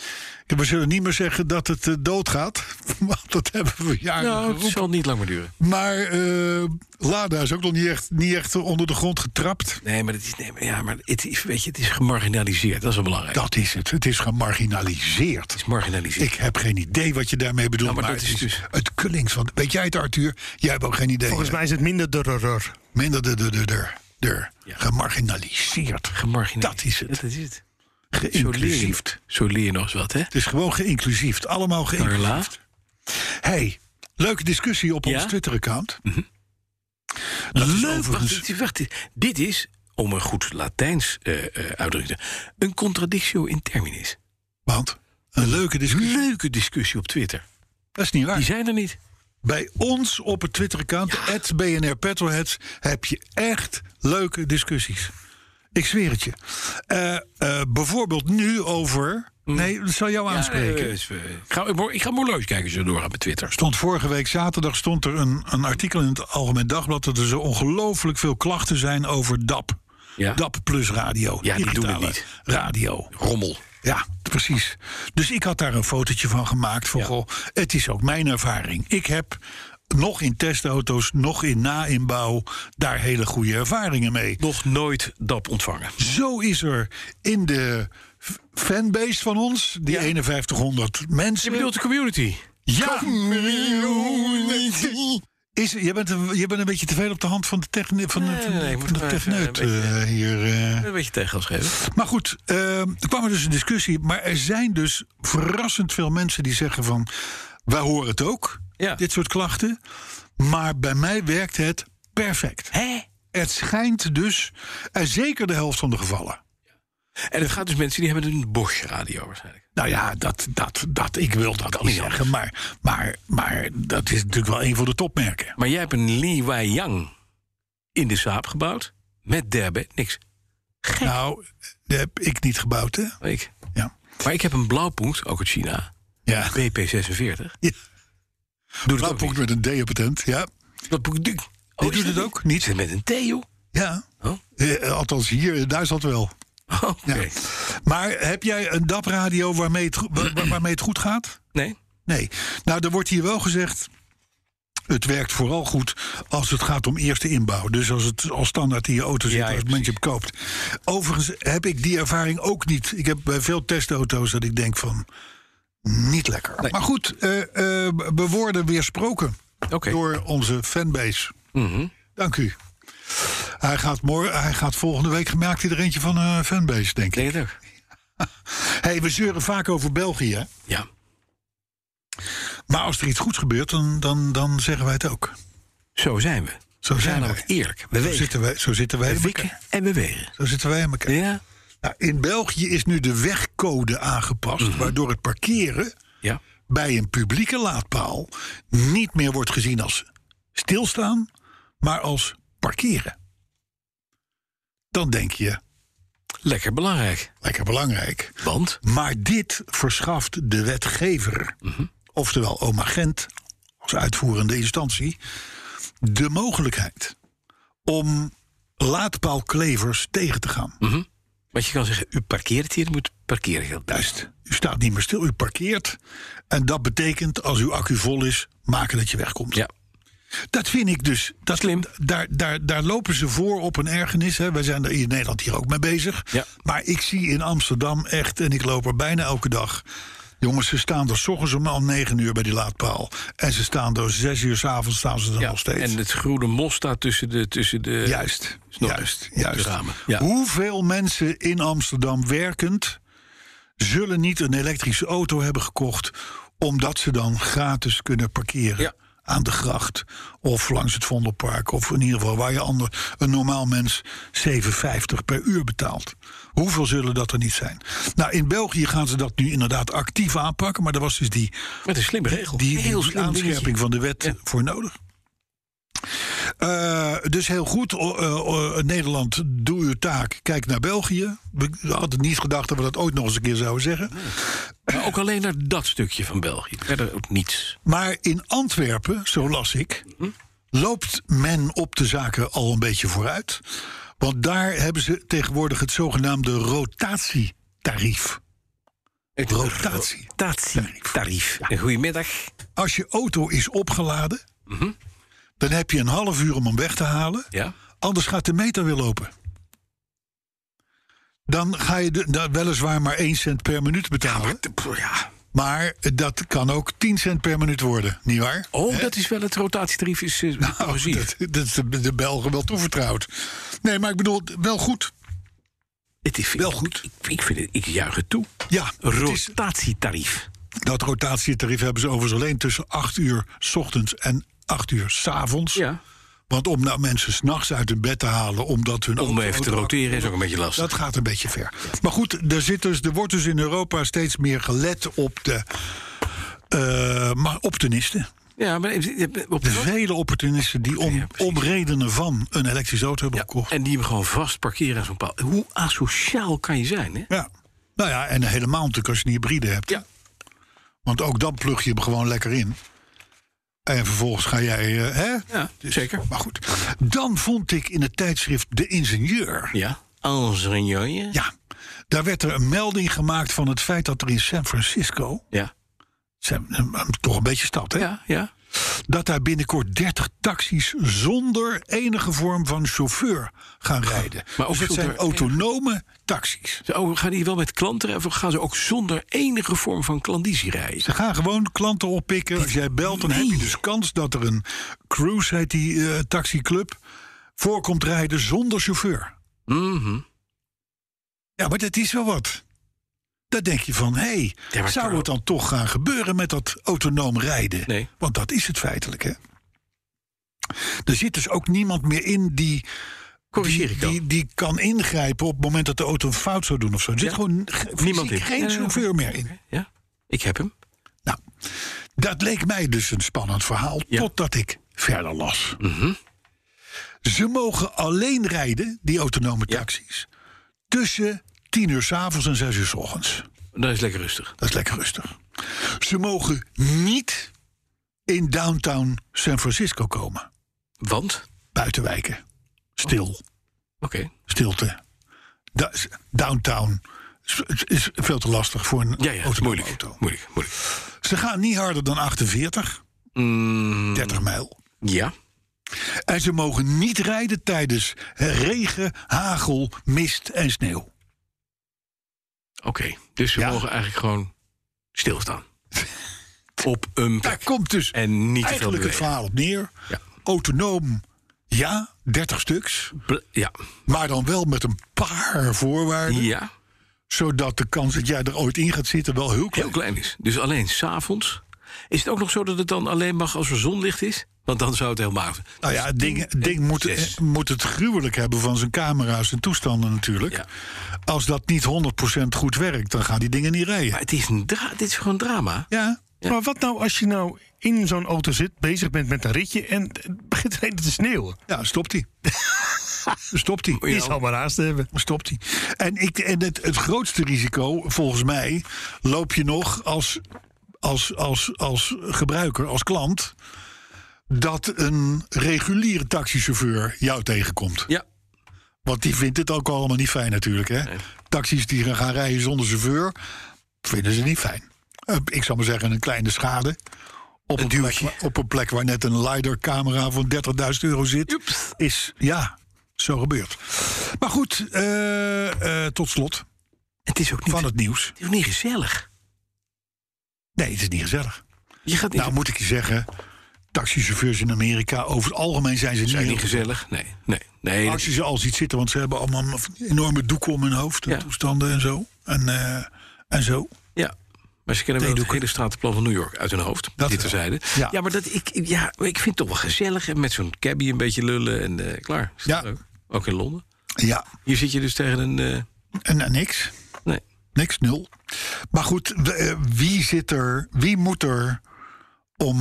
[SPEAKER 2] Ja, We zullen niet meer zeggen dat het eh, doodgaat, *laughs* want dat hebben we jaren
[SPEAKER 3] Nou, het
[SPEAKER 2] geroepen.
[SPEAKER 3] zal niet lang meer duren.
[SPEAKER 2] Maar eh, Lada is ook nog niet echt, niet echt onder de grond getrapt.
[SPEAKER 3] Nee, maar, dat is, nee, maar, ja, maar het, is, weet je, het is gemarginaliseerd. Dat is wel belangrijk.
[SPEAKER 2] Dat is het. Het is gemarginaliseerd.
[SPEAKER 3] Het is marginaliseerd.
[SPEAKER 2] Ik heb geen idee wat je daarmee bedoelt.
[SPEAKER 3] Nou, maar
[SPEAKER 2] maar
[SPEAKER 3] dat
[SPEAKER 2] het
[SPEAKER 3] is dus-
[SPEAKER 2] het klinkt van. Weet jij het, Arthur? Jij hebt ook geen idee.
[SPEAKER 4] Volgens mij is het minder durrer.
[SPEAKER 2] Minder de de de de. de.
[SPEAKER 3] Ja.
[SPEAKER 2] Gemarginaliseerd.
[SPEAKER 3] gemarginaliseerd.
[SPEAKER 2] Dat is het.
[SPEAKER 3] Ja, dat is het. Zo leer, je,
[SPEAKER 2] Geïnclusief.
[SPEAKER 3] zo leer je nog eens wat, hè?
[SPEAKER 2] Het is gewoon geïnclusief. Allemaal geïnclusief.
[SPEAKER 3] Carla?
[SPEAKER 2] Hey, leuke discussie op
[SPEAKER 3] Ja?
[SPEAKER 2] ons Twitter-account.
[SPEAKER 3] Leuk. Wacht,
[SPEAKER 2] Leuk.
[SPEAKER 3] dit- wacht, dit is, om een goed Latijns eh eh, uitdrukking te een contradictio in terminis.
[SPEAKER 2] Want een leuke discussie.
[SPEAKER 3] Leuke discussie op Twitter.
[SPEAKER 2] Dat is niet waar.
[SPEAKER 3] Die zijn er niet.
[SPEAKER 2] Bij ons op het Twitter-account, BNR Petrolheads, heb je echt leuke discussies. Ik zweer het je. Eh, eh, bijvoorbeeld nu over. Nee, dat zal jou
[SPEAKER 3] Mm. Ja,
[SPEAKER 2] aanspreken.
[SPEAKER 3] eh, is, eh, ik ga, ik mo- ik ga moeilijk kijken als je doorgaat met Twitter.
[SPEAKER 2] stond vorige week zaterdag stond er een, een artikel in het Algemeen Dagblad dat er zo ongelooflijk veel klachten zijn over DAP.
[SPEAKER 3] Ja.
[SPEAKER 2] DAP plus radio.
[SPEAKER 3] Ja, die doen het
[SPEAKER 2] Digitale
[SPEAKER 3] niet.
[SPEAKER 2] Radio.
[SPEAKER 3] Rommel.
[SPEAKER 2] Ja, precies. Dus ik had daar een fotootje van gemaakt. Van,
[SPEAKER 3] Ja.
[SPEAKER 2] goh, het is ook mijn ervaring. Ik heb nog in testauto's, nog in na-inbouw... daar hele goede ervaringen mee.
[SPEAKER 3] Nog nooit DAP ontvangen.
[SPEAKER 2] Zo is er in de f- fanbase van ons, die
[SPEAKER 3] Ja.
[SPEAKER 2] 5100 mensen...
[SPEAKER 3] Je bedoelt de community.
[SPEAKER 2] Ja! Is, je, bent een, je bent een beetje te veel op de hand van de techneut van, de-
[SPEAKER 3] Nee, nee,
[SPEAKER 2] van de-
[SPEAKER 3] nee, ik moet
[SPEAKER 2] van de
[SPEAKER 3] nog even
[SPEAKER 2] techneut,
[SPEAKER 3] een beetje-
[SPEAKER 2] eh, hier. eh.
[SPEAKER 3] Een beetje tegengas geven.
[SPEAKER 2] Maar goed, eh, er kwam er dus een discussie. Maar er zijn dus verrassend veel mensen die zeggen van... wij horen het ook,
[SPEAKER 3] Ja.
[SPEAKER 2] dit soort klachten. Maar bij mij werkt het perfect.
[SPEAKER 3] Hè?
[SPEAKER 2] Het schijnt dus, en zeker de helft van de gevallen...
[SPEAKER 3] En het gaat dus mensen die hebben een Bosch radio waarschijnlijk.
[SPEAKER 2] Nou ja, dat, dat, dat, ik wil dat niet
[SPEAKER 3] niet
[SPEAKER 2] zeggen. Maar, maar, maar dat is natuurlijk wel een van de topmerken.
[SPEAKER 3] Maar jij hebt een Li Wai Yang in de Saab gebouwd. Met derbe, niks.
[SPEAKER 2] Nou, die heb ik niet gebouwd, hè?
[SPEAKER 3] Ik.
[SPEAKER 2] Ja.
[SPEAKER 3] Maar ik heb een blauwpunt, ook uit China.
[SPEAKER 2] Ja.
[SPEAKER 3] BP46.
[SPEAKER 2] Ja.
[SPEAKER 3] Doe dat ook
[SPEAKER 2] Blauwpunkt
[SPEAKER 3] niet.
[SPEAKER 2] met een D-patent, ja.
[SPEAKER 3] Blauwpunt. Die
[SPEAKER 2] doet het ook niet.
[SPEAKER 3] Is dat Met een T, joh.
[SPEAKER 2] Ja.
[SPEAKER 3] Oh.
[SPEAKER 2] Eh, althans, hier in Duitsland wel.
[SPEAKER 3] Oké.
[SPEAKER 2] Ja. Maar heb jij een DAP-radio waarmee, het go- wa- wa- waarmee het goed gaat?
[SPEAKER 3] Nee?
[SPEAKER 2] Nee. Nou, er wordt hier wel gezegd... Het werkt vooral goed als het gaat om eerste inbouw. Dus als het als standaard in je auto zit,
[SPEAKER 3] Ja, ja,
[SPEAKER 2] als het moment je hem koopt. Overigens heb ik die ervaring ook niet. Ik heb bij veel testauto's dat ik denk van... niet lekker. Maar goed, eh, eh, we worden weersproken
[SPEAKER 3] Oké.
[SPEAKER 2] door onze fanbase. Dank u. Hij gaat, morgen, hij gaat volgende week gemaakt hij er eentje van eh fanbase, denk ik.
[SPEAKER 3] Denk het ook.
[SPEAKER 2] hey, we zeuren vaak over België. hè?
[SPEAKER 3] Ja.
[SPEAKER 2] Maar als er iets goeds gebeurt, dan, dan, dan zeggen wij het ook.
[SPEAKER 3] Zo zijn we.
[SPEAKER 2] Zo
[SPEAKER 3] we
[SPEAKER 2] zijn
[SPEAKER 3] zijn
[SPEAKER 2] wij.
[SPEAKER 3] namelijk eerlijk. We
[SPEAKER 2] Zo
[SPEAKER 3] wegen.
[SPEAKER 2] zitten wij, zo zitten wij
[SPEAKER 3] We
[SPEAKER 2] in elkaar.
[SPEAKER 3] wikken en we wegen.
[SPEAKER 2] Zo zitten wij in elkaar.
[SPEAKER 3] Ja.
[SPEAKER 2] Nou, in België is nu de wegcode aangepast,
[SPEAKER 3] Mhm.
[SPEAKER 2] waardoor het parkeren
[SPEAKER 3] Ja.
[SPEAKER 2] bij een publieke laadpaal niet meer wordt gezien als stilstaan, maar als parkeren. Dan denk je,
[SPEAKER 3] Lekker belangrijk.
[SPEAKER 2] lekker belangrijk.
[SPEAKER 3] Want?
[SPEAKER 2] Maar dit verschaft de wetgever, oftewel oma Gent als uitvoerende instantie, de mogelijkheid om laadpaalklevers tegen te gaan.
[SPEAKER 3] Want je kan zeggen, u parkeert hier, u moet parkeren heel duist.
[SPEAKER 2] U staat niet meer stil, u parkeert. En dat betekent, als uw accu vol is, maken dat je wegkomt.
[SPEAKER 3] Ja.
[SPEAKER 2] Dat vind ik dus. Dat,
[SPEAKER 3] Slim.
[SPEAKER 2] Daar, daar, daar lopen ze voor op een ergernis. Hè. Wij zijn er in Nederland hier ook mee bezig.
[SPEAKER 3] Ja.
[SPEAKER 2] Maar ik zie in Amsterdam echt, en ik loop er bijna elke dag. Jongens, ze staan er 's ochtends om, om 9 uur bij die laadpaal. En ze staan er 6 uur 's avonds staan ze er
[SPEAKER 3] ja.
[SPEAKER 2] nog steeds.
[SPEAKER 3] En het groene mos staat tussen de... Tussen de
[SPEAKER 2] Juist,
[SPEAKER 3] snorren.
[SPEAKER 2] juist,
[SPEAKER 3] De
[SPEAKER 2] juist.
[SPEAKER 3] ramen. Ja.
[SPEAKER 2] Hoeveel mensen in Amsterdam werkend zullen niet een elektrische auto hebben gekocht omdat ze dan gratis kunnen parkeren
[SPEAKER 3] Ja.
[SPEAKER 2] aan de gracht of langs het Vondelpark of in ieder geval waar je ander, een normaal mens 7,50 per uur betaalt. Hoeveel zullen dat er niet zijn? Nou, in België gaan ze dat nu inderdaad actief aanpakken, maar er was dus die
[SPEAKER 3] Met een slimme regel.
[SPEAKER 2] die,
[SPEAKER 3] heel
[SPEAKER 2] die
[SPEAKER 3] slim
[SPEAKER 2] aanscherping
[SPEAKER 3] dingetje.
[SPEAKER 2] van de wet
[SPEAKER 3] Ja.
[SPEAKER 2] voor nodig. Eh, dus heel goed, o- eh, eh, Nederland, doe uw taak. Kijk naar België. We hadden niet gedacht dat we dat ooit nog eens een keer zouden zeggen.
[SPEAKER 3] Maar ook alleen naar dat stukje van België. Verder ook niets.
[SPEAKER 2] Maar in Antwerpen, zo las ik, loopt men op de zaken al een beetje vooruit. Want daar hebben ze tegenwoordig het zogenaamde rotatietarief.
[SPEAKER 3] Het
[SPEAKER 2] Rotatie.
[SPEAKER 3] Rotatietarief. En goedemiddag.
[SPEAKER 2] Als je auto is opgeladen,
[SPEAKER 3] Mhm.
[SPEAKER 2] dan heb je een half uur om hem weg te halen.
[SPEAKER 3] Ja.
[SPEAKER 2] Anders gaat de meter weer lopen. Dan ga je de, da- weliswaar maar 1 cent per minuut betalen.
[SPEAKER 3] ja.
[SPEAKER 2] Maar dat kan ook 10 cent per minuut worden, nietwaar? *laughs*
[SPEAKER 3] Oh, dat is wel het rotatietarief. Is, eh, progressief.
[SPEAKER 2] Nou, Oh, dat, dat is de, de Belgen wel toevertrouwd. Nee, maar ik bedoel, wel goed.
[SPEAKER 3] het is
[SPEAKER 2] wel goed.
[SPEAKER 3] Ik, ik, vind het, ik juich het toe.
[SPEAKER 2] Ja, het is,
[SPEAKER 3] Rotatietarief.
[SPEAKER 2] dat rotatietarief hebben ze overigens alleen tussen 8 uur 's ochtends en 8 uur 's avonds.
[SPEAKER 3] Ja.
[SPEAKER 2] Want om nou mensen s'nachts uit hun bed te halen omdat hun
[SPEAKER 3] Om
[SPEAKER 2] auto-
[SPEAKER 3] even te
[SPEAKER 2] auto-
[SPEAKER 3] roteren is ook een beetje lastig.
[SPEAKER 2] Dat gaat een beetje ver. Maar goed, er, zit dus, er wordt dus in Europa steeds meer gelet op de. eh, maar opportunisten.
[SPEAKER 3] ja, maar even- eh, op
[SPEAKER 2] De
[SPEAKER 3] de
[SPEAKER 2] vele opportunisten die om,
[SPEAKER 3] Ja, precies.
[SPEAKER 2] om redenen van een elektrische auto hebben gekocht.
[SPEAKER 3] En die hem gewoon vast parkeren aan zo'n paal. Hoe asociaal kan je zijn, hè?
[SPEAKER 2] Ja. Nou ja, en helemaal natuurlijk als je een hybride hebt.
[SPEAKER 3] Ja.
[SPEAKER 2] Want ook dan plug je hem gewoon lekker in. En vervolgens ga jij. eh, hè?
[SPEAKER 3] Ja, zeker.
[SPEAKER 2] Maar goed. Dan vond ik in het tijdschrift De Ingenieur.
[SPEAKER 3] Ja. Als een jongen.
[SPEAKER 2] Ja. Daar werd er een melding gemaakt van het feit dat er in San Francisco.
[SPEAKER 3] Ja.
[SPEAKER 2] Zijn, eh, toch een beetje stad, hè?
[SPEAKER 3] Ja, ja.
[SPEAKER 2] dat daar binnenkort 30 taxis zonder enige vorm van chauffeur gaan rijden.
[SPEAKER 3] Maar ook
[SPEAKER 2] dus het
[SPEAKER 3] zonder
[SPEAKER 2] zijn autonome taxis.
[SPEAKER 3] Ze- Oh, gaan die wel met klanten of gaan ze ook zonder enige vorm van klandizie rijden?
[SPEAKER 2] Ze gaan gewoon klanten oppikken. Als jij belt, dan heb je dus kans dat er een cruise, heet die eh, taxiclub, voorkomt rijden zonder chauffeur.
[SPEAKER 3] Mhm.
[SPEAKER 2] Ja, maar dat is wel wat. Dan denk je van, hé,
[SPEAKER 3] Ja,
[SPEAKER 2] zou
[SPEAKER 3] maar Carlo-
[SPEAKER 2] het dan toch gaan gebeuren met dat autonoom rijden?
[SPEAKER 3] Nee.
[SPEAKER 2] Want dat is het feitelijk, hè? Er zit dus ook niemand meer in die
[SPEAKER 3] Corrigeer
[SPEAKER 2] die,
[SPEAKER 3] ik dan.
[SPEAKER 2] Die, die kan ingrijpen op het moment dat de auto een fout zou doen of zo. Er zit
[SPEAKER 3] Ja.
[SPEAKER 2] gewoon ge-
[SPEAKER 3] Niemand
[SPEAKER 2] fysiek
[SPEAKER 3] in.
[SPEAKER 2] geen
[SPEAKER 3] Ja, ja,
[SPEAKER 2] chauffeur
[SPEAKER 3] oké.
[SPEAKER 2] meer in.
[SPEAKER 3] Ja, ik heb hem.
[SPEAKER 2] Nou, dat leek mij dus een spannend verhaal,
[SPEAKER 3] Ja.
[SPEAKER 2] totdat ik verder las.
[SPEAKER 3] Mhm.
[SPEAKER 2] Ze mogen alleen rijden, die autonome
[SPEAKER 3] Ja.
[SPEAKER 2] taxis, tussen 10 uur s avonds en 6 uur s ochtends.
[SPEAKER 3] Dat is lekker rustig.
[SPEAKER 2] Dat is lekker rustig. Ze mogen niet in downtown San Francisco komen.
[SPEAKER 3] Want? Oké.
[SPEAKER 2] Buitenwijken. Stil. stilte. Da- s- downtown is, is veel te lastig voor Oh, een
[SPEAKER 3] Ja, ja.
[SPEAKER 2] autonome
[SPEAKER 3] moeilijk.
[SPEAKER 2] auto.
[SPEAKER 3] Moeilijk, moeilijk.
[SPEAKER 2] Ze gaan niet harder dan 48,
[SPEAKER 3] Mm,
[SPEAKER 2] 30 mijl.
[SPEAKER 3] ja.
[SPEAKER 2] En ze mogen niet rijden tijdens regen, hagel, mist en sneeuw.
[SPEAKER 3] Oké. Dus we
[SPEAKER 2] Ja. *laughs*
[SPEAKER 3] mogen eigenlijk gewoon stilstaan. op
[SPEAKER 2] Daar
[SPEAKER 3] een plek.
[SPEAKER 2] komt dus
[SPEAKER 3] En niet te veel
[SPEAKER 2] eigenlijk het
[SPEAKER 3] bewegen.
[SPEAKER 2] verhaal op neer.
[SPEAKER 3] Ja.
[SPEAKER 2] Autonoom, ja, 30 stuks.
[SPEAKER 3] Ble- Ja.
[SPEAKER 2] Maar dan wel met een paar voorwaarden.
[SPEAKER 3] ja,
[SPEAKER 2] Zodat de kans dat jij er ooit in gaat zitten wel heel klein
[SPEAKER 3] heel klein is. Dus alleen s'avonds. Is het ook nog zo dat het dan alleen mag als er zonlicht is? Want dan zou het helemaal...
[SPEAKER 2] Nou ja, het ding, het ding moet,
[SPEAKER 3] zes.
[SPEAKER 2] eh, moet het gruwelijk hebben van zijn camera's en toestanden natuurlijk.
[SPEAKER 3] Ja.
[SPEAKER 2] Als dat niet 100% goed werkt, dan gaan die dingen niet
[SPEAKER 3] Maar
[SPEAKER 2] rijden.
[SPEAKER 3] het is een dra- dit is gewoon drama.
[SPEAKER 2] Ja,
[SPEAKER 4] Maar wat nou als je nou in zo'n auto zit, bezig bent met een ritje en het begint reden te sneeuwen?
[SPEAKER 2] ja stopt
[SPEAKER 3] *laughs*
[SPEAKER 2] hij. stopt
[SPEAKER 3] Oh
[SPEAKER 2] hij.
[SPEAKER 4] Die zal maar haast hebben.
[SPEAKER 2] Stopt hij. En, ik, en het, het grootste risico, volgens mij, loop je nog als, als, als, als gebruiker, als klant. dat een reguliere taxichauffeur jou tegenkomt.
[SPEAKER 3] Ja,
[SPEAKER 2] Want die vindt het ook allemaal niet fijn natuurlijk. Hè? Taxis die gaan rijden zonder chauffeur, vinden ze niet fijn. Eh, ik zou maar zeggen, een kleine schade. Op een, plek, waar- op een plek waar net een LiDAR-camera van 30.000 euro zit. Is, ja, zo gebeurd. Maar goed, eh, eh, tot slot
[SPEAKER 3] het is ook niet,
[SPEAKER 2] van het nieuws.
[SPEAKER 3] het is ook niet gezellig.
[SPEAKER 2] Nee, het is niet gezellig.
[SPEAKER 3] Je gaat niet,
[SPEAKER 2] Nou moet ik je zeggen, taxichauffeurs in Amerika... over het algemeen zijn ze niet,
[SPEAKER 3] zijn
[SPEAKER 2] heel
[SPEAKER 3] niet gezellig. Nee, nee, nee.
[SPEAKER 2] Als je ze al ziet zitten, want ze hebben allemaal enorme doeken om hun hoofd. En
[SPEAKER 3] Ja.
[SPEAKER 2] toestanden en zo. En, eh, en zo.
[SPEAKER 3] Ja, maar ze kennen wel het
[SPEAKER 2] Theedoeken.
[SPEAKER 3] hele stratenplan van New York uit hun hoofd.
[SPEAKER 2] Dat
[SPEAKER 3] dit
[SPEAKER 2] wel.
[SPEAKER 3] terzijde. Ja.
[SPEAKER 2] Ja.
[SPEAKER 3] ja, maar dat, ik, ik- ja, maar ik vind het toch wel gezellig. En met zo'n cabbie een beetje lullen en eh, klaar. Is
[SPEAKER 2] Ja.
[SPEAKER 3] dat leuk? Ook in Londen.
[SPEAKER 2] Ja,
[SPEAKER 3] Hier zit je dus tegen een... eh,
[SPEAKER 2] en, en niks.
[SPEAKER 3] nee.
[SPEAKER 2] Niks, nul. Maar goed, w- eh, wie zit er, wie moet er om,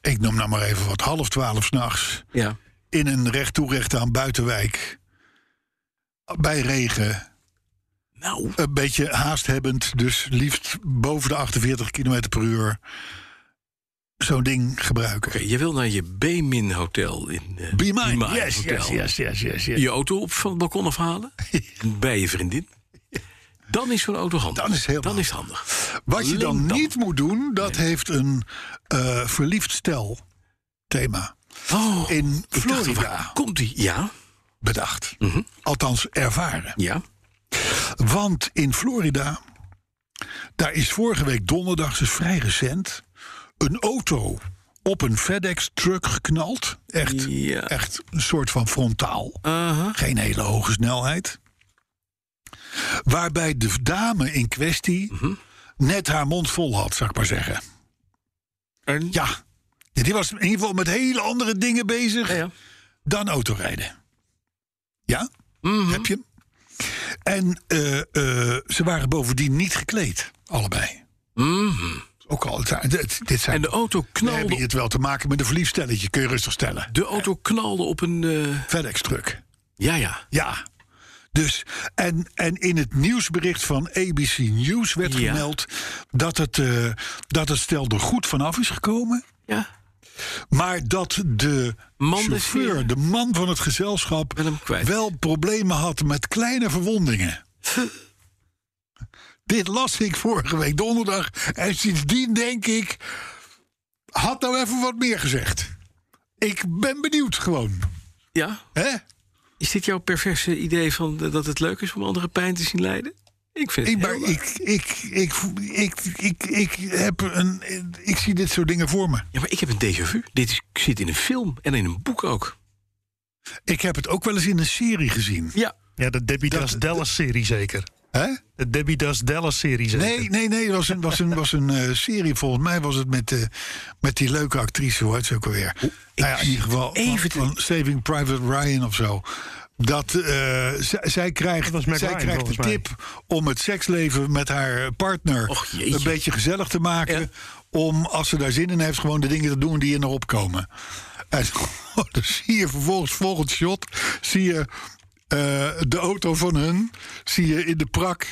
[SPEAKER 2] ik noem nou maar even wat, half twaalf s'nachts...
[SPEAKER 3] Ja.
[SPEAKER 2] in een recht toe recht aan buitenwijk, bij regen...
[SPEAKER 3] Nou,
[SPEAKER 2] een beetje haast hebbend, dus liefst boven de 48 km per uur... zo'n ding gebruiken.
[SPEAKER 3] oké, je wil naar je B-min hotel in... eh,
[SPEAKER 2] Be mine.
[SPEAKER 3] Be Mine
[SPEAKER 2] Yes,
[SPEAKER 3] Hotel.
[SPEAKER 2] yes, yes, yes, yes, yes.
[SPEAKER 3] Je auto op van het
[SPEAKER 2] *laughs*
[SPEAKER 3] balkon afhalen. bij je vriendin. Dan is zo'n auto handig.
[SPEAKER 2] Dan is heel
[SPEAKER 3] Dan is het handig.
[SPEAKER 2] Wat je dan
[SPEAKER 3] Link dan.
[SPEAKER 2] niet moet doen, dat heeft een eh, verliefd stel thema
[SPEAKER 3] Oh,
[SPEAKER 2] in
[SPEAKER 3] ik dacht,
[SPEAKER 2] Florida
[SPEAKER 3] waar komt die? Ja,
[SPEAKER 2] bedacht. Althans ervaren.
[SPEAKER 3] ja.
[SPEAKER 2] Want in Florida, daar is vorige week donderdag, dus vrij recent, een auto op een FedEx-truck geknald. Echt,
[SPEAKER 3] Ja. Ah.
[SPEAKER 2] echt een soort van frontaal.
[SPEAKER 3] Aha.
[SPEAKER 2] Geen hele hoge snelheid. Waarbij de dame in kwestie net haar mond vol had, zou ik maar zeggen.
[SPEAKER 3] En?
[SPEAKER 2] Ja, die was in ieder geval met hele andere dingen bezig
[SPEAKER 3] Ja, ja.
[SPEAKER 2] dan autorijden. Ja,
[SPEAKER 3] Mhm.
[SPEAKER 2] heb je hem? En eh, eh, ze waren bovendien niet gekleed, allebei.
[SPEAKER 3] Mhm.
[SPEAKER 2] Ook al, het- het- dit zijn...
[SPEAKER 3] En de auto
[SPEAKER 2] dan heb
[SPEAKER 3] knalde
[SPEAKER 2] je het wel te maken met een verliefd stelletje, kun je rustig stellen.
[SPEAKER 3] De auto knalde op een. eh,
[SPEAKER 2] FedEx-truck.
[SPEAKER 3] ja, ja.
[SPEAKER 2] Ja. Dus, en, en in het nieuwsbericht van ABC News werd
[SPEAKER 3] Ja.
[SPEAKER 2] gemeld dat het, eh, dat het stel er goed vanaf is gekomen.
[SPEAKER 3] ja.
[SPEAKER 2] Maar dat de
[SPEAKER 3] Man des
[SPEAKER 2] chauffeur,
[SPEAKER 3] heren.
[SPEAKER 2] de man van het gezelschap,
[SPEAKER 3] Wel hem kwijt.
[SPEAKER 2] wel problemen had met kleine
[SPEAKER 3] *laughs*
[SPEAKER 2] verwondingen. Dit las ik vorige week donderdag. En sindsdien denk ik. had nou even wat meer gezegd. Ik ben benieuwd gewoon.
[SPEAKER 3] Ja.
[SPEAKER 2] Hè?
[SPEAKER 3] Is dit jouw perverse idee van eh, dat het leuk is om anderen pijn te zien lijden? Ik vind het.
[SPEAKER 2] Ik, maar
[SPEAKER 3] heel
[SPEAKER 2] ik, ik, ik, ik, ik, ik, heb een, ik zie dit soort dingen voor me.
[SPEAKER 3] leuk. Ja, maar ik heb een déjà vu. Dit is, zit in een film en in een boek ook.
[SPEAKER 2] Ik heb het ook wel eens in een serie gezien.
[SPEAKER 3] Ja.
[SPEAKER 4] Ja, de Debbie
[SPEAKER 2] Dat-
[SPEAKER 4] Das Dallas-serie zeker.
[SPEAKER 2] Hè?
[SPEAKER 4] De Debbie Das Dallas-serie zeker.
[SPEAKER 2] Nee, nee, nee. Het was een, was een, was een eh, serie. Volgens mij was het met, eh, met die leuke actrice. Hoe heet ze ook alweer? nou ja, in ieder geval van-
[SPEAKER 3] even te-
[SPEAKER 2] van, Saving Private Ryan of zo. Dat eh, zij, zij krijgt,
[SPEAKER 4] was Mac
[SPEAKER 2] zij
[SPEAKER 4] Ryan,
[SPEAKER 2] krijgt de
[SPEAKER 4] volgens mij.
[SPEAKER 2] tip om het seksleven met haar partner
[SPEAKER 3] Och, jeetje.
[SPEAKER 2] een beetje gezellig te maken.
[SPEAKER 3] Ja.
[SPEAKER 2] Om, als ze daar zin in heeft, gewoon de dingen te doen die in haar opkomen. En *laughs* oh, dan zie je vervolgens, volgend shot, zie je eh, de auto van hun, zie je in de prak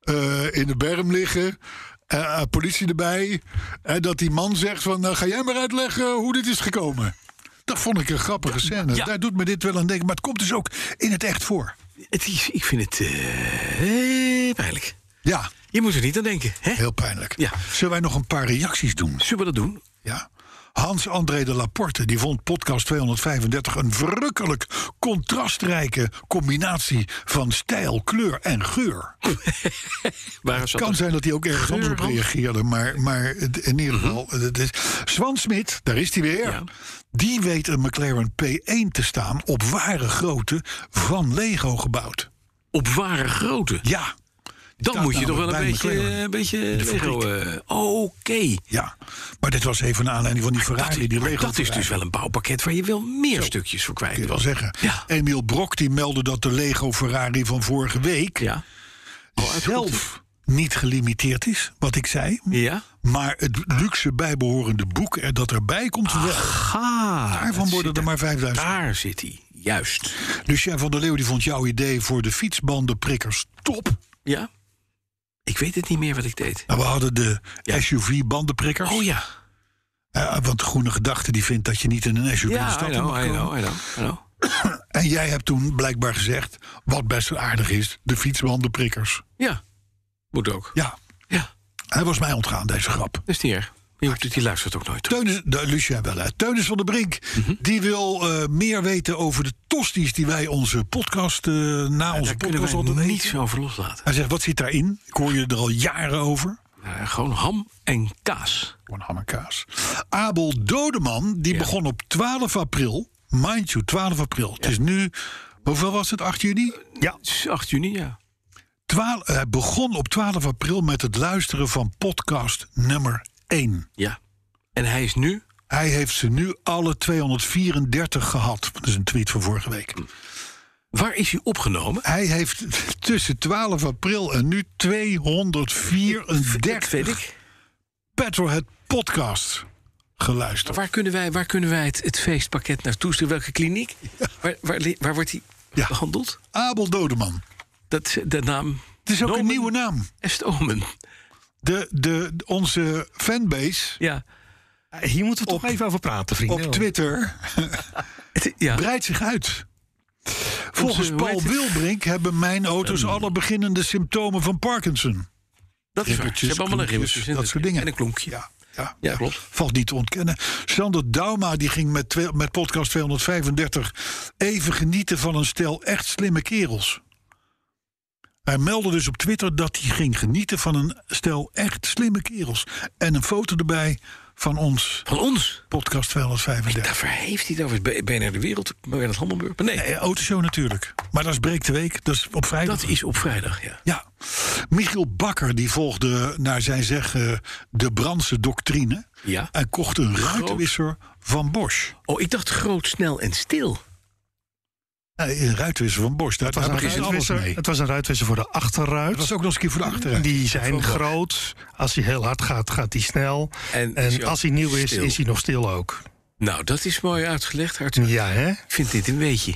[SPEAKER 2] eh, in de berm liggen. eh, eh, politie erbij. En dat die man zegt van, nou, ga jij maar uitleggen hoe dit is gekomen. Dat vond ik een grappige scène.
[SPEAKER 3] ja.
[SPEAKER 2] Daar doet me dit wel aan denken. Maar het komt dus ook in het echt voor.
[SPEAKER 3] Het is, ik vind het. eh, eh, pijnlijk.
[SPEAKER 2] Ja,
[SPEAKER 3] Je moet er niet aan denken. Hè?
[SPEAKER 2] heel pijnlijk.
[SPEAKER 3] Ja.
[SPEAKER 2] Zullen wij nog een paar reacties doen?
[SPEAKER 3] Zullen we dat doen?
[SPEAKER 2] Ja. Hans-André de Laporte die vond podcast 235 een verrukkelijk contrastrijke combinatie van stijl, kleur en geur.
[SPEAKER 3] Waar zat
[SPEAKER 2] kan
[SPEAKER 3] dat?
[SPEAKER 2] zijn dat hij ook ergens anders op
[SPEAKER 3] Geurbrand?
[SPEAKER 2] reageerde, maar, maar het- in ieder geval. het is- Swan Smit, daar is hij weer.
[SPEAKER 3] Mhm. Ja.
[SPEAKER 2] Die weet een McLaren P1 te staan op ware grootte van Lego gebouwd.
[SPEAKER 3] Op ware grootte.
[SPEAKER 2] Ja.
[SPEAKER 3] Dan
[SPEAKER 2] staat
[SPEAKER 3] moet je toch wel
[SPEAKER 2] namelijk
[SPEAKER 3] een
[SPEAKER 2] bij
[SPEAKER 3] beetje, eh,
[SPEAKER 2] McLaren.
[SPEAKER 3] een beetje Lego... eh, Oké.
[SPEAKER 2] Ja, maar dit was even naar aanleiding van die Ferrari die
[SPEAKER 3] Maar
[SPEAKER 2] Lego
[SPEAKER 3] dat is dus wel een bouwpakket waar je wel meer stukjes voor kwijt
[SPEAKER 2] kun je
[SPEAKER 3] wil.
[SPEAKER 2] wel zeggen.
[SPEAKER 3] Ja.
[SPEAKER 2] Emiel Brok die meldde dat de Lego Ferrari van vorige week
[SPEAKER 3] Ja.
[SPEAKER 2] zelf niet gelimiteerd is, wat ik zei.
[SPEAKER 3] Ja.
[SPEAKER 2] Maar het luxe bijbehorende boek er dat erbij komt wel.
[SPEAKER 3] Ga.
[SPEAKER 2] Daarvan worden er maar 5000.
[SPEAKER 3] Daar zit hij. Juist.
[SPEAKER 2] Lucien van der Leeuw die vond jouw idee voor de fietsbandenprikkers top.
[SPEAKER 3] Ja. Ik weet het niet meer wat ik deed.
[SPEAKER 2] Nou, we hadden de
[SPEAKER 3] Ja.
[SPEAKER 2] SUV-bandenprikkers.
[SPEAKER 3] Oh ja.
[SPEAKER 2] Eh, want de Groene Gedachte die vindt dat je niet in een SUV de
[SPEAKER 3] Ja,
[SPEAKER 2] stad
[SPEAKER 3] I
[SPEAKER 2] in
[SPEAKER 3] know,
[SPEAKER 2] mag
[SPEAKER 3] I
[SPEAKER 2] komen.
[SPEAKER 3] know, I know, I know.
[SPEAKER 2] En jij hebt toen blijkbaar gezegd, wat best aardig is, de fietsbandenprikkers.
[SPEAKER 3] Ja. Moet ook.
[SPEAKER 2] Ja,
[SPEAKER 3] Ja.
[SPEAKER 2] hij was mij ontgaan, deze grap.
[SPEAKER 3] Dat is niet erg. Je hoeft het- Die luistert ook nooit.
[SPEAKER 2] Teunis, de, Lucien wel, hè. Teunis van der Brink,
[SPEAKER 3] Mhm.
[SPEAKER 2] die wil eh, meer weten over de tosti's die wij onze podcast, eh, na onze
[SPEAKER 3] Daar kunnen
[SPEAKER 2] podcast
[SPEAKER 3] we
[SPEAKER 2] altijd
[SPEAKER 3] niet
[SPEAKER 2] eten.
[SPEAKER 3] zo over loslaten.
[SPEAKER 2] Hij zegt, wat zit daarin? Ik hoor je er al jaren over.
[SPEAKER 3] Eh, gewoon ham en kaas.
[SPEAKER 2] Gewoon ham en kaas. Abel Dodeman, die begon op 12 april. Mind you, 12 april. Het is nu, hoeveel was het, 8 juni?
[SPEAKER 4] Ja,
[SPEAKER 3] Het is 8 juni, ja.
[SPEAKER 2] Twaal- eh, Hij begon op 12 april met het luisteren van podcast nummer 1.
[SPEAKER 3] Ja. En hij is nu...
[SPEAKER 2] Hij heeft ze nu alle 234 gehad. Dat is een tweet van vorige week.
[SPEAKER 3] Waar is hij opgenomen?
[SPEAKER 2] Hij heeft tussen 12 april en nu
[SPEAKER 3] Dat weet
[SPEAKER 2] 234
[SPEAKER 3] ik.
[SPEAKER 2] Petrolhead podcasts geluisterd.
[SPEAKER 3] Waar kunnen wij, waar kunnen wij het, het feestpakket naartoe sturen? Welke kliniek? Waar, waar, li- waar wordt hij
[SPEAKER 2] Ja.
[SPEAKER 3] behandeld?
[SPEAKER 2] Abel Dodeman.
[SPEAKER 3] Dat, is de naam
[SPEAKER 2] Het is ook
[SPEAKER 3] Nomen.
[SPEAKER 2] een nieuwe naam.
[SPEAKER 3] Est Omen.
[SPEAKER 2] De, de, onze fanbase
[SPEAKER 3] Ja.
[SPEAKER 4] hier moeten we toch even over praten,
[SPEAKER 2] op
[SPEAKER 4] vrienden.
[SPEAKER 2] Twitter
[SPEAKER 3] Het- ja.
[SPEAKER 2] breidt zich uit. Volgens
[SPEAKER 3] hoe heet
[SPEAKER 2] Paul
[SPEAKER 3] het?
[SPEAKER 2] Wilbrink hebben mijn auto's alle beginnende symptomen van Parkinson.
[SPEAKER 3] Dat is waar. Ze
[SPEAKER 2] Ribbeltjes,
[SPEAKER 3] hebben allemaal een
[SPEAKER 2] klompjes,
[SPEAKER 3] ribbeltjes. en
[SPEAKER 2] dat soort dingen.
[SPEAKER 3] En een klonkje.
[SPEAKER 2] Ja, ja,
[SPEAKER 3] Ja, klopt.
[SPEAKER 2] Valt niet te ontkennen. Sander Dauma die ging met, twee- met podcast 235 even genieten van een stel echt slimme kerels. Hij meldde dus op Twitter dat hij ging genieten van een stel echt slimme kerels. En een foto erbij van ons
[SPEAKER 3] Van ons.
[SPEAKER 2] podcast 235.
[SPEAKER 3] Daarvoor heeft hij het over het B- BNR De Wereld. BNR Handelburg. Maar nee,
[SPEAKER 2] Eh, Autoshow natuurlijk. Maar dat is breek de week. Dat is op vrijdag.
[SPEAKER 3] dat is op vrijdag, ja.
[SPEAKER 2] Ja. Michiel Bakker die volgde naar zijn zeggen de Brandse doctrine.
[SPEAKER 3] Ja.
[SPEAKER 2] En kocht een ruitenwisser van Bosch.
[SPEAKER 3] Oh, ik dacht groot, snel en stil.
[SPEAKER 2] Eh, Een ruitenwisser van Bosch. Daar,
[SPEAKER 4] Het was,
[SPEAKER 2] daar
[SPEAKER 4] een
[SPEAKER 2] begint alles
[SPEAKER 4] ruitwisser,
[SPEAKER 2] mee.
[SPEAKER 4] het was een ruitwisser voor de achterruit.
[SPEAKER 2] Dat was ook nog eens een keer voor de achteruit.
[SPEAKER 4] Die zijn groot. Als hij heel hard gaat, gaat hij snel.
[SPEAKER 3] En
[SPEAKER 4] En,
[SPEAKER 3] is hij ook
[SPEAKER 4] als hij nieuw is,
[SPEAKER 3] stil.
[SPEAKER 4] is hij nog stil ook.
[SPEAKER 3] Nou, dat is mooi uitgelegd, Arthur.
[SPEAKER 4] Ja, hè?
[SPEAKER 3] Ik vind dit een beetje.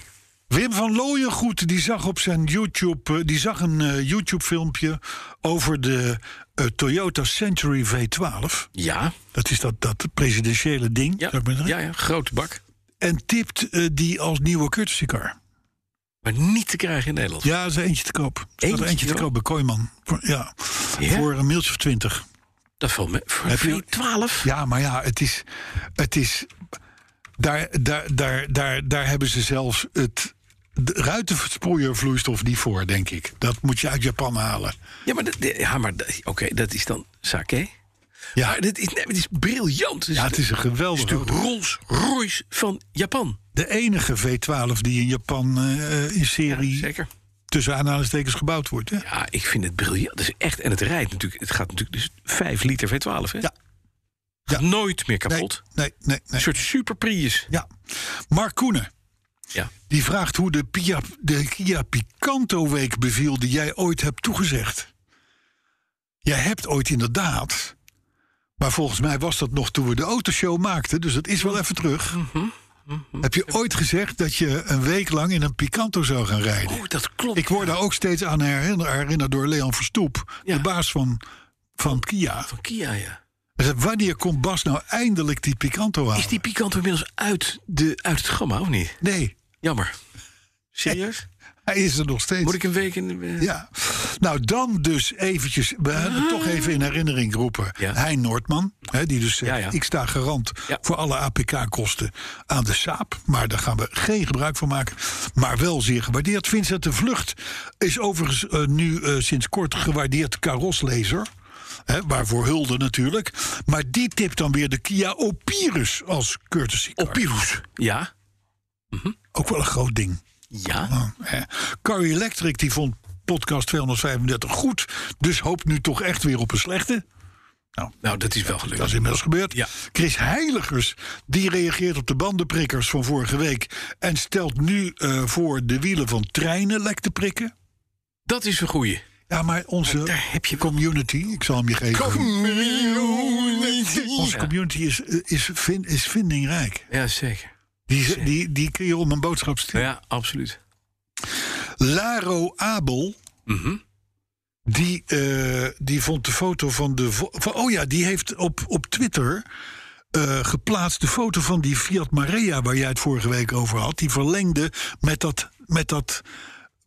[SPEAKER 2] Wim van Looyengoed die zag op zijn YouTube, eh, die zag een eh, YouTube filmpje over de eh, Toyota Century V12.
[SPEAKER 3] Ja.
[SPEAKER 2] Dat is dat, dat presidentiële ding.
[SPEAKER 3] Ja.
[SPEAKER 2] zou ik maar zeggen.
[SPEAKER 3] ja, ja, grote bak.
[SPEAKER 2] En tipt eh, die als nieuwe courtesy car.
[SPEAKER 3] Maar niet te krijgen in Nederland.
[SPEAKER 2] Ja, er is eentje te koop. Er staat
[SPEAKER 3] Eentje
[SPEAKER 2] er eentje te
[SPEAKER 3] wel?
[SPEAKER 2] koop bij Kooiman. Voor, ja.
[SPEAKER 3] Ja?
[SPEAKER 2] voor een mailtje of twintig.
[SPEAKER 3] Dat valt me. Voor
[SPEAKER 2] Heb je-
[SPEAKER 3] 12?
[SPEAKER 2] Ja, maar ja, het is... Het is daar, daar, daar, daar, daar hebben ze zelfs het de ruitenversproeiervloeistof niet voor, denk ik. Dat moet je uit Japan halen.
[SPEAKER 3] Ja, maar, dat- ja, maar dat- oké, dat is dan sake.
[SPEAKER 2] Ja,
[SPEAKER 3] Maar dit is, nee, maar dit is briljant. Dit
[SPEAKER 2] ja
[SPEAKER 3] is
[SPEAKER 2] het is een geweldige...
[SPEAKER 3] de Rolls Royce van Japan.
[SPEAKER 2] De enige V12 die in Japan eh, in serie...
[SPEAKER 3] Zeker.
[SPEAKER 2] tussen aanhalingstekens gebouwd wordt. Hè?
[SPEAKER 3] Ja, ik vind het briljant. Dat is echt, en het rijdt natuurlijk. Het gaat natuurlijk dus 5 liter V12, hè?
[SPEAKER 2] Ja.
[SPEAKER 3] Gaat Nooit meer
[SPEAKER 2] Nee,
[SPEAKER 3] kapot.
[SPEAKER 2] nee, nee.
[SPEAKER 3] Een
[SPEAKER 2] nee.
[SPEAKER 3] soort super Prius.
[SPEAKER 2] Ja. Mark Koenen.
[SPEAKER 3] Ja.
[SPEAKER 2] Die vraagt hoe de, Pia, de Kia Picanto Week beviel die jij ooit hebt toegezegd. Jij hebt ooit inderdaad, maar volgens mij was dat nog toen we de autoshow maakten, dus dat is wel even terug.
[SPEAKER 3] Mhm.
[SPEAKER 2] Heb je ooit gezegd dat je een week lang in een Picanto zou gaan rijden?
[SPEAKER 3] Oh, dat klopt.
[SPEAKER 2] Ik word daar ook steeds aan herinner- herinnerd door Leon Verstoep,
[SPEAKER 3] Ja.
[SPEAKER 2] de baas van, van Kia.
[SPEAKER 3] Van Kia, ja.
[SPEAKER 2] Hij zegt, Wanneer komt Bas nou eindelijk die Picanto aan?
[SPEAKER 3] Is die Picanto inmiddels uit, de, uit het gamma, of niet?
[SPEAKER 2] Nee,
[SPEAKER 3] Jammer. Serieus?
[SPEAKER 2] Hij is er nog steeds.
[SPEAKER 3] Moet ik een week in... eh,
[SPEAKER 2] Ja. Nou, dan dus eventjes, we hebben het toch even in herinnering roepen.
[SPEAKER 3] Ja.
[SPEAKER 2] Hein Noordman, hè, die dus zegt,
[SPEAKER 3] Ja, ja.
[SPEAKER 2] ik sta garant
[SPEAKER 3] Ja.
[SPEAKER 2] voor alle APK-kosten aan de Saab. Maar daar gaan we geen gebruik van maken. Maar wel zeer gewaardeerd. Vincent de Vlucht is overigens eh, nu eh, sinds kort gewaardeerd karoslezer. Hè, waarvoor hulde natuurlijk. Maar die tipt dan weer de Kia Opirus als courtesy car. Opirus.
[SPEAKER 3] Ja?
[SPEAKER 2] Ook wel een groot ding.
[SPEAKER 3] Ja?
[SPEAKER 2] Hè. Car Electric die vond podcast 235 goed, dus hoopt nu toch echt weer op een slechte.
[SPEAKER 3] Nou, dat is wel gelukt.
[SPEAKER 2] Dat is inmiddels gebeurd.
[SPEAKER 3] Ja.
[SPEAKER 2] Chris Heiligers die reageert op de bandenprikkers van vorige week en stelt nu eh, voor de wielen van treinen lek te prikken.
[SPEAKER 3] Dat is een goeie.
[SPEAKER 2] Ja, maar onze
[SPEAKER 3] daar heb je-
[SPEAKER 2] community, ik zal hem je geven. Onze community is, eh, is, vin- is vindingrijk.
[SPEAKER 3] Ja, zeker.
[SPEAKER 2] Die, die, die kun je om een boodschap sturen.
[SPEAKER 3] Ja, absoluut.
[SPEAKER 2] Laro Abel.
[SPEAKER 3] Mhm.
[SPEAKER 2] Die, eh, die vond de foto van de. vo- van- oh ja, die heeft op, op Twitter. eh, geplaatst de foto van die Fiat Marea. waar jij het vorige week over had. Die verlengde met dat, met dat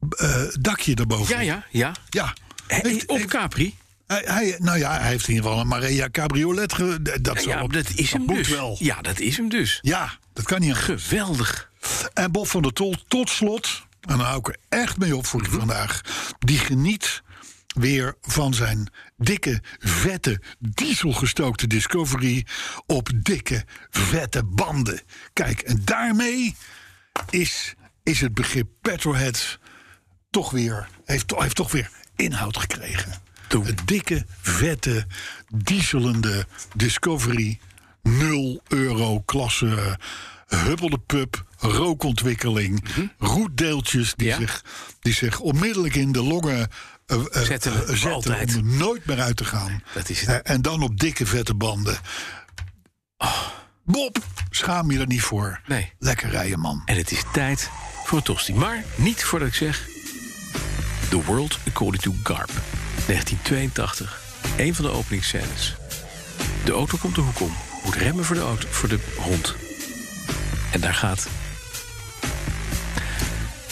[SPEAKER 2] eh, dakje erboven.
[SPEAKER 3] Ja, ja, ja.
[SPEAKER 2] Ja.
[SPEAKER 3] Hey,
[SPEAKER 2] Heeft-
[SPEAKER 3] op
[SPEAKER 2] heeft-
[SPEAKER 3] Capri.
[SPEAKER 2] hij, hij- nou ja, hij heeft in ieder geval een Marea Cabriolet. ge- d- dat, zal
[SPEAKER 3] Ja,
[SPEAKER 2] op-
[SPEAKER 3] dat is hem
[SPEAKER 2] moet
[SPEAKER 3] dus.
[SPEAKER 2] wel.
[SPEAKER 3] Ja, dat is hem dus.
[SPEAKER 2] Ja, dat kan niet. aan.
[SPEAKER 3] Geweldig.
[SPEAKER 2] En Bob van der Tol, tot slot, en daar hou ik er echt mee op voor vandaag, die geniet weer van zijn dikke, vette, dieselgestookte Discovery op dikke, vette banden. Kijk, en daarmee is, is het begrip petrolhead toch weer, heeft, to- heeft toch weer inhoud gekregen.
[SPEAKER 3] Doe.
[SPEAKER 2] Het dikke, vette, dieselende Discovery 0 euro klasse eh, huppelde pub, rookontwikkeling, roetdeeltjes die,
[SPEAKER 3] Mhm. Ja.
[SPEAKER 2] zich, die zich onmiddellijk in de longen eh, eh,
[SPEAKER 3] Zetten,
[SPEAKER 2] eh, zetten
[SPEAKER 3] altijd.
[SPEAKER 2] om er nooit meer uit te gaan.
[SPEAKER 3] Dat is het.
[SPEAKER 2] Eh, en dan op dikke, vette banden. Bob, schaam je er niet voor.
[SPEAKER 3] Oh. Nee.
[SPEAKER 2] Lekker rijden, man.
[SPEAKER 3] En het is tijd voor een tosti. Maar niet voordat ik zeg... The World According to Garp. 1982. Een van de openingsscènes. De auto komt de hoek om. Moet remmen voor de, auto, voor de hond. En daar gaat...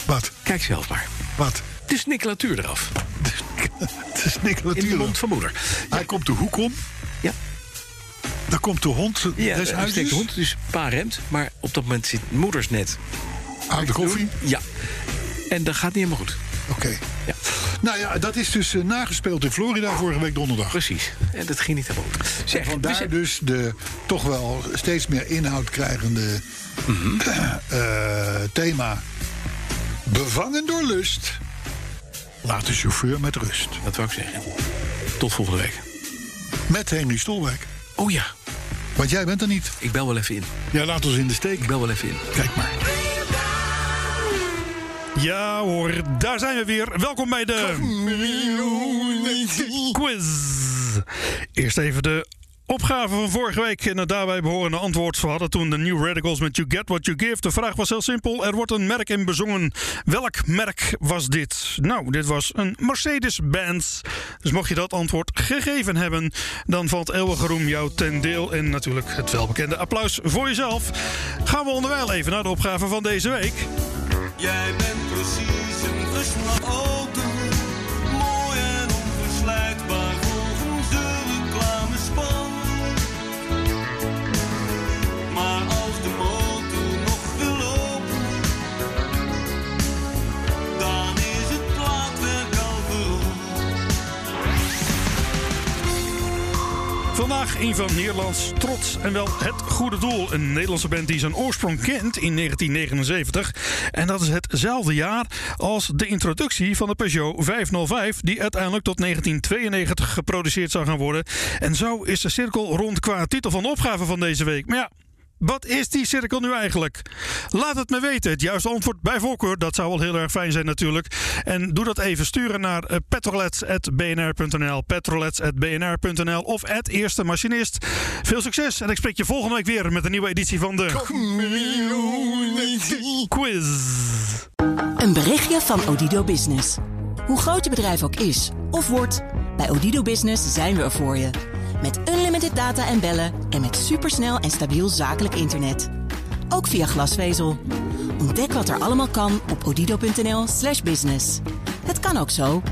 [SPEAKER 2] Wat?
[SPEAKER 3] Kijk zelf maar.
[SPEAKER 2] Wat?
[SPEAKER 3] Het is nickelatuur eraf.
[SPEAKER 2] Het is
[SPEAKER 3] In de
[SPEAKER 2] natuurlijk.
[SPEAKER 3] mond van moeder.
[SPEAKER 2] Hij komt de hoek om.
[SPEAKER 3] Ja.
[SPEAKER 2] Dan komt de hond des
[SPEAKER 3] Ja, hij steekt
[SPEAKER 2] huizes.
[SPEAKER 3] de hond, dus pa remt. Maar op dat moment zit moeders net.
[SPEAKER 2] Aan de koffie.
[SPEAKER 3] Ja. En dat gaat niet helemaal goed.
[SPEAKER 2] Oké.
[SPEAKER 3] Ja,
[SPEAKER 2] Nou ja, dat is dus eh, nagespeeld in Florida vorige week donderdag.
[SPEAKER 3] precies. En dat ging niet helemaal goed. Zeg, we
[SPEAKER 2] Vandaar
[SPEAKER 3] zijn-
[SPEAKER 2] dus de toch wel steeds meer inhoud krijgende
[SPEAKER 3] Mhm.
[SPEAKER 2] eh, thema. Bevangen door lust. Laat de chauffeur met rust.
[SPEAKER 3] dat wou ik zeggen. Tot volgende week.
[SPEAKER 2] Met Henry Stolwijk.
[SPEAKER 3] Oh ja,
[SPEAKER 2] Want jij bent er niet.
[SPEAKER 3] ik bel wel even in.
[SPEAKER 2] Jij laat ons in de steek.
[SPEAKER 3] Ik bel wel even in.
[SPEAKER 2] Kijk maar.
[SPEAKER 4] Ja hoor, daar zijn we weer. Welkom bij de quiz. Eerst even de opgave van vorige week en het daarbij behorende antwoord. We hadden toen de New Radicals met You Get What You Give. De vraag was heel simpel. Er wordt een merk in bezongen. Welk merk was dit? Nou, dit was een Mercedes-Benz. Dus mocht je dat antwoord gegeven hebben, dan valt eeuwige roem jou ten deel. En natuurlijk het welbekende applaus voor jezelf. Gaan we onderwijl even naar de opgave van deze week.
[SPEAKER 6] Jij bent precies een versnap auto. Mooi en onverslijtbaar volgens de reclamespan. Maar als de motor nog wil lopen, dan is het plaatwerk al verrot.
[SPEAKER 4] Vandaag een van Nederlands trots en wel het goede doel. Een Nederlandse band die zijn oorsprong kent in 1979. En dat is hetzelfde jaar als de introductie van de Peugeot 505... die uiteindelijk tot 1992 geproduceerd zou gaan worden. En zo is de cirkel rond qua titel van de opgave van deze week. Maar ja, wat is die cirkel nu eigenlijk? Laat het me weten. Het juiste antwoord bij voorkeur. Dat zou wel heel erg fijn zijn natuurlijk. En doe dat even sturen naar eh, petrolets.bnr.nl petrolets.bnr.nl of het eerste machinist. Veel succes en ik spreek je volgende week weer met een nieuwe editie van de Quiz.
[SPEAKER 7] Een berichtje van Odido Business. Hoe groot je bedrijf ook is of wordt, bij Odido Business zijn we er voor je. Met unlimited data en bellen en met supersnel en stabiel zakelijk internet. Ook via glasvezel. Ontdek wat er allemaal kan op odido.nl/business. Het kan ook zo.